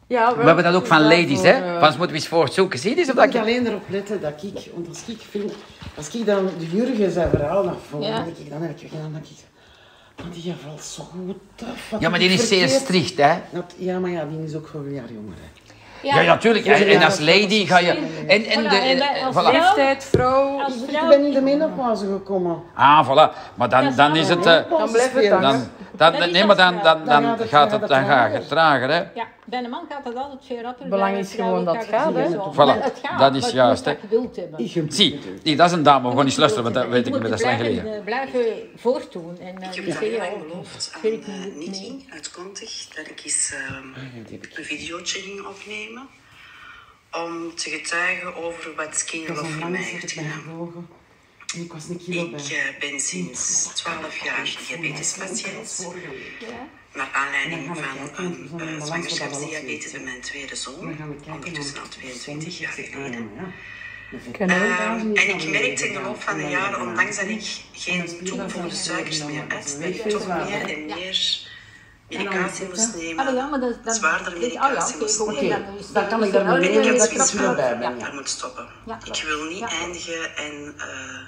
[SPEAKER 2] Ja,
[SPEAKER 1] We hebben dat ook van ladies,
[SPEAKER 2] voor,
[SPEAKER 1] hè?
[SPEAKER 2] eh,
[SPEAKER 1] Anders moeten we eens voorzoeken. Zie je eens of
[SPEAKER 3] Ik
[SPEAKER 1] dat
[SPEAKER 3] moet
[SPEAKER 1] je...
[SPEAKER 3] alleen erop letten dat ik, want als ik vind, als ik dan de Jurgen zijn verhaal naar voren,
[SPEAKER 7] Ja.
[SPEAKER 3] dan denk ik, dan heb ik gedaan, dan denk ik, maar die valt zo goed af. wat
[SPEAKER 1] Ja, maar
[SPEAKER 3] heb
[SPEAKER 1] die
[SPEAKER 3] ik
[SPEAKER 1] is zeer
[SPEAKER 3] verkeerd?
[SPEAKER 1] strikt, hè?
[SPEAKER 3] Dat- ja, maar ja, die is ook voor een jaar jonger. Hè.
[SPEAKER 1] Ja, natuurlijk. En, en als lady ga je... En, en,
[SPEAKER 5] Voilà,
[SPEAKER 1] de, en,
[SPEAKER 5] en wij als
[SPEAKER 1] voilà.
[SPEAKER 2] Leeftijd, vrouw.
[SPEAKER 5] Als
[SPEAKER 3] Ik
[SPEAKER 5] vrouw
[SPEAKER 3] ben in de menopauze gekomen.
[SPEAKER 1] Ah, voilà. Maar dan, dan is het... eh,
[SPEAKER 3] Dan
[SPEAKER 2] blijft het hangen.
[SPEAKER 1] dan, dan, nee, maar dan, dan, dan gaat het dan gaat het trager, hè?
[SPEAKER 5] Ja, bij een man gaat dat altijd veel rapper.
[SPEAKER 2] Belang
[SPEAKER 5] bij
[SPEAKER 2] is
[SPEAKER 5] een vrouw
[SPEAKER 2] gewoon dat
[SPEAKER 5] gaat
[SPEAKER 2] het gaat, hè.
[SPEAKER 5] sowieso.
[SPEAKER 1] Voilà,
[SPEAKER 5] Maar het gaat,
[SPEAKER 1] dat is
[SPEAKER 5] maar je
[SPEAKER 1] juist,
[SPEAKER 5] moet
[SPEAKER 1] hè.
[SPEAKER 5] dat geduld hebben.
[SPEAKER 3] Ik heb
[SPEAKER 1] Zie, die, dat is een dame. We gaan eens luisteren, want
[SPEAKER 5] want
[SPEAKER 1] dat weet ik niet meer. Dat is lang geleden.
[SPEAKER 5] blijven voortdoen. En eh,
[SPEAKER 9] Ik heb
[SPEAKER 5] die
[SPEAKER 9] het al
[SPEAKER 5] zeggen,
[SPEAKER 9] heel lang
[SPEAKER 5] ja,
[SPEAKER 9] beloofd aan
[SPEAKER 5] weet ik
[SPEAKER 9] eh,
[SPEAKER 5] niet,
[SPEAKER 9] Nicky uit Kontig dat ik eens ehm, een videootje ging opnemen om te getuigen over wat
[SPEAKER 3] Ik was
[SPEAKER 9] Skinnerlof
[SPEAKER 3] een
[SPEAKER 9] voor
[SPEAKER 3] lang
[SPEAKER 9] mij
[SPEAKER 3] zit
[SPEAKER 9] heeft
[SPEAKER 3] ik bij
[SPEAKER 9] gedaan.
[SPEAKER 3] gebogen. En ik was een kilo
[SPEAKER 9] Ik
[SPEAKER 3] bij.
[SPEAKER 9] eh, ben sinds 12 jaar diabetespatiënt. Naar
[SPEAKER 3] Dan
[SPEAKER 9] aanleiding
[SPEAKER 3] gaan we
[SPEAKER 9] van
[SPEAKER 3] kijken, we zijn in
[SPEAKER 9] een eh,
[SPEAKER 3] balans met
[SPEAKER 9] zwangerschapsdiabetes bij mijn tweede
[SPEAKER 3] Dan gaan we
[SPEAKER 9] zoon,
[SPEAKER 3] kijken
[SPEAKER 9] ondertussen
[SPEAKER 3] naar
[SPEAKER 9] al
[SPEAKER 3] de
[SPEAKER 9] 22 jaar
[SPEAKER 3] gezondheid.
[SPEAKER 9] geleden.
[SPEAKER 3] Ah, ja. De vet-
[SPEAKER 2] Kunnen we?
[SPEAKER 9] Ehm, en ik merkte in de loop van de jaren,
[SPEAKER 3] Ja.
[SPEAKER 9] ondanks dat ik geen toegevoegde suikers meer at, dat ik toch meer en meer medicatie moest
[SPEAKER 5] Ah, ja,
[SPEAKER 9] nemen.
[SPEAKER 5] maar dat is dan...
[SPEAKER 9] Zwaarder
[SPEAKER 5] dit- ah, ja,
[SPEAKER 9] medicatie moest
[SPEAKER 5] oké, goed,
[SPEAKER 9] nemen.
[SPEAKER 5] dan is-
[SPEAKER 3] Dan kan ik
[SPEAKER 5] is er
[SPEAKER 3] daar maar
[SPEAKER 5] wel
[SPEAKER 9] Ik
[SPEAKER 3] mee
[SPEAKER 5] weer
[SPEAKER 9] heb
[SPEAKER 3] dat
[SPEAKER 5] een
[SPEAKER 3] ik
[SPEAKER 5] knap
[SPEAKER 3] iets meer
[SPEAKER 5] knop.
[SPEAKER 3] bij ben.
[SPEAKER 9] daar
[SPEAKER 3] ja.
[SPEAKER 9] moet stoppen.
[SPEAKER 5] Ja.
[SPEAKER 9] Ik wil niet
[SPEAKER 5] Ja.
[SPEAKER 9] eindigen en eh,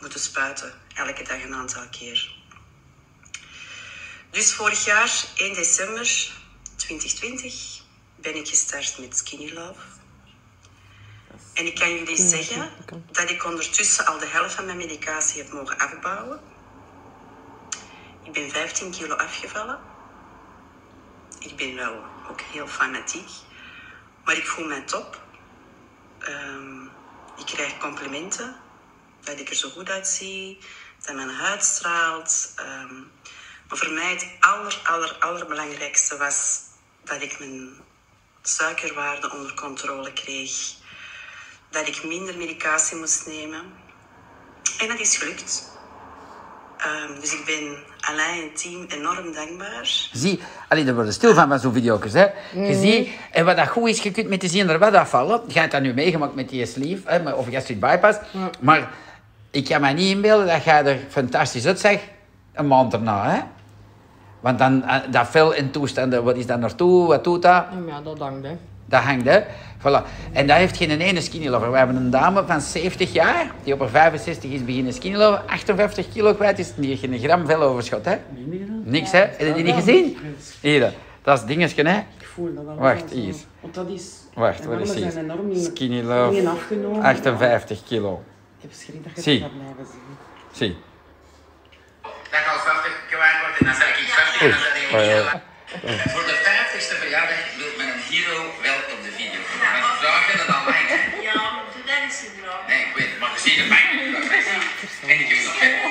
[SPEAKER 9] moeten spuiten, elke dag een aantal keer. Dus vorig jaar, 1 december 2020, ben ik gestart met Skinny Love. En ik kan jullie zeggen dat ik ondertussen al de helft van mijn medicatie heb mogen afbouwen. Ik ben 15 kilo afgevallen. Ik ben wel ook heel fanatiek, maar ik voel mij top. Ehm, ik krijg complimenten dat ik er zo goed uitzie, dat mijn huid straalt. Ehm, maar voor mij het aller, aller, allerbelangrijkste was dat ik mijn suikerwaarde onder controle kreeg. Dat ik minder medicatie moest nemen. En dat is gelukt. Ehm, dus ik ben Alain en het team enorm dankbaar.
[SPEAKER 1] Zie, allee, er worden stil van van zo'n video's, hè. Je ziet, en wat dat goed is, je kunt met de zin er wat afvallen. Jij hebt dat nu meegemaakt met die sleeve, hè, maar- of gastric bypass. Maar ik kan me niet inbeelden dat jij er fantastisch uitzag een maand erna, hè. Want dan, eh, dat fel in toestanden, wat is dat naartoe, wat doet dat?
[SPEAKER 6] Ah,
[SPEAKER 2] Ja, dat hangt, hè.
[SPEAKER 1] Dat hangt, hè. Voilà. En dat heeft geen ene skinny lover. We hebben een dame van 70 jaar, die op haar 65 is beginnen skinny lover, 58 kilo kwijt is, die heeft geen gram vel overschot, hè. Niks, hè. Heb je die niet gezien? Hier, dat is dingetje, hè.
[SPEAKER 3] Ik voel dat allemaal
[SPEAKER 1] Wacht,
[SPEAKER 3] zo.
[SPEAKER 1] hier.
[SPEAKER 3] Want dat is...
[SPEAKER 1] Wacht,
[SPEAKER 3] mijn
[SPEAKER 1] wat is
[SPEAKER 3] mannen
[SPEAKER 1] hier?
[SPEAKER 3] zijn enorm in-
[SPEAKER 1] Skinny
[SPEAKER 3] dingen
[SPEAKER 1] love,
[SPEAKER 3] afgenomen.
[SPEAKER 1] 58 kilo.
[SPEAKER 3] Ik heb schrik dat je
[SPEAKER 1] Zie.
[SPEAKER 3] het gaat blijven zien.
[SPEAKER 1] Zie.
[SPEAKER 8] Dat als 50 kwijt wordt en dan zeg ik 50 en dan zeg ik
[SPEAKER 1] Oei, Oh, oei, oei.
[SPEAKER 8] Voor de 50ste verjaardag wil men een hero wel op de video. Mijn vrouw wil het al lang.
[SPEAKER 5] Ja, maar doe dat is een droom.
[SPEAKER 8] Nee, ik weet het, maar je ziet het mij. En ik wil nog verder.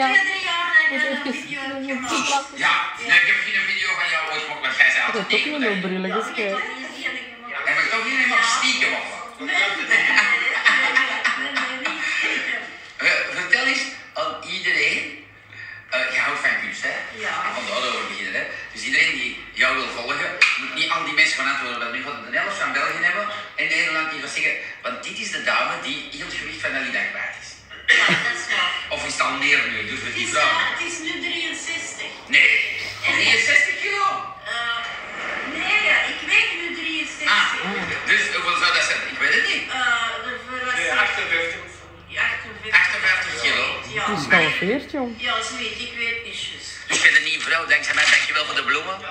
[SPEAKER 5] Ja.
[SPEAKER 7] drie jaar dat ik een video heb gemaakt.
[SPEAKER 8] Ja, nee, ik heb geen video van jou ooit gemaakt, want jij zei altijd
[SPEAKER 2] Ook
[SPEAKER 8] tegen
[SPEAKER 2] een
[SPEAKER 8] me.
[SPEAKER 2] lulbrillige kijk.
[SPEAKER 8] En we toch niet helemaal stiekem of wat? Eh, Vertel eens aan iedereen. eh, je houdt van kunst, hè? Ja. Van de oude beginnen, hè? Dus iedereen die jou wil volgen, moet niet al die mensen van antwoorden. Want nu gaat het de helft van België hebben en Nederland die gaat zeggen. Want dit is de dame die heel het gewicht van Alida kwijt is. Of is het al meer nu? Dus we die vrouw.
[SPEAKER 7] Het is nu 63.
[SPEAKER 8] Nee. 63 kilo?
[SPEAKER 7] Eh, Nee, ja, ik weet nu 63.
[SPEAKER 8] Ah, dus hoeveel zou dat zijn? Ik weet het niet.
[SPEAKER 7] Eh, de verrassing.
[SPEAKER 8] 58 kilo.
[SPEAKER 2] Dat is al veert, jong.
[SPEAKER 7] Ja, zoiets, ik weet niet. juist.
[SPEAKER 8] Dus ik ben een nieuwe vrouw, dankzij mij, dankjewel voor de bloemen.
[SPEAKER 7] En eh,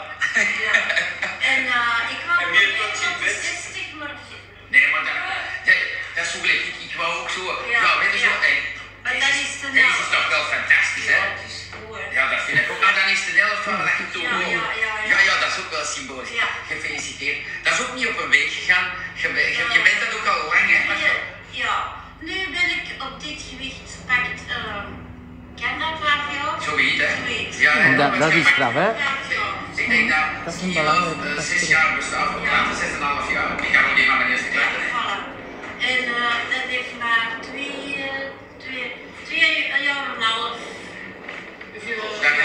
[SPEAKER 7] ik wou
[SPEAKER 8] En wie heeft dat
[SPEAKER 7] op
[SPEAKER 8] gezien?
[SPEAKER 7] 60, maar.
[SPEAKER 8] Nee, maar dat, dat, dat is zo gelijk. Ik, ik wou ook zo. Ja,
[SPEAKER 7] Ja,
[SPEAKER 8] weet je
[SPEAKER 7] ja.
[SPEAKER 8] zo. En,
[SPEAKER 7] Maar dat is te
[SPEAKER 8] dit
[SPEAKER 7] nauw.
[SPEAKER 8] is toch
[SPEAKER 10] toch wel fantastisch, hè? Ja, dat vind ik ook. Ah, dan is de helft van de dag toe.
[SPEAKER 7] Ja, ja, ja, ja.
[SPEAKER 10] ja, dat is ook wel symbolisch. Gefeliciteerd. Dat is ook niet op een week gegaan. Je, be- je, je bent dat ook al lang, hè? Maar zo-
[SPEAKER 7] Ja, nu ben ik op dit gewicht pakt. ehm ken dat waarvoor?
[SPEAKER 10] Zoiets, hè?
[SPEAKER 7] Zoiets.
[SPEAKER 10] Ja, hè?
[SPEAKER 1] Dat, dat is straf, hè?
[SPEAKER 10] Ik denk dat Ski Love eh, zes jaar bestaat, of later zes en een half jaar. Ik ga nog niet van mijn eerste klasse.
[SPEAKER 7] En eh, dat heeft maar twee, eh, twee, twee jaar en een half.
[SPEAKER 10] Dan is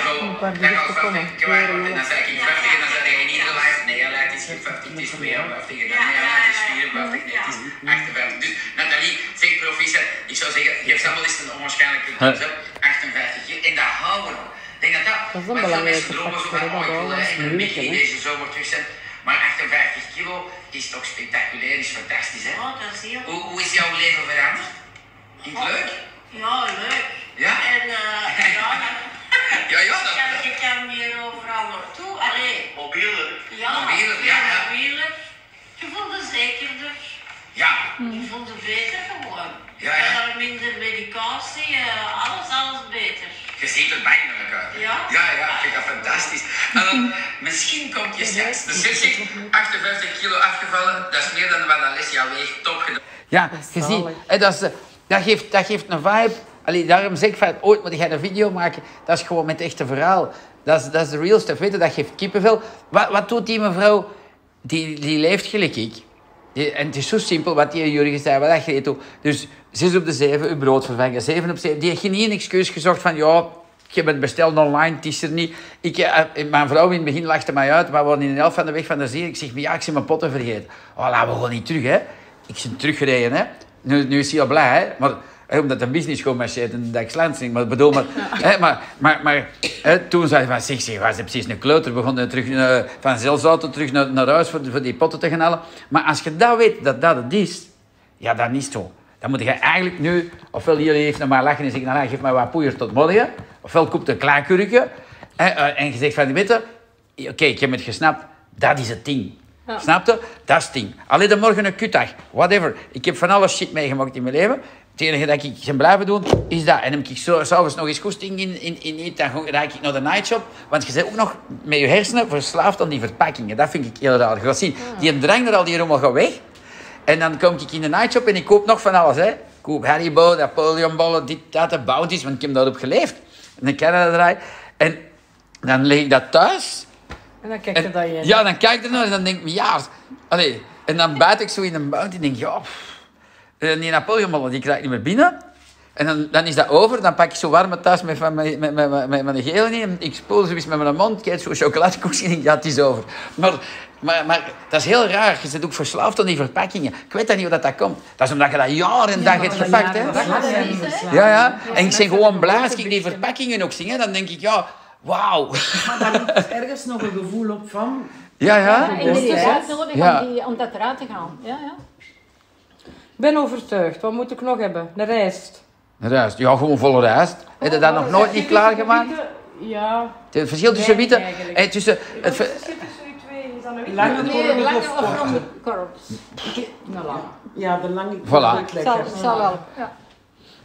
[SPEAKER 10] al, dan al 50 kwijt, en dan zeg ik 50 en dan zeg je in iedere lijst, nee, het is geen 50, het is 52, en dan nee, het is 54, nee, het is 58. Dus Nathalie, zeg proficiat, ik zou zeggen, geef ze allemaal eens een onwaarschijnlijke kans, hè. 58 hier, en dat houden. Ik denk dat dat,
[SPEAKER 3] Dat is een
[SPEAKER 10] want veel
[SPEAKER 3] belangrijke
[SPEAKER 10] mensen dromen zo
[SPEAKER 3] factor,
[SPEAKER 10] van,
[SPEAKER 3] hè,
[SPEAKER 10] oh, ik
[SPEAKER 3] dat
[SPEAKER 10] wil
[SPEAKER 3] dat
[SPEAKER 10] eh,
[SPEAKER 3] is
[SPEAKER 10] in een
[SPEAKER 3] moeilijk,
[SPEAKER 10] beetje in
[SPEAKER 3] hè.
[SPEAKER 10] deze zomer terug zijn, maar 58 kilo is toch spectaculair, is fantastisch, hè.
[SPEAKER 7] Oh, dat is heel
[SPEAKER 10] Hoe, hoe is jouw leven veranderd? Is het leuk?
[SPEAKER 7] Ja, leuk.
[SPEAKER 10] Ja?
[SPEAKER 7] En eh, ja,
[SPEAKER 10] Ja, ja,
[SPEAKER 7] dan
[SPEAKER 10] dat
[SPEAKER 7] kan je kan hier overal naartoe. Allee,
[SPEAKER 10] Mobieler.
[SPEAKER 7] ja,
[SPEAKER 10] Mobieler, ja, ja.
[SPEAKER 7] mobieler. Je voelt je zekerder.
[SPEAKER 10] Ja.
[SPEAKER 7] Je voelt je beter gewoon.
[SPEAKER 10] Ja, ja.
[SPEAKER 7] En dan minder medicatie, eh, alles, alles beter.
[SPEAKER 10] Je ziet er bijna uit.
[SPEAKER 7] Ja?
[SPEAKER 10] Ja, ja, ik vind dat fantastisch. En dan, misschien komt je seks. Dus je zegt, 58 kilo afgevallen, dat is meer dan wat Alessia weegt. Top gedaan.
[SPEAKER 1] Ja, je ziet, hè, dat, is, eh, dat, geeft, dat geeft een vibe. Allee, daarom zeg ik van, ooit moet jij een video maken. Dat is gewoon met echte verhaal. Dat is, dat is de real stuff, weet je, dat geeft kippenvel. Wat, wat doet die mevrouw? Die, die leeft gelijk ik. Die- en het is zo simpel wat die Jurgen zei, wat dat je doet. Dus zes op de zeven, uw brood vervangen, zeven op zeven. Die heeft geen excuus gezocht van, ja, ik heb het besteld online, het is er niet. Ik, eh, mijn vrouw in het begin lachte mij uit, maar we waren in de helft van de weg van de zee. Ik zeg, maar ja, ik zie mijn potten vergeten. Oh, laten we gewoon niet terug, hè. Ik ben teruggereden, hè. Nu, nu is hij al blij, hè. Maar, hè, omdat de business gewoon marcheert en dat ik slansing. Maar ik bedoel, maar, hè, maar, maar, maar hè, toen zei hij van, zeg, zeg, was precies een kleuter. We begonnen terug eh, van zelfsauto terug naar, naar huis voor, voor die potten te gaan halen. Maar als je dat weet, dat dat het is, ja, dat is zo. Dan moet je eigenlijk nu, ofwel jullie even naar mij lachen en zeggen, nou, geef mij wat poeier tot morgen. Ofwel koop een klaarkurkje. En, eh, en je zegt van, weet je, oké, ik heb het gesnapt. Dat is het ding.
[SPEAKER 6] Ja.
[SPEAKER 1] Snap je? Dat is het ding. Alleen de morgen een kutdag. Whatever. Ik heb van alles shit meegemaakt in mijn leven. Het enige dat ik ben blijven doen, is dat. En heb ik zo- s'avonds nog eens koesting in, in, in eet, dan ga ik naar de nightshop. Want je bent ook nog met je hersenen verslaafd aan die verpakkingen. Dat vind ik heel raar. Je gaat zien, die drang er al die rommel gaat weg. En dan kom ik in de nightshop en ik koop nog van alles. Hè. Ik koop Haribo, Napoleonbollen, dit, dat, de bounties, want ik heb daarop geleefd. En dan kan dat draai. En dan leg ik dat thuis.
[SPEAKER 6] En dan kijk je
[SPEAKER 1] En-
[SPEAKER 6] dat je.
[SPEAKER 1] Ja, dan kijk ik ernaar en dan denk ik, ja. Allee, en dan buit ik zo in een bounty en denk ik, ja. pff. En die Napoleonbollen, die krijg ik niet meer binnen. En dan, dan is dat over, dan pak ik zo warme thuis met, van mijn, met, met, met, met mijn gele in. Ik spoel zoiets met mijn mond, kijk zo chocoladekoekjes en denk, ja, het is over. Maar, maar, maar dat is heel raar, je zit ook verslaafd aan die verpakkingen. Ik weet dat niet hoe dat, dat komt. Dat is omdat je dat jaar en dag hebt gepakt, hè. Ja, ja. En ik ben gewoon blij als ik die verpakkingen ook zie, hè. Dan denk ik, ja, wauw.
[SPEAKER 3] Maar daar moet ergens nog een gevoel op van.
[SPEAKER 1] Ja,
[SPEAKER 11] Ja,
[SPEAKER 1] ja.
[SPEAKER 11] en dit is
[SPEAKER 6] Ja.
[SPEAKER 11] ook nodig
[SPEAKER 1] Ja.
[SPEAKER 11] om, die, om dat eruit te gaan. Ja, ja.
[SPEAKER 6] Ik ben overtuigd. Wat moet ik nog hebben? De rijst.
[SPEAKER 1] Rijst. Ja, gewoon volle rijst. Heb je dat nog nooit niet klaargemaakt?
[SPEAKER 6] Ja.
[SPEAKER 1] Het verschil tussen
[SPEAKER 6] Nee,
[SPEAKER 1] witte...
[SPEAKER 6] eigenlijk.
[SPEAKER 1] eh, tussen, het, ver-
[SPEAKER 3] Lange korrels
[SPEAKER 11] lange
[SPEAKER 3] of
[SPEAKER 11] of
[SPEAKER 3] korte?
[SPEAKER 11] ronde korrels.
[SPEAKER 6] Nou, lang.
[SPEAKER 3] Ja, de lange
[SPEAKER 1] Voilà.
[SPEAKER 3] vind ik
[SPEAKER 11] Zal,
[SPEAKER 3] lekker.
[SPEAKER 11] zal wel. Ja.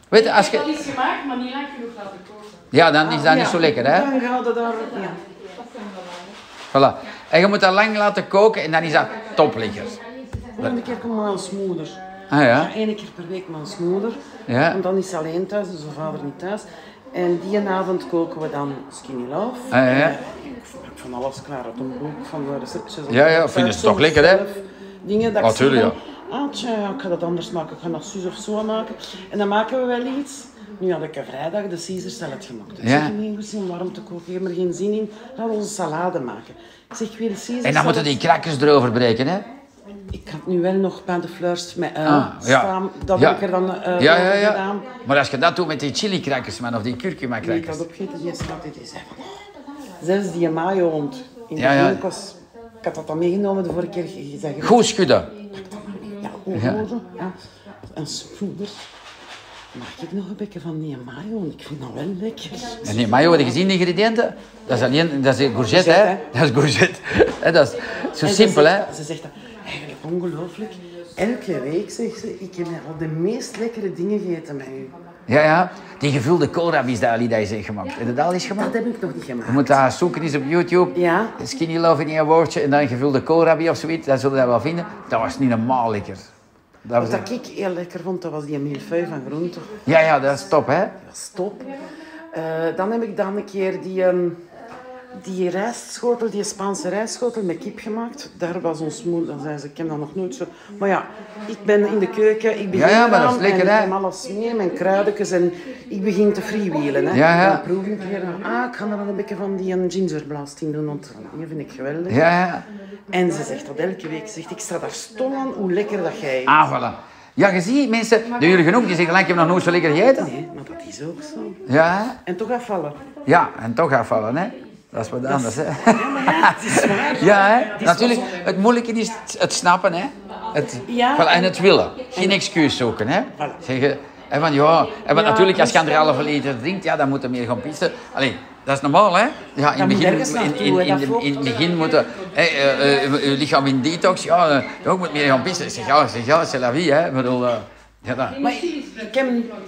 [SPEAKER 1] weet je, als
[SPEAKER 6] Ik heb
[SPEAKER 1] je...
[SPEAKER 6] al iets gemaakt, maar niet lang genoeg laten koken.
[SPEAKER 1] Ja, dan is dat
[SPEAKER 3] Ah, Ja,
[SPEAKER 1] niet zo lekker, hè?
[SPEAKER 3] Dan gaan we daar... Ja.
[SPEAKER 1] Voilà. En je moet dat lang laten koken en dan is dat topligger.
[SPEAKER 3] Volgende keer komen we als moeder.
[SPEAKER 1] Ah ja?
[SPEAKER 3] Eén keer per week met ons moeder.
[SPEAKER 1] Ja.
[SPEAKER 3] Want dan is ze alleen thuis, dus haar vader niet thuis. En die avond koken we dan Skinny Love.
[SPEAKER 1] Ah, ja, ja.
[SPEAKER 3] Eh, ik maak van alles klaar uit een boek, van de receptjes.
[SPEAKER 1] Ja, ja, vinden ze toch lekker, hè?
[SPEAKER 3] Dingen dat
[SPEAKER 1] Ah,
[SPEAKER 3] ik zeg
[SPEAKER 1] tuurlijk,
[SPEAKER 3] van, ah, tja, ja, ik ga dat anders maken. Ik ga dat zus of zo maken. En dan maken we wel iets. Nu had ik een vrijdag de Caesar salad gemaakt. Ik
[SPEAKER 1] Ja.
[SPEAKER 3] zeg, nee, ik heb geen warm te koken, ik heb er geen zin in. Laten we onze salade maken. Ik zeg, ik wil Caesar
[SPEAKER 1] En dan moeten
[SPEAKER 3] salad
[SPEAKER 1] die krakkers erover breken, hè?
[SPEAKER 3] ik had nu wel nog bij de fleurs met eh
[SPEAKER 1] Ah, ja.
[SPEAKER 3] staan. Dat
[SPEAKER 1] Ja.
[SPEAKER 3] heb ik er dan eh
[SPEAKER 1] Ja, ja,
[SPEAKER 3] over
[SPEAKER 1] ja.
[SPEAKER 3] gedaan.
[SPEAKER 1] Maar als je dat doet met die chili-krakkers, man, of die
[SPEAKER 3] Die ik
[SPEAKER 1] kurkuma-krakkers...
[SPEAKER 3] had opgegeten, die slaat dit is even. Zelfs die mayo rond. In de
[SPEAKER 1] Ja, ja.
[SPEAKER 3] winkel was- Ik had dat dan meegenomen de vorige keer. Je zegt,
[SPEAKER 1] Goed schudden.
[SPEAKER 3] Ja, oorlogen. Ja. Een smoeder. Mag ik nog een beetje van die mayo? Want Ik vind dat wel lekker.
[SPEAKER 1] En die mayo, heb je gezien, die ingrediënten? Dat is alleen... Dat is courgette, hè? Dat is courgette. Hè, Dat is zo
[SPEAKER 3] En ze
[SPEAKER 1] simpel,
[SPEAKER 3] zegt
[SPEAKER 1] hè?
[SPEAKER 3] dat- Ze zegt dat eigenlijk ongelooflijk. Elke week zegt ze, ik heb al de meest lekkere dingen gegeten met u.
[SPEAKER 1] Ja, ja. Die gevulde koolrabiesdalie die ze heeft gemaakt. Heb je dat al eens gemaakt?
[SPEAKER 3] Dat heb ik nog niet gemaakt.
[SPEAKER 1] Je moet dat zoeken eens op YouTube.
[SPEAKER 3] Ja.
[SPEAKER 1] Skinny love in één woordje en dan gevulde koolrabi of zoiets. Dat zullen we dat wel vinden. Dat was niet normaal lekker. Dat was
[SPEAKER 3] Wat ik heel lekker vond, dat was die millefeuille van groente.
[SPEAKER 1] Ja, ja, dat is top, hè?
[SPEAKER 3] Dat is top. Eh, dan heb ik dan een keer die, ehm, die rijstschotel, die Spaanse rijstschotel met kip gemaakt. Daar was ons moeder, dan zei ze, ik heb dat nog nooit zo... Maar ja, ik ben in de keuken, ik begin
[SPEAKER 1] Ja, ja, maar dat is
[SPEAKER 3] eraan
[SPEAKER 1] lekker,
[SPEAKER 3] en
[SPEAKER 1] hè?
[SPEAKER 3] ik neem alles mee, mijn kruidekens en ik begin te freewheelen. Hè.
[SPEAKER 1] Ja, ja.
[SPEAKER 3] Dan proef ik een keer, ah, ik ga er dan een beetje van die eh, gingerblast in doen, want die vind ik geweldig.
[SPEAKER 1] Ja, ja.
[SPEAKER 3] En ze zegt dat elke week, ze zegt, ik sta daar stom aan hoe lekker dat jij eet.
[SPEAKER 1] Ah, voilà. Ja, je ziet mensen, doen jullie genoeg, die zeggen, ik heb nog nooit zo lekker gegeten.
[SPEAKER 3] Maar dat is ook zo.
[SPEAKER 1] Ja, hè?
[SPEAKER 3] En toch afvallen.
[SPEAKER 1] ja, en toch afvallen, hè? Dat is wat anders, hè?
[SPEAKER 3] Het is zwaar.
[SPEAKER 1] Ja, hè? Natuurlijk, het moeilijke is het- het snappen, hè? Het,
[SPEAKER 3] Ja,
[SPEAKER 1] voilà, en
[SPEAKER 3] en-
[SPEAKER 1] het willen. Geen excuus zoeken, hè? Zeggen, en van ja, en want
[SPEAKER 3] Ja,
[SPEAKER 1] natuurlijk, als je
[SPEAKER 3] dus-
[SPEAKER 1] anderhalve liter drinkt, ja, dan moet je meer gaan pissen. Allee, dat is normaal, hè? Ja, in
[SPEAKER 3] Dat
[SPEAKER 1] het
[SPEAKER 3] moet
[SPEAKER 1] begin,
[SPEAKER 3] ergens
[SPEAKER 1] in, in,
[SPEAKER 3] naartoe,
[SPEAKER 1] in,
[SPEAKER 3] hè,
[SPEAKER 1] in,
[SPEAKER 3] dat
[SPEAKER 1] de- in het
[SPEAKER 3] vocht.
[SPEAKER 1] begin moeten hè, eh, eh, je lichaam in detox, ja, eh, ja, ik moet meer gaan pissen. Ik Zeg ja, ik zeg ja, c'est la vie, hè? Ik bedoel, eh, ja, dat.
[SPEAKER 3] Maar ik heb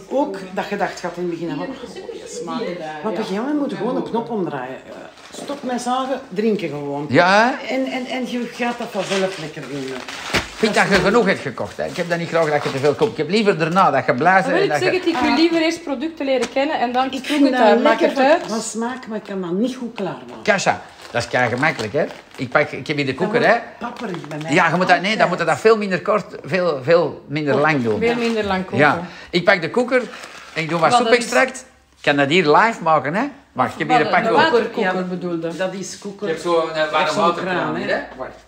[SPEAKER 3] ook dat gedacht gehad in het begin. hè, Van, oh, yes, maar wat begin we moeten gewoon een knop omdraaien. Eh, Stop met zagen, drinken gewoon.
[SPEAKER 1] Ja, hè?
[SPEAKER 3] En, en, en je gaat dat vanzelf lekker doen. hè.
[SPEAKER 1] Ik vind dat je genoeg hebt gekocht, hè? Ik heb dat niet graag dat je te veel koopt. Ik heb liever daarna dat je blazen
[SPEAKER 6] Dan wil
[SPEAKER 1] en
[SPEAKER 6] ik
[SPEAKER 1] dat je-
[SPEAKER 6] zeggen dat ik u liever eerst producten leren kennen en dan proef
[SPEAKER 3] vind
[SPEAKER 6] het
[SPEAKER 3] dat
[SPEAKER 6] uit, maak
[SPEAKER 3] lekker
[SPEAKER 6] het uit.
[SPEAKER 3] van smaak, maar ik kan dat niet goed klaarmaken.
[SPEAKER 1] Kasha, dat is kei gemakkelijk, hè? Ik, pak, ik heb hier de koeker, hè?
[SPEAKER 3] Papperig bij mij.
[SPEAKER 1] Ja, je moet dat, nee, dan moet je dat veel minder kort, veel, veel minder lang doen.
[SPEAKER 6] Veel minder lang koken.
[SPEAKER 1] Ja, ik pak de koeker en ik doe wat
[SPEAKER 6] Wat is-
[SPEAKER 1] soepextract. Ik kan dat hier live maken, hè? Wacht, ik heb hier een pak koker.
[SPEAKER 6] waterkoker bedoelde.
[SPEAKER 3] Dat is koeker.
[SPEAKER 1] Ik heb zo een
[SPEAKER 3] Ik heb
[SPEAKER 1] eh, warm
[SPEAKER 3] zo'n
[SPEAKER 1] waterkraan
[SPEAKER 3] kraan,
[SPEAKER 1] hier, hè? Wacht.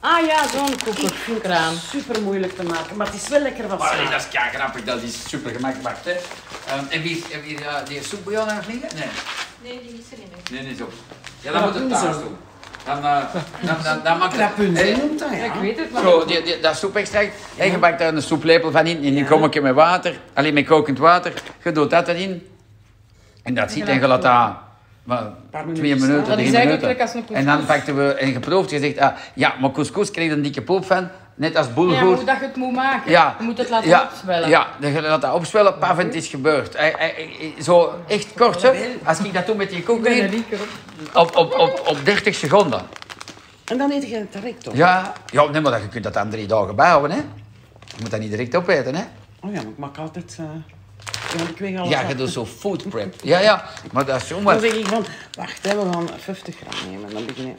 [SPEAKER 6] Ah ja, zo'n
[SPEAKER 3] Ik vind het
[SPEAKER 6] koekerkraan.
[SPEAKER 3] super moeilijk te maken, maar het is wel lekker van
[SPEAKER 1] Maar nee, dat
[SPEAKER 3] smaak.
[SPEAKER 1] is kei grappig, dat is super gemakkelijk. Wacht, hè? Ehm, heb je, heb je eh, die soep bij jou nog liggen? Nee,
[SPEAKER 5] Nee, die is er niet meer.
[SPEAKER 1] nee, niet zo. Ja,
[SPEAKER 3] Dat
[SPEAKER 1] dan moet het
[SPEAKER 3] doen ze.
[SPEAKER 1] thuis doen. Dan, eh, dan, dan, dan maakt het...
[SPEAKER 3] Krapunzel
[SPEAKER 1] Eh,
[SPEAKER 3] noemt dat, ja.
[SPEAKER 6] Ik weet het, maar
[SPEAKER 1] Zo, die, die, dat soepextract, en je bakt daar een soeplepel van in, en een kommetje met water, alleen met kokend water, je doet dat erin, en dat zit, en je laat dat maar,
[SPEAKER 3] minuten
[SPEAKER 1] twee
[SPEAKER 3] staan.
[SPEAKER 1] minuten,
[SPEAKER 6] Dat
[SPEAKER 1] drie
[SPEAKER 6] is eigenlijk
[SPEAKER 1] minuten.
[SPEAKER 6] als een
[SPEAKER 1] En
[SPEAKER 6] couscous.
[SPEAKER 1] dan pakten we, en geproofd, je zegt, ah, ja, maar couscous kreeg een dikke poop van, net als boelgoed.
[SPEAKER 6] ja, maar hoe dat je het moet maken.
[SPEAKER 1] Ja.
[SPEAKER 6] Je moet het laten
[SPEAKER 1] ja,
[SPEAKER 6] opzwellen.
[SPEAKER 1] Ja, dan ga je dat opzwellen, paf, en het is gebeurd. Eh, eh, eh, Zo, echt kort, hè. Als ik dat doe met die koek
[SPEAKER 6] Ik ben
[SPEAKER 1] erin,
[SPEAKER 6] een rieker op.
[SPEAKER 1] op, op, op, op 30 seconden.
[SPEAKER 3] En dan eet je het direct op.
[SPEAKER 1] Ja, ja nee, maar dat- je kunt dat aan drie dagen bijhouden, hè. Je moet dat niet direct opeten, hè.
[SPEAKER 3] Oh ja, maar ik maak altijd... eh, ja, ik weeg alles
[SPEAKER 1] Ja,
[SPEAKER 3] af.
[SPEAKER 1] je doet zo food prep. Ja, ja, maar dat is
[SPEAKER 3] Dan
[SPEAKER 1] zomaar...
[SPEAKER 3] zeg ik van, wacht, hè, we gaan 50 gram nemen. Dan begin ik,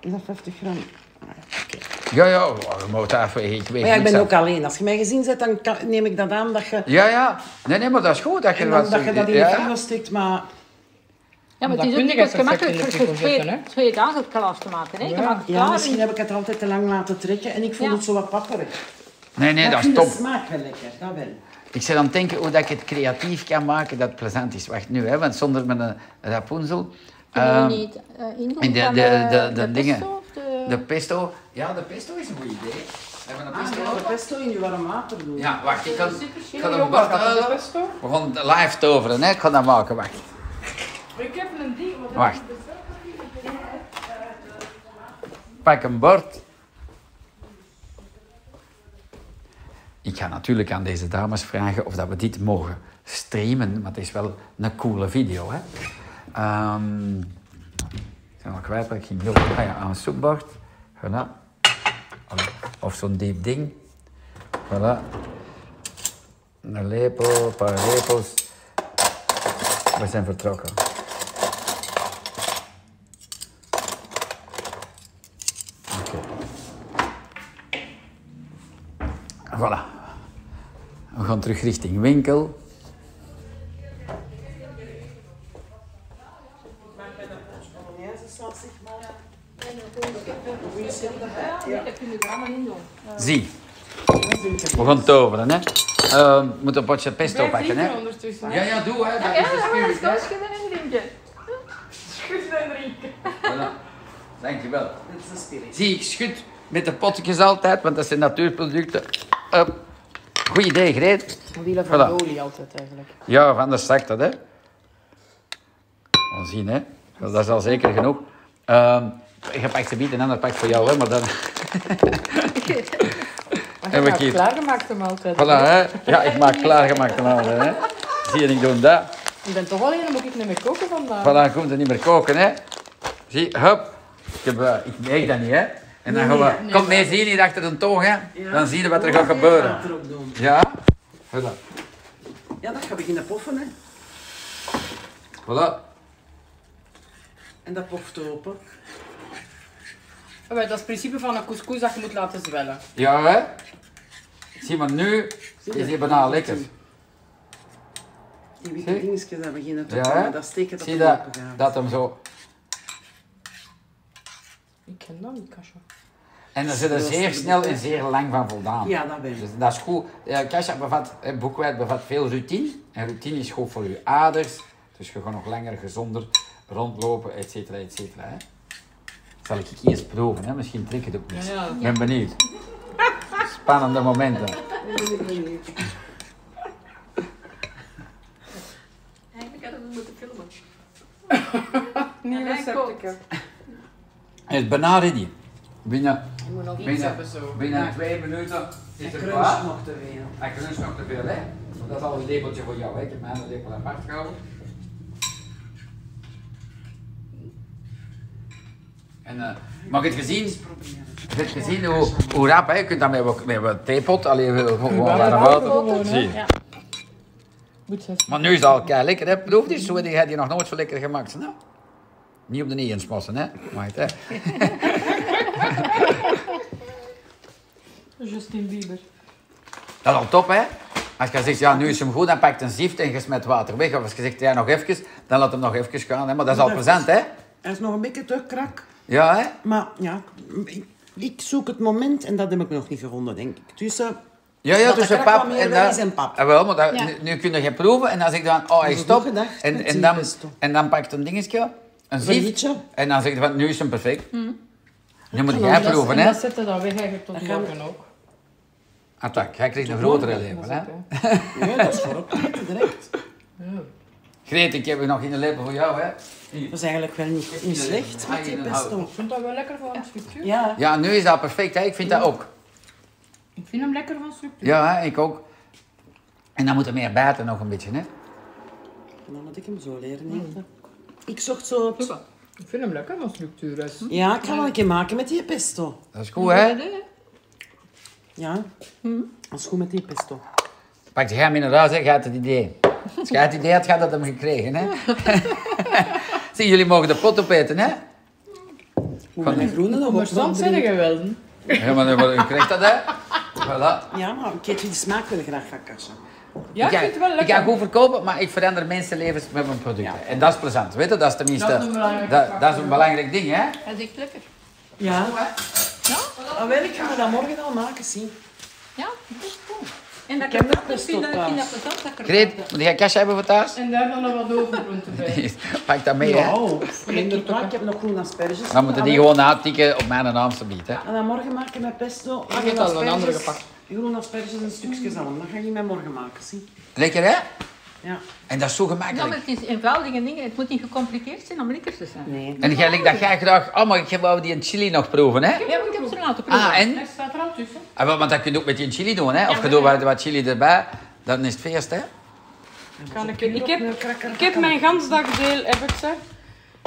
[SPEAKER 3] is dat 50 gram? Ah, oké.
[SPEAKER 1] Ja, ja, oh, je moet afwegen, ik weet
[SPEAKER 3] Maar ja, ik
[SPEAKER 1] niks
[SPEAKER 3] ben
[SPEAKER 1] aan.
[SPEAKER 3] ook alleen. Als je mij gezien zet, dan kan- neem ik dat aan dat je,
[SPEAKER 1] Ja, ja. Nee, nee, maar dat is goed dat je
[SPEAKER 3] en
[SPEAKER 1] wat...
[SPEAKER 3] dan, dat, je dat in de
[SPEAKER 1] ja.
[SPEAKER 3] frigo steekt. Maar
[SPEAKER 11] Ja, maar
[SPEAKER 6] Dat
[SPEAKER 11] het is ook
[SPEAKER 6] kun
[SPEAKER 11] niet
[SPEAKER 6] je
[SPEAKER 11] wat
[SPEAKER 6] perfect
[SPEAKER 11] gemakkelijk
[SPEAKER 6] in de
[SPEAKER 11] voor
[SPEAKER 6] frigo
[SPEAKER 11] voor twee,
[SPEAKER 6] zetten, hè?
[SPEAKER 11] twee dagen klaar te maken. Hè? Je maakt het
[SPEAKER 3] ja,
[SPEAKER 11] klaar
[SPEAKER 3] misschien
[SPEAKER 11] in
[SPEAKER 3] heb ik het altijd te lang laten trekken en ik vond
[SPEAKER 11] Ja.
[SPEAKER 3] het zo wat papperig.
[SPEAKER 1] Nee, nee,
[SPEAKER 3] Maar
[SPEAKER 1] dat
[SPEAKER 3] ik
[SPEAKER 1] is
[SPEAKER 3] vind
[SPEAKER 1] top.
[SPEAKER 3] de smaak wel lekker, dat wel.
[SPEAKER 1] Ik zit aan het denken hoe dat ik het creatief kan maken dat het plezant is. Wacht nu, hè, want zonder mijn eh, Rapunzel...
[SPEAKER 11] kunnen
[SPEAKER 1] ehm,
[SPEAKER 11] we niet eh, indoen.
[SPEAKER 1] en de-
[SPEAKER 11] van,
[SPEAKER 1] de-
[SPEAKER 11] eh,
[SPEAKER 1] de- de dingen.
[SPEAKER 11] pesto of de-
[SPEAKER 1] de pesto... Ja, de pesto is een goed idee. Hebben we een pesto
[SPEAKER 3] Ah,
[SPEAKER 1] over?
[SPEAKER 3] ja, pesto in je warm water doen.
[SPEAKER 1] Ja, wacht, ik kan... Ik kan hem
[SPEAKER 6] Yoghurt,
[SPEAKER 1] wat
[SPEAKER 6] gaat dat
[SPEAKER 1] halen.
[SPEAKER 6] de pesto?
[SPEAKER 1] We gaan het live toveren, hè. Ik ga dat maken, wacht.
[SPEAKER 6] Ik heb een ding. wat-
[SPEAKER 1] Wacht. Pak een bord. Ik ga natuurlijk aan deze dames vragen of dat we dit mogen streamen, maar het is wel een coole video. Hè? Ehm, ik ben al kwijt wat ik ging doen. Ah ja, aan een soepbord. Voilà. Of zo'n diep ding. Voilà. Een lepel, een paar lepels. We zijn vertrokken. Oké. Voilà. We gaan terug richting winkel.
[SPEAKER 11] Dat kun je er allemaal in doen.
[SPEAKER 1] Zie. We gaan toveren, hè. Ehm, we moeten een potje pesto
[SPEAKER 6] Blijf
[SPEAKER 1] pakken,
[SPEAKER 6] drinken
[SPEAKER 1] hè.
[SPEAKER 6] ondertussen.
[SPEAKER 1] Ja, ja, doe, hè. Dat is de spirit, hè.
[SPEAKER 6] Schudden en drinken.
[SPEAKER 1] Voilà. Dankjewel.
[SPEAKER 3] Dat is de spirit.
[SPEAKER 1] Zie, ik schud met de potjes altijd, want dat zijn natuurproducten. Hup. Goed idee, Greet.
[SPEAKER 6] Wielen
[SPEAKER 1] van Voilà. de
[SPEAKER 6] olie altijd eigenlijk.
[SPEAKER 1] Ja, van de zakt dat, hè. Gaan zien, hè. Dat is al zeker genoeg. Ehm je pakt ze niet, een ander pakt voor jou, hè. Maar dan...
[SPEAKER 6] Maar
[SPEAKER 1] En
[SPEAKER 6] je
[SPEAKER 1] we
[SPEAKER 6] hebt
[SPEAKER 1] kiezen.
[SPEAKER 6] klaargemaakt hem altijd.
[SPEAKER 1] Voilà, hè? Ja, ik maak klaargemaakt en alles, hè? Zie je, ik doe dat.
[SPEAKER 2] Ik ben toch wel hier, dan moet ik niet meer koken vandaag.
[SPEAKER 1] Voilà, komt er niet meer koken, hè. Zie, hup. Ik, heb, eh, ik merk dat niet, hè. En dan gaan we...
[SPEAKER 3] nee,
[SPEAKER 1] Kom, nee, zie je niet achter de toog, hè. Dan zie je wat er gaat gebeuren.
[SPEAKER 3] Water op doen.
[SPEAKER 1] Ja? Voilà.
[SPEAKER 3] Ja, dat gaat beginnen poffen, hè.
[SPEAKER 1] Voilà.
[SPEAKER 3] En dat poft open.
[SPEAKER 2] Ja, Dat is het principe van een couscous dat je moet laten zwellen.
[SPEAKER 1] Ja, hè. Zie, maar nu is die banaal lekker.
[SPEAKER 3] Die witte dingetjes dat beginnen te
[SPEAKER 1] Hm? Ja, hè?
[SPEAKER 3] komen, dat steken dat
[SPEAKER 1] Zie
[SPEAKER 3] er
[SPEAKER 1] dat,
[SPEAKER 3] open gaat.
[SPEAKER 1] dat hem zo...
[SPEAKER 2] Ik ken dat niet, Kasja.
[SPEAKER 1] En daar zitten zeer snel en zeer lang van voldaan.
[SPEAKER 2] Ja, dat weet ik.
[SPEAKER 1] Dus dat is goed. Eh, Kasja bevat, eh, boekwijd bevat veel routine. En routine is goed voor je aders. Dus je gaat nog langer gezonder rondlopen, et cetera, et cetera. Hè. Zal ik eerst proeven, hè? misschien trek ik het ook niet.
[SPEAKER 2] Ja, ja.
[SPEAKER 1] Ik ben benieuwd. Spannende momenten.
[SPEAKER 5] Eigenlijk hadden we moeten filmen.
[SPEAKER 6] Nieuw
[SPEAKER 5] En hij
[SPEAKER 6] receptje.
[SPEAKER 1] Het is bijna ready. Binnen,
[SPEAKER 2] Ik moet nog iets
[SPEAKER 1] binnen,
[SPEAKER 2] hebben zo.
[SPEAKER 1] binnen twee minuten is
[SPEAKER 3] En
[SPEAKER 1] het
[SPEAKER 3] crunch
[SPEAKER 1] klaar.
[SPEAKER 3] nog te veel.
[SPEAKER 1] Hij crunch nog te veel, hè? Want dat is al een lepeltje voor jou, hè? Ik heb mijn lepel apart gehouden. En, eh, maar je hebt gezien, je hebt gezien hoe, hoe rap, hè? Je kunt dat met, wat- met wat theepot, alleen gewoon gewoon warm water. Zie.
[SPEAKER 2] Ja. Moet je
[SPEAKER 1] Maar nu is het al kei lekker, hè? Proef die, zo die had je nog nooit zo lekker gemaakt. Nou, niet op de nieën smossen, hè? Maakt, hè?
[SPEAKER 6] Justin Bieber.
[SPEAKER 1] Dat is al top, hè? Als je zegt, ja, nu is hem goed, dan pakt een zift en je smet water weg. Of als je zegt, ja, nog even, dan laat hem nog even gaan. Hè? Maar dat is al plezant, hè?
[SPEAKER 3] Hij is nog een beetje te krak.
[SPEAKER 1] Ja, hè?
[SPEAKER 3] Maar ja, ik, ik zoek het moment en dat heb ik nog niet gevonden, denk ik. Dus, eh, Tussen...
[SPEAKER 1] Ja, ja,
[SPEAKER 3] dat
[SPEAKER 1] tussen
[SPEAKER 3] de krak
[SPEAKER 1] pap
[SPEAKER 3] wat meer
[SPEAKER 1] en
[SPEAKER 3] wel
[SPEAKER 1] dat.
[SPEAKER 3] is en pap.
[SPEAKER 1] Ah, wel, maar dat,
[SPEAKER 3] Ja.
[SPEAKER 1] nu, nu kun je proeven en dan zeg je dan, oh, hij
[SPEAKER 3] is
[SPEAKER 1] stopt.
[SPEAKER 3] goed gedacht,
[SPEAKER 1] En,
[SPEAKER 3] met
[SPEAKER 1] en,
[SPEAKER 3] die
[SPEAKER 1] dan,
[SPEAKER 3] pesto.
[SPEAKER 1] en dan pakt een dingetje, een
[SPEAKER 3] Een
[SPEAKER 1] zift.
[SPEAKER 3] liedje.
[SPEAKER 1] En dan zeg je van, nu is hem perfect. Nu moet jij proeven, hè?
[SPEAKER 2] Dat zetten dan weg eigenlijk tot morgen ook.
[SPEAKER 1] Attack, jij krijgt een grotere lepel, hè?
[SPEAKER 3] Ja, dat is voorop direct.
[SPEAKER 1] Greet, ik heb er nog in de lepel voor jou, hè?
[SPEAKER 3] Dat is eigenlijk wel niet, niet slecht met die pesto.
[SPEAKER 2] Ik vind dat wel lekker van structuur.
[SPEAKER 3] Ja.
[SPEAKER 1] Ja, nu is dat perfect, hè? Ik vind dat ook.
[SPEAKER 2] Ik vind hem lekker van structuur.
[SPEAKER 1] Ja, hè, ik ook. En dan moet er meer bijten nog een beetje, hè?
[SPEAKER 3] En dan moet ik hem zo leren eten. Hmm. Ik zocht zo... het-
[SPEAKER 2] Ik vind hem lekker van structuur. dus. hè.
[SPEAKER 3] Ja, ik ga wel een keer maken met die pesto.
[SPEAKER 1] Dat is goed, hè?
[SPEAKER 3] Ja, dat is goed met die pesto.
[SPEAKER 1] Pak jij hem in de ruis, hè? Gaat het idee. Als jij het idee had, gaat dat hem gekregen, hè? Zie, jullie mogen de pot opeten, hè? Van
[SPEAKER 3] Hoe met de
[SPEAKER 1] die-
[SPEAKER 3] groene nog
[SPEAKER 2] Maar
[SPEAKER 3] op
[SPEAKER 2] soms zijn er geweldig.
[SPEAKER 1] Ja, maar maar je krijgt dat, hè? Voilà.
[SPEAKER 3] Ja, maar ik eet die smaak wel graag van Kasia.
[SPEAKER 2] Ja, ik
[SPEAKER 1] ga-
[SPEAKER 2] vind het wel lekker.
[SPEAKER 1] Ik ga goed verkopen, maar ik verander mensenlevens met mijn producten. En dat is plezant, weet je? Dat is tenminste...
[SPEAKER 2] Dat is een belangrijk
[SPEAKER 1] dat,
[SPEAKER 2] factor.
[SPEAKER 1] dat is een belangrijk ding, hè?
[SPEAKER 5] Hij zegt lekker.
[SPEAKER 3] Ja. Ah, wel, ik ga me dat morgen al maken, zie.
[SPEAKER 5] Ja, dat is goed. En dat
[SPEAKER 3] Ik heb
[SPEAKER 5] kan
[SPEAKER 3] nog
[SPEAKER 5] ik
[SPEAKER 3] best
[SPEAKER 5] vind dat-
[SPEAKER 3] op,
[SPEAKER 5] ik vind
[SPEAKER 3] eh,
[SPEAKER 5] dat plezant dat ik er
[SPEAKER 1] Greet, moet jij cash hebben voor thuis?
[SPEAKER 2] En daar dan nog wat overgroenten bij.
[SPEAKER 1] Pak dat mee, hè?
[SPEAKER 3] Nou, minder kwaad. Ik heb nog groene asperges.
[SPEAKER 1] Dan moeten die
[SPEAKER 3] Ah, wel.
[SPEAKER 1] gewoon natikken op mijn Amsterdam, hè?
[SPEAKER 3] En dan morgen maken met pesto. Ik
[SPEAKER 2] heb al een andere gepakt.
[SPEAKER 3] Groene asperges en stukjes zalm. Dat ga ik met morgen maken, zie.
[SPEAKER 1] Lekker, hè?
[SPEAKER 3] Ja.
[SPEAKER 1] En dat is zo
[SPEAKER 5] Ja, maar
[SPEAKER 1] gemakkelijk.
[SPEAKER 5] het is eenvoudige dingen. Het moet niet gecompliceerd zijn om lekker te zijn.
[SPEAKER 3] Nee.
[SPEAKER 1] En jij lijkt dat jij graag... Oh, maar ik wou die in chili nog proeven, hè?
[SPEAKER 5] Ja, maar ik heb ze laten proeven.
[SPEAKER 1] Ah, en?
[SPEAKER 2] Hij staat er al tussen.
[SPEAKER 1] Ah, wel, want dat kun je ook met die chili doen, hè? Of
[SPEAKER 5] Ja,
[SPEAKER 1] je doet
[SPEAKER 5] maar-
[SPEAKER 1] wat, wat chili erbij, dan is het feest, hè?
[SPEAKER 2] Ik heb, ik heb mijn gans dagdeel, heb ik ze.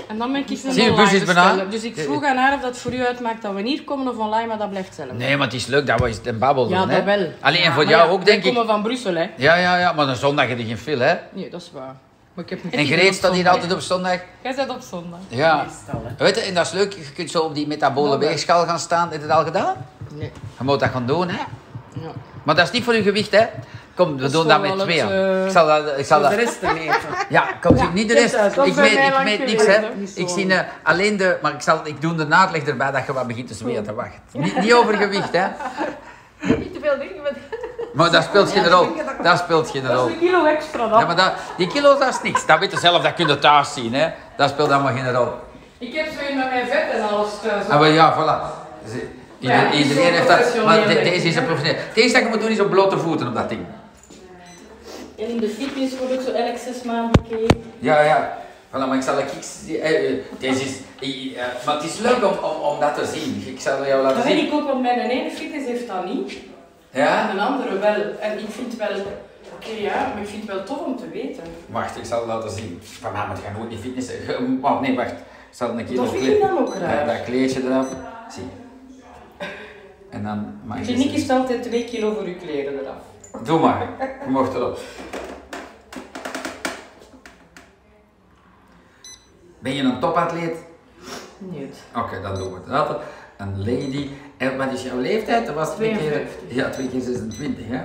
[SPEAKER 2] En dan ben ik iets
[SPEAKER 1] Zie je,
[SPEAKER 2] online
[SPEAKER 1] bus is bijna. Eh,
[SPEAKER 2] bestellen. Dus ik vroeg aan haar of dat voor u uitmaakt dat we hier komen of online, maar dat blijft zelf.
[SPEAKER 1] Nee, maar het is leuk dat we eens een babbel
[SPEAKER 2] Ja,
[SPEAKER 1] doen, hè?
[SPEAKER 2] dat wel.
[SPEAKER 1] Alleen en
[SPEAKER 2] Ja,
[SPEAKER 1] voor
[SPEAKER 2] maar
[SPEAKER 1] jou
[SPEAKER 2] ja,
[SPEAKER 1] ook, denk
[SPEAKER 2] Wij
[SPEAKER 1] ik.
[SPEAKER 2] komen van Brussel, hè.
[SPEAKER 1] Ja, ja, ja, maar een zondag heb je geen veel, hè?
[SPEAKER 2] Nee, dat is waar. Maar ik heb niet
[SPEAKER 1] En Greet staat hier altijd op zondag.
[SPEAKER 2] Jij zit op zondag.
[SPEAKER 1] Ja.
[SPEAKER 3] Meestal, hè.
[SPEAKER 1] Weet je, en dat is leuk, je kunt zo op die metabole
[SPEAKER 2] Nou, Dat wel.
[SPEAKER 1] weegschaal gaan staan. Heb je dat al gedaan?
[SPEAKER 2] Nee.
[SPEAKER 1] Je moet dat gaan doen, hè?
[SPEAKER 2] Ja.
[SPEAKER 1] Maar dat is niet voor je gewicht, hè? Kom, we
[SPEAKER 2] is
[SPEAKER 1] doen dat met
[SPEAKER 2] wel het,
[SPEAKER 1] tweeën.
[SPEAKER 2] eh,
[SPEAKER 1] Ik zal dat... Ik zal
[SPEAKER 3] Zal Dus de
[SPEAKER 1] dat...
[SPEAKER 3] rest te eten.
[SPEAKER 1] Ja, kom, zie, niet de
[SPEAKER 2] Ja,
[SPEAKER 1] rest.
[SPEAKER 2] dat is
[SPEAKER 1] ik
[SPEAKER 2] bij
[SPEAKER 1] meet,
[SPEAKER 2] mij
[SPEAKER 1] ik
[SPEAKER 2] lang
[SPEAKER 1] meet niks,
[SPEAKER 2] geweest,
[SPEAKER 1] hè.
[SPEAKER 2] hè.
[SPEAKER 3] Niet
[SPEAKER 1] Ik
[SPEAKER 3] zo.
[SPEAKER 1] zie eh, alleen de... Maar ik, zal, ik doe de naadleg erbij dat je wat begint te zweten. Wacht. Niet, niet over gewicht, hè.
[SPEAKER 5] Niet te veel dingen, want
[SPEAKER 1] Maar dat speelt geen rol. Dat speelt geen
[SPEAKER 6] Dat
[SPEAKER 1] rol.
[SPEAKER 6] is een kilo extra dan.
[SPEAKER 1] Ja, maar dat, die kilo's, dat is niks. Dat weet je zelf, dat kun je thuis zien, hè. Dat speelt allemaal geen rol.
[SPEAKER 6] Ik heb zo in met mijn vet en alles
[SPEAKER 2] eh,
[SPEAKER 6] thuis.
[SPEAKER 1] Ah, maar ja, voilà. Ze-
[SPEAKER 6] Ja,
[SPEAKER 1] Iedereen,
[SPEAKER 6] die is
[SPEAKER 1] iedereen
[SPEAKER 6] wel
[SPEAKER 1] heeft dat...
[SPEAKER 6] professioneel,
[SPEAKER 1] Maar de-
[SPEAKER 6] denk
[SPEAKER 1] deze
[SPEAKER 6] ik,
[SPEAKER 1] is een
[SPEAKER 6] hè.
[SPEAKER 1] professioneel. Het eerste dat je moet doen is op blote voeten op dat ding.
[SPEAKER 2] En in de fitness word ik zo elk zes maanden bekeken.
[SPEAKER 1] Ja, ja. Voilà, maar ik zal... Ik, ik- eh, eh, deze is... eh, eh, maar het is leuk om, om, om dat te zien. Ik zal jou laten
[SPEAKER 2] Dat
[SPEAKER 1] zien.
[SPEAKER 2] weet ik ook, want mijn ene fitness heeft dat niet.
[SPEAKER 1] Ja?
[SPEAKER 2] En de andere wel. En ik vind wel, Oké, ja, maar ik vind het wel tof om te weten.
[SPEAKER 1] Wacht, ik zal laten zien. Vanavond gaan we ook niet fitnessen. Ge- Oh nee, wacht. Ik zal een keer
[SPEAKER 2] Dat
[SPEAKER 1] dat
[SPEAKER 2] vind
[SPEAKER 1] kleed-
[SPEAKER 2] ik dan ook raar.
[SPEAKER 1] dat, dat kleedje eraf. Zie. En dan mag je...
[SPEAKER 2] Kliniek is altijd 2 kilo voor uw kleren eraf.
[SPEAKER 1] Doe maar. Je mocht erop. Ben je een topatleet?
[SPEAKER 2] Niet.
[SPEAKER 1] Oké, dan doen we het later. Een lady. En wat is jouw leeftijd? Dat was twee keer,
[SPEAKER 2] 52.
[SPEAKER 1] ja, twee keer 26, hè? Ah,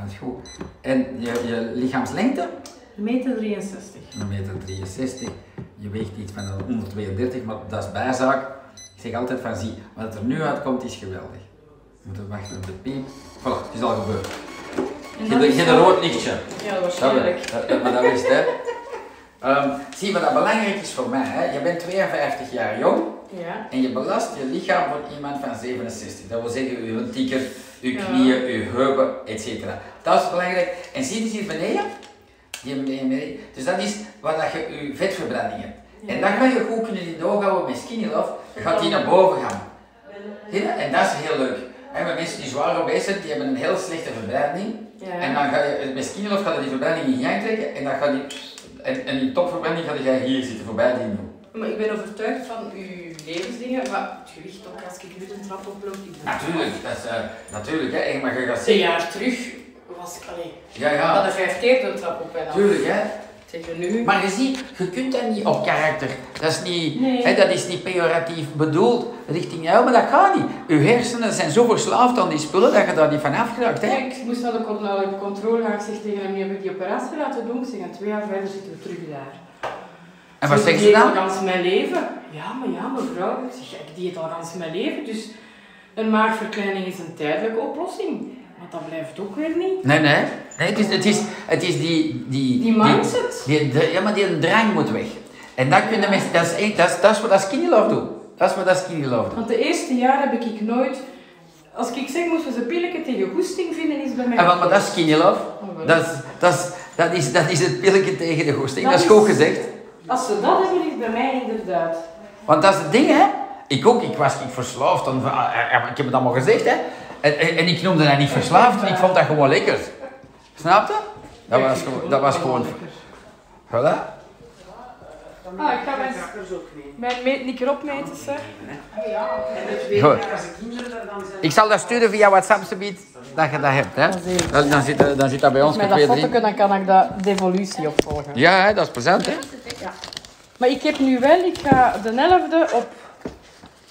[SPEAKER 1] Dat is goed. En je, je lichaamslengte?
[SPEAKER 2] Meter 63.
[SPEAKER 1] 1,63 meter. 63. Je weegt iets van 132, maar dat is bijzaak. Ik zeg altijd van zie, wat er nu uitkomt is geweldig. We moeten wachten op de piep. Voilà, het is al gebeurd.
[SPEAKER 2] En
[SPEAKER 1] Geen
[SPEAKER 2] dat is
[SPEAKER 1] geen
[SPEAKER 2] wel-
[SPEAKER 1] rood lichtje.
[SPEAKER 2] Ja, waarschijnlijk.
[SPEAKER 1] Dat, dat, maar dat is het, hè. Ehm, zie, wat dat belangrijk is voor mij, hè. je bent 52 jaar jong
[SPEAKER 2] Ja.
[SPEAKER 1] en je belast je lichaam voor iemand van 67. Dat wil zeggen, je tikker, je
[SPEAKER 2] Ja.
[SPEAKER 1] knieën, je heupen, etc. Dat is belangrijk. En zie je dus hier beneden? Die beneden. Dus dat is waar dat je je vetverbranding hebt.
[SPEAKER 2] Ja.
[SPEAKER 1] En dat ga je goed kunnen in de ogen houden met skinny love. Je gaat die naar boven gaan. Zie je? En dat is heel leuk. En met mensen die zwaar obese zijn, die hebben een heel slechte verbranding.
[SPEAKER 2] Ja.
[SPEAKER 1] En dan ga je, met skinnylof gaat die verbranding in gang trekken en dan gaat die, en, en die topverbranding ga jij hier zitten, voorbij die noem.
[SPEAKER 2] Maar ik ben overtuigd van uw levensdingen, maar het gewicht ook als ik nu de trap oploop. Ik ben
[SPEAKER 1] Natuurlijk, dat is, eh, natuurlijk, hè. En- maar je gaat
[SPEAKER 2] Een
[SPEAKER 1] zien.
[SPEAKER 2] jaar terug was ik alleen.
[SPEAKER 1] Ja, ja.
[SPEAKER 2] We hadden vijf keer de trap op en af.
[SPEAKER 1] Tuurlijk, hè.
[SPEAKER 2] Tegen nu.
[SPEAKER 1] Maar je ziet, je kunt dat niet op karakter. Dat is niet,
[SPEAKER 2] Nee.
[SPEAKER 1] hè, dat is niet pejoratief bedoeld richting jou, maar dat gaat niet. Je hersenen zijn zo verslaafd aan die spullen dat je daar niet van afgeraakt, hè.
[SPEAKER 2] Ik moest naar de, con- naar de controle gaan. Ik zeg tegen hem, je hebt die operatie laten doen. Ik zeg, en twee jaar verder zitten we terug daar.
[SPEAKER 1] En wat
[SPEAKER 2] Ze
[SPEAKER 1] zegt ze
[SPEAKER 2] dieet
[SPEAKER 1] dan?
[SPEAKER 2] al gans mijn leven. Ja, maar ja, mevrouw. Ik zeg, ja, ik dieet al gans mijn leven. Dus een maagverkleining is een tijdelijke oplossing. Maar dat blijft ook weer niet.
[SPEAKER 1] Nee, nee. nee het, is, het, is, het is die... Die,
[SPEAKER 2] Die mindset.
[SPEAKER 1] die- die- ja, maar die drang moet weg. En dat kunnen mensen... Dat is, echt- dat is, dat is wat dat skinny love doet. Dat is wat dat skinny love doet.
[SPEAKER 2] Want de eerste jaren heb ik nooit... Als ik zeg, moesten ze pilletje tegen goesting vinden, is bij mij...
[SPEAKER 1] En wat, maar dat is skinny love. Dat is, dat is, dat is, dat is het pilletje tegen de goesting. Dat is goed gezegd.
[SPEAKER 2] Als ze dat hebben, is bij mij inderdaad.
[SPEAKER 1] Want dat is het ding, hè. Ik ook. Ik was niet verslaafd. aan- ah, eh, eh, ik heb het allemaal gezegd, hè. En, en, en ik noemde dat niet verslaafd. Ik vond dat gewoon lekker. Snap je? Dat was, gewoon- dat was gewoon... Voilà.
[SPEAKER 2] Ah, ik ga mijn, mijn meetnikker opmeten, zeg.
[SPEAKER 3] Ja, en het
[SPEAKER 1] Goed.
[SPEAKER 3] weet als ik kinderen daar dan zijn.
[SPEAKER 1] Ik zal dat sturen via WhatsApp, subiet, dat je dat hebt. Hè? Dan, dan, zit, dat- dan zit dat bij ons
[SPEAKER 2] Met dat
[SPEAKER 1] gekleed
[SPEAKER 2] fotoken
[SPEAKER 1] in.
[SPEAKER 2] dan kan ik dat devolutie opvolgen.
[SPEAKER 1] Ja, hè, dat is plezant, hè?
[SPEAKER 2] Ja. Maar ik heb nu wel, ik ga de 11e op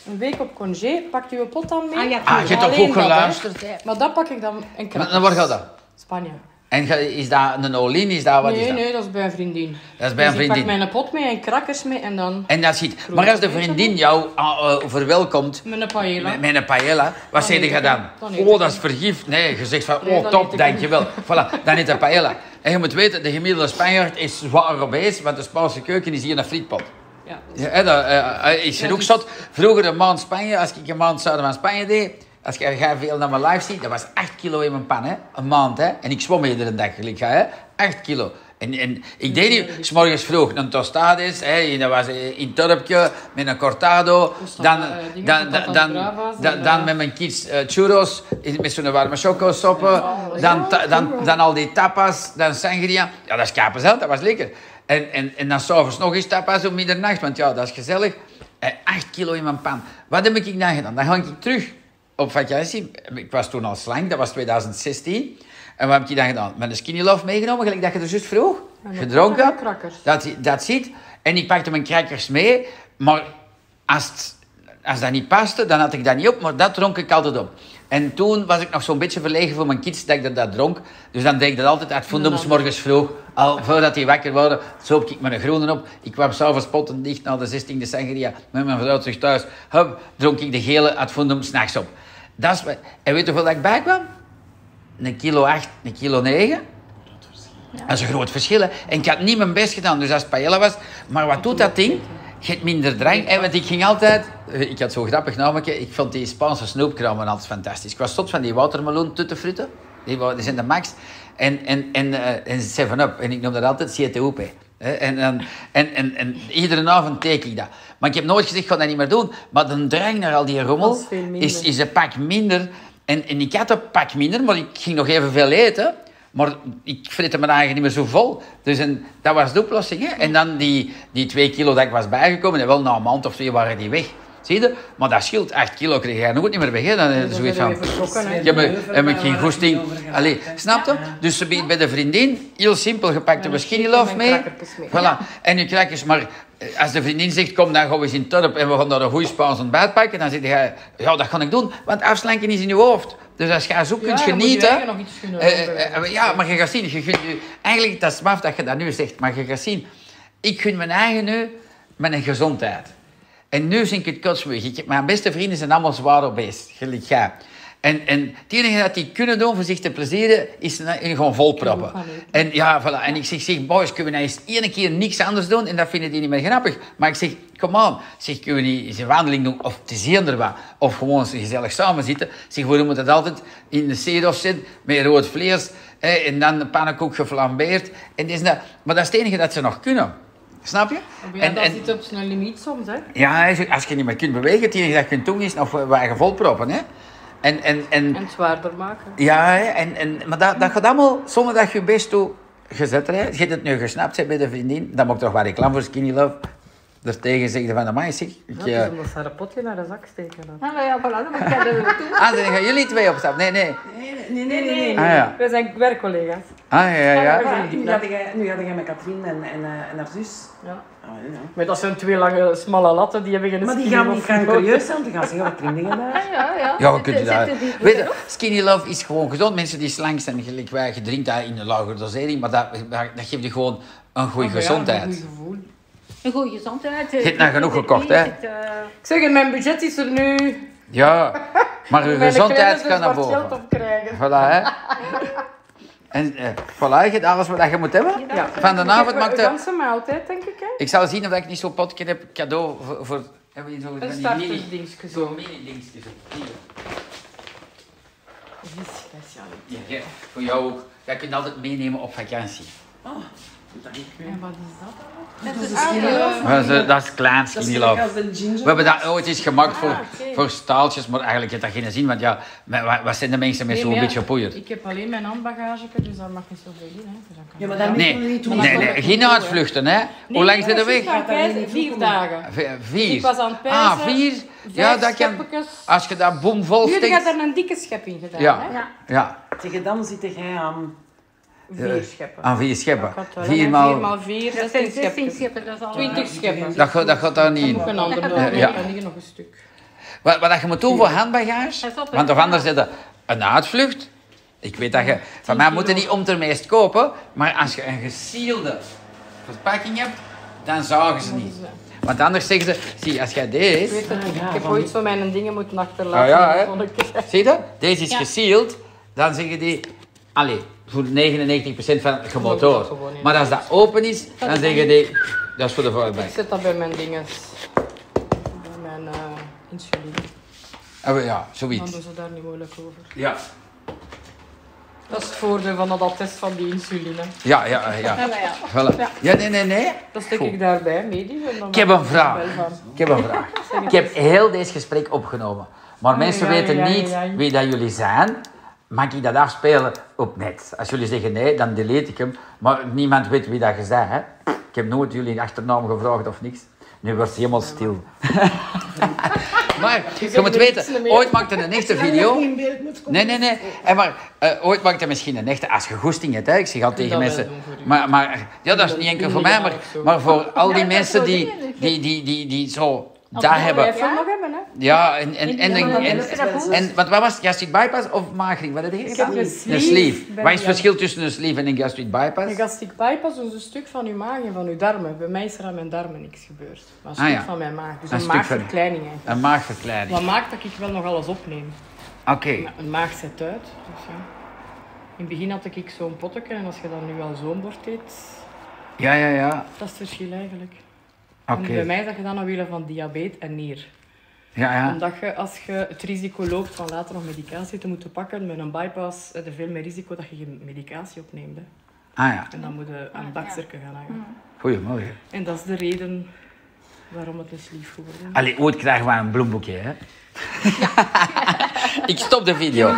[SPEAKER 2] een week op congé. Pakt u een pot dan mee? Ah,
[SPEAKER 1] Ah, je hebt toch goed geluisterd,
[SPEAKER 2] Maar dat pak ik dan en
[SPEAKER 1] Maar dan waar gaat dat?
[SPEAKER 2] Spanje.
[SPEAKER 1] En ga- is dat een olin? Is dat wat
[SPEAKER 2] nee,
[SPEAKER 1] is dat?
[SPEAKER 2] nee, dat is bij een vriendin.
[SPEAKER 1] Dat is bij een
[SPEAKER 2] Dus ik pak
[SPEAKER 1] vriendin.
[SPEAKER 2] mijn pot mee en krakkers mee en dan
[SPEAKER 1] En dat ziet. Maar als de vriendin jou ah, eh, verwelkomt
[SPEAKER 2] mijn paella.
[SPEAKER 1] met, met een paella, wat zeg je dan?
[SPEAKER 2] Dan eet ik
[SPEAKER 1] Oh, dat is vergif. Nee, je zegt van,
[SPEAKER 2] Nee,
[SPEAKER 1] oh
[SPEAKER 2] dan eet
[SPEAKER 1] top,
[SPEAKER 2] ik
[SPEAKER 1] dankjewel. Voilà, dan is een paella. En je moet weten, de gemiddelde Spanjaard is zwaar obese, want de Spaanse keuken is hier een frietpot.
[SPEAKER 2] Ja.
[SPEAKER 1] Ja, hè, dat, eh, eh, ik zit
[SPEAKER 2] Ja,
[SPEAKER 1] ook
[SPEAKER 2] dus-
[SPEAKER 1] zat. Vroeger een maand Spanje, als ik een maand zuiden van Spanje deed, als ik ga veel naar mijn live ziet, dat was 8 kilo in mijn pan, hè? Een maand, hè? En ik zwom iedere dag, gelijk ga, hè? 8 kilo. En, en ik deed niet, s'morgens vroeg een tostades, hè, dat was eh, in Turpje, met een cortado,
[SPEAKER 2] Tostadas,
[SPEAKER 1] dan,
[SPEAKER 2] eh, dingen,
[SPEAKER 1] dan, dan,
[SPEAKER 2] patatas
[SPEAKER 1] dan,
[SPEAKER 2] bravas en,
[SPEAKER 1] dan,
[SPEAKER 2] eh,
[SPEAKER 1] dan met mijn kids eh, churros, in- met zo'n warme chocosoppen,
[SPEAKER 2] alles.
[SPEAKER 1] dan, ta- dan, dan al die tapas, dan sangria. Ja, dat is kapenzeld, dat was lekker. En, en, en dan s'avonds nog eens tapas om middernacht, want ja, dat is gezellig. En 8 kilo in mijn pan. Wat heb ik dan gedaan? Dan ging ik terug op vakantie. Ik was toen al slank, dat was 2016. En wat heb ik dan gedaan? Met een skinny love meegenomen, gelijk dat je er juist vroeg.
[SPEAKER 2] En dan
[SPEAKER 1] Gedronken.
[SPEAKER 2] krakkers.
[SPEAKER 1] Dat, dat ziet. En ik pakte mijn crackers mee, maar als, het- als dat niet paste, dan had ik dat niet op, maar dat dronk ik altijd op. En toen was ik nog zo'n beetje verlegen voor mijn kids dat ik dat, dat dronk. Dus dan deed ik dat altijd uit voendum, s morgens vroeg, al voordat die wakker worden, zoop ik mijn groene op. Ik kwam s'avonds potten dicht na de 16e sangria met mijn vrouw terug thuis. Hup, dronk ik de gele uit voendum s'nachts op. Dat is, wat- en weet je hoeveel dat ik bijkwam? Een kilo acht, een kilo negen. Dat is een groot verschil. Hè? En ik had niet mijn best gedaan, dus als het paella was. Maar wat doet dat ding? Je hebt minder drang. En want ik ging altijd... eh, Ik had zo'n grappig namelijk. Ik vond die Spaanse snoepkramen altijd fantastisch. Ik was tot van die watermeloen tuttenfrutten. Die, wa- die zijn de max. En, en, en, eh, en Seven Up. En ik noem dat altijd CTOP. hè. En, en, en, en, en iedere avond teken ik dat. Maar ik heb nooit gezegd, ik ga dat niet meer doen. Maar de drang naar al die rommel
[SPEAKER 2] Dat is veel minder.
[SPEAKER 1] is, is een pak minder. En, en ik had een pak minder, maar ik ging nog even veel eten. Maar ik fritte mijn eigen niet meer zo vol. Dus en, dat was de oplossing. Hè? En dan die, die twee kilo dat ik was bijgekomen, en wel na een maand of twee waren die weg. Zie je? Maar dat scheelt, 8 kilo kreeg jij nooit niet meer weg. Hè? Dan is het zoiets van, ik heb, heb ik geen goesting. Allee, snap je? Dus ze biedt bij de vriendin, heel simpel, gepakt een skinny love mee. Voilà. En je crackers, maar eh, als de vriendin zegt, kom dan gaan we eens in het dorp en we gaan daar een goede spaans ontbijt pakken, dan zeg jij, ja dat ga ik doen, want afslanken is in je hoofd. Dus als je zo kunt
[SPEAKER 2] dan moet je
[SPEAKER 1] genieten...
[SPEAKER 2] eigen nog iets kunnen
[SPEAKER 1] eh,
[SPEAKER 2] overwinnen.
[SPEAKER 1] eh, ja, maar je gaat zien, je gunt je- eigenlijk dat is maf dat je dat nu zegt, maar je gaat zien, ik gun mijn eigen nu met een gezondheid. En nu zink ik het kotsweg. Ik heb- Mijn beste vrienden zijn allemaal zwaar obese, gelijk jij. En, en het enige dat die kunnen doen voor zich te plezieren, is na- hun gewoon volproppen. En, ja, voilà. en ik zeg, zeg, boys, kunnen we nou eens één keer niks anders doen? En dat vinden die niet meer grappig. Maar ik zeg, kom aan. Zeg, kunnen we niet eens een wandeling doen? Of te zeender wat? Of gewoon eens gezellig samen zitten? Zeg, waarom moet dat altijd in de zeerof zitten? Met rood vlees. hè, en dan de pannenkoek geflambeerd. En dit en dat. Maar dat is het enige dat ze nog kunnen. Snap je?
[SPEAKER 2] Ja,
[SPEAKER 1] En-
[SPEAKER 2] dat
[SPEAKER 1] en-
[SPEAKER 2] zit op zijn limiet soms, hè.
[SPEAKER 1] ja, als je- als je niet meer kunt bewegen, het enige dat je kunt doen is nog wat je volproppen. Hè? En, en, en,
[SPEAKER 2] En het zwaarder maken.
[SPEAKER 1] ja, hè, en, en, maar dat, dat gaat allemaal zonder dat je je best doet gezet. Hè? Als je het nu gesnapt hebt bij de vriendin, dan mag ik toch wel reclame voor Skinny Love. Daartegen zeggen van, amai zeg, ik...
[SPEAKER 12] Dat
[SPEAKER 1] eh,
[SPEAKER 12] is
[SPEAKER 2] dus
[SPEAKER 12] omdat ze haar potje naar de zak steken. dan.
[SPEAKER 11] Ah, maar ja, voilà, dan moet jij er naartoe.
[SPEAKER 1] Ah, dan gaan jullie twee op stap. Nee, nee.
[SPEAKER 12] Nee, nee, nee. nee, nee.
[SPEAKER 1] Ah, ja.
[SPEAKER 12] Wij zijn werkcollega's.
[SPEAKER 1] Ah, ja, ja. ja.
[SPEAKER 3] Nu had jij, nu had jij met Katrien en, en, eh, en haar zus.
[SPEAKER 12] Ja.
[SPEAKER 3] Ah, ja.
[SPEAKER 6] Maar dat zijn twee lange, smalle latten, die hebben geen
[SPEAKER 3] Maar die
[SPEAKER 6] skinny
[SPEAKER 3] gaan, die
[SPEAKER 6] of
[SPEAKER 3] gaan
[SPEAKER 6] nodig.
[SPEAKER 3] curieus zijn, die gaan zeggen, wat klinkt je daar?
[SPEAKER 11] Ja, ja.
[SPEAKER 1] Ja, we kunnen
[SPEAKER 11] Zet-
[SPEAKER 1] dat.
[SPEAKER 11] zet het niet
[SPEAKER 1] Weet je,
[SPEAKER 11] erop.
[SPEAKER 1] skinny love is gewoon gezond. Mensen die slank zijn, gelijk wij, je drinkt dat in een lagere dosering, maar dat, dat, dat geeft je gewoon een goede
[SPEAKER 2] Oh,
[SPEAKER 1] gezondheid.
[SPEAKER 11] Een goede gezondheid. eh,
[SPEAKER 1] Je hebt nou genoeg gekocht, hè?
[SPEAKER 6] Ik zeg, in mijn budget is er nu...
[SPEAKER 1] Ja, maar uw
[SPEAKER 6] Mijn
[SPEAKER 1] gezondheid
[SPEAKER 6] kleine
[SPEAKER 1] kan naar
[SPEAKER 6] dus wat
[SPEAKER 1] boven.
[SPEAKER 6] geld op krijgen.
[SPEAKER 1] Voilà, hè. En eh voilà, je hebt alles wat je moet hebben.
[SPEAKER 6] Ja.
[SPEAKER 1] Van de avond maakt
[SPEAKER 6] Een
[SPEAKER 1] het...
[SPEAKER 6] ganse maaltijd, denk ik, hè?
[SPEAKER 1] Ik zal zien of ik niet zo'n potje heb, cadeau voor... voor hebben we
[SPEAKER 6] Een
[SPEAKER 1] zo'n van die mini...
[SPEAKER 6] startersdingsje.
[SPEAKER 1] Zo'n mini-dingetje. zo. Hier. Ja, ja, voor jou ook. Dat kun je altijd meenemen op vakantie.
[SPEAKER 3] Oh, dank u. En
[SPEAKER 6] wat is dat dan?
[SPEAKER 3] Dat is
[SPEAKER 11] een
[SPEAKER 3] een
[SPEAKER 11] oude.
[SPEAKER 2] Ah,
[SPEAKER 3] skinny
[SPEAKER 1] Maar ze- dat is klein skinny love. We hebben dat ooit eens gemaakt voor,
[SPEAKER 2] Ah, oké.
[SPEAKER 1] voor staaltjes, maar eigenlijk heeft dat geen zin, want ja, maar wa- wat zijn de mensen met
[SPEAKER 2] Nee,
[SPEAKER 1] zo'n
[SPEAKER 2] maar ja,
[SPEAKER 1] beetje poeier?
[SPEAKER 2] Ik heb alleen mijn handbagage, dus daar mag niet zoveel in. Hè. Dus dat kan
[SPEAKER 3] Ja, maar
[SPEAKER 2] wel.
[SPEAKER 3] dan
[SPEAKER 1] Nee,
[SPEAKER 3] moeten we niet doen.
[SPEAKER 1] nee, nee, geen uitvluchten, hè? Hoe lang zijn er
[SPEAKER 2] nee, dat is
[SPEAKER 1] weg?
[SPEAKER 2] niet waar, wij zijn Vier dagen.
[SPEAKER 1] V- Vier.
[SPEAKER 2] Ik was aan het pijzen.
[SPEAKER 1] Ah, vier? Ja, dat kan.
[SPEAKER 2] scheppetjes.
[SPEAKER 1] Als je dat boom vol
[SPEAKER 2] Jullie
[SPEAKER 1] steekt.
[SPEAKER 2] hebben daar een dikke schep in gedaan,
[SPEAKER 1] Ja.
[SPEAKER 2] hè?
[SPEAKER 1] Ja,
[SPEAKER 3] Tegen dan zit jij aan...
[SPEAKER 1] eh,
[SPEAKER 2] Vier scheppen.
[SPEAKER 1] aan vier scheppen.
[SPEAKER 2] Dat gaat Oh, wel.
[SPEAKER 1] Ah, Vier
[SPEAKER 2] Vier
[SPEAKER 1] maal.
[SPEAKER 2] maal vier,
[SPEAKER 11] Dat
[SPEAKER 2] zestien
[SPEAKER 11] zijn 16
[SPEAKER 2] scheppen.
[SPEAKER 11] scheppen, dat is al.
[SPEAKER 2] Twintig scheppen.
[SPEAKER 1] Dat, gaat- dat gaat daar niet
[SPEAKER 2] Dan
[SPEAKER 1] in.
[SPEAKER 2] moet ik een ander doen.
[SPEAKER 1] Ja,
[SPEAKER 2] Nee,
[SPEAKER 1] ja.
[SPEAKER 2] dan liggen nog een stuk.
[SPEAKER 1] Wat, wat dat je moet doen voor handbagage?
[SPEAKER 11] Pas op, hè.
[SPEAKER 1] Want of anders zit er een uitvlucht. Ik weet dat je... Van mij moet je niet om ter meest kopen. Maar als je een gesielde verpakking hebt, dan zagen ze niet. Want anders zeggen ze... Zie, als jij
[SPEAKER 6] Ik
[SPEAKER 1] deze...
[SPEAKER 6] weet het niet.
[SPEAKER 3] ja,
[SPEAKER 6] Ik heb
[SPEAKER 3] van
[SPEAKER 6] ooit
[SPEAKER 3] die-
[SPEAKER 6] van mijn dingen moeten achterlaten.
[SPEAKER 1] Ah ja, hè?
[SPEAKER 6] Dat vond ik-
[SPEAKER 1] Zie je dat? Deze is
[SPEAKER 11] Ja.
[SPEAKER 1] gesield. Dan zeggen die... Allee, voor 99% van het
[SPEAKER 6] Dat
[SPEAKER 1] motor.
[SPEAKER 6] gewoon niet.
[SPEAKER 1] Maar als dat open is, dan zeggen die... Dat is voor de
[SPEAKER 6] Ik
[SPEAKER 1] voorbank.
[SPEAKER 6] zet dat bij mijn dingen. Bij mijn eh, insuline.
[SPEAKER 1] Ah, wel, Ja,
[SPEAKER 6] Dan
[SPEAKER 1] zoiets.
[SPEAKER 6] doen ze daar niet moeilijk over.
[SPEAKER 1] Ja.
[SPEAKER 6] Dat is het voordeel van dat attest van die insuline.
[SPEAKER 1] Ja, ja,
[SPEAKER 11] Ja,
[SPEAKER 1] ja.
[SPEAKER 11] maar Ah, ja.
[SPEAKER 1] Voilà. Ja, nee, nee, nee.
[SPEAKER 6] Dat stek
[SPEAKER 1] Goed.
[SPEAKER 6] ik daarbij mee. Die zijn dan
[SPEAKER 1] Ik heb
[SPEAKER 6] wel
[SPEAKER 1] een vraag.
[SPEAKER 6] van.
[SPEAKER 1] Ik heb een vraag. Ik heb heel dit gesprek opgenomen. Maar mensen
[SPEAKER 6] ja,
[SPEAKER 1] weten
[SPEAKER 6] ja, ja,
[SPEAKER 1] niet
[SPEAKER 6] ja.
[SPEAKER 1] wie dat jullie zijn. Mag ik dat afspelen op net? Als jullie zeggen nee, dan delete ik hem. Maar niemand weet wie dat je bent. Hè? Ik heb nooit jullie achternaam gevraagd of niks. Nu wordt het helemaal stil. maar je moet weten, ooit maakte een echte video. Nee, nee, nee. En maar eh, ooit maakt hij misschien een echte, als je goesting hebt, hè. ik zeg al tegen
[SPEAKER 6] dat
[SPEAKER 1] mensen.
[SPEAKER 6] wel doen voor u.
[SPEAKER 1] Maar, maar ja, dat is niet enkel voor mij, maar, maar voor al die
[SPEAKER 11] Ja, dat
[SPEAKER 1] mensen
[SPEAKER 11] soort
[SPEAKER 1] die,
[SPEAKER 11] dingen,
[SPEAKER 1] die, die, die, die zo dat
[SPEAKER 11] dat
[SPEAKER 1] hebben.
[SPEAKER 11] blijft-
[SPEAKER 6] Even nog hebben, hè?
[SPEAKER 1] Ja, en, en, en,
[SPEAKER 11] Ja,
[SPEAKER 1] en,
[SPEAKER 11] maar
[SPEAKER 1] en,
[SPEAKER 11] dat is dat goed.
[SPEAKER 1] en wat wat was het? Gastric bypass of maagring? Wat heb je
[SPEAKER 6] Ik heb
[SPEAKER 1] gedaan?
[SPEAKER 6] een
[SPEAKER 1] Een
[SPEAKER 6] sleeve.
[SPEAKER 1] sleeve.
[SPEAKER 6] bij
[SPEAKER 1] Wat is het
[SPEAKER 6] die-
[SPEAKER 1] verschil tussen een sleeve en een gastric bypass?
[SPEAKER 6] Een gastric bypass is een stuk van uw maag en van uw darmen. Bij mij is er aan mijn darmen niks gebeurd. Maar een
[SPEAKER 1] Ah,
[SPEAKER 6] stuk
[SPEAKER 1] ja.
[SPEAKER 6] van mijn maag. Dus
[SPEAKER 1] Een
[SPEAKER 6] een,
[SPEAKER 1] stuk van-
[SPEAKER 6] maagverkleining eigenlijk.
[SPEAKER 1] Een maagverkleining.
[SPEAKER 6] Wat maakt dat ik wel nog alles opneem?
[SPEAKER 1] Oké.
[SPEAKER 6] Ja, Een maag zet uit. Dus ja. In het begin had ik zo'n potje en als je dan nu al zo'n bord eet,
[SPEAKER 1] Ja, ja, ja.
[SPEAKER 6] dat is het verschil eigenlijk.
[SPEAKER 1] Oké.
[SPEAKER 6] En bij mij is dat je dan aan willen van diabetes en nier.
[SPEAKER 1] Ja, ja.
[SPEAKER 6] Omdat je als je het risico loopt van later nog medicatie te moeten pakken, met een bypass heb je veel meer risico dat je geen medicatie opneemt. Hè.
[SPEAKER 1] Ah ja. Mm.
[SPEAKER 6] En dan moet je aan het baksterken gaan hangen.
[SPEAKER 1] Goedemorgen.
[SPEAKER 6] En dat is de reden waarom het een sleeve geworden is.
[SPEAKER 1] Allee, ooit krijgen we een bloemboekje, hè? ik stop de video.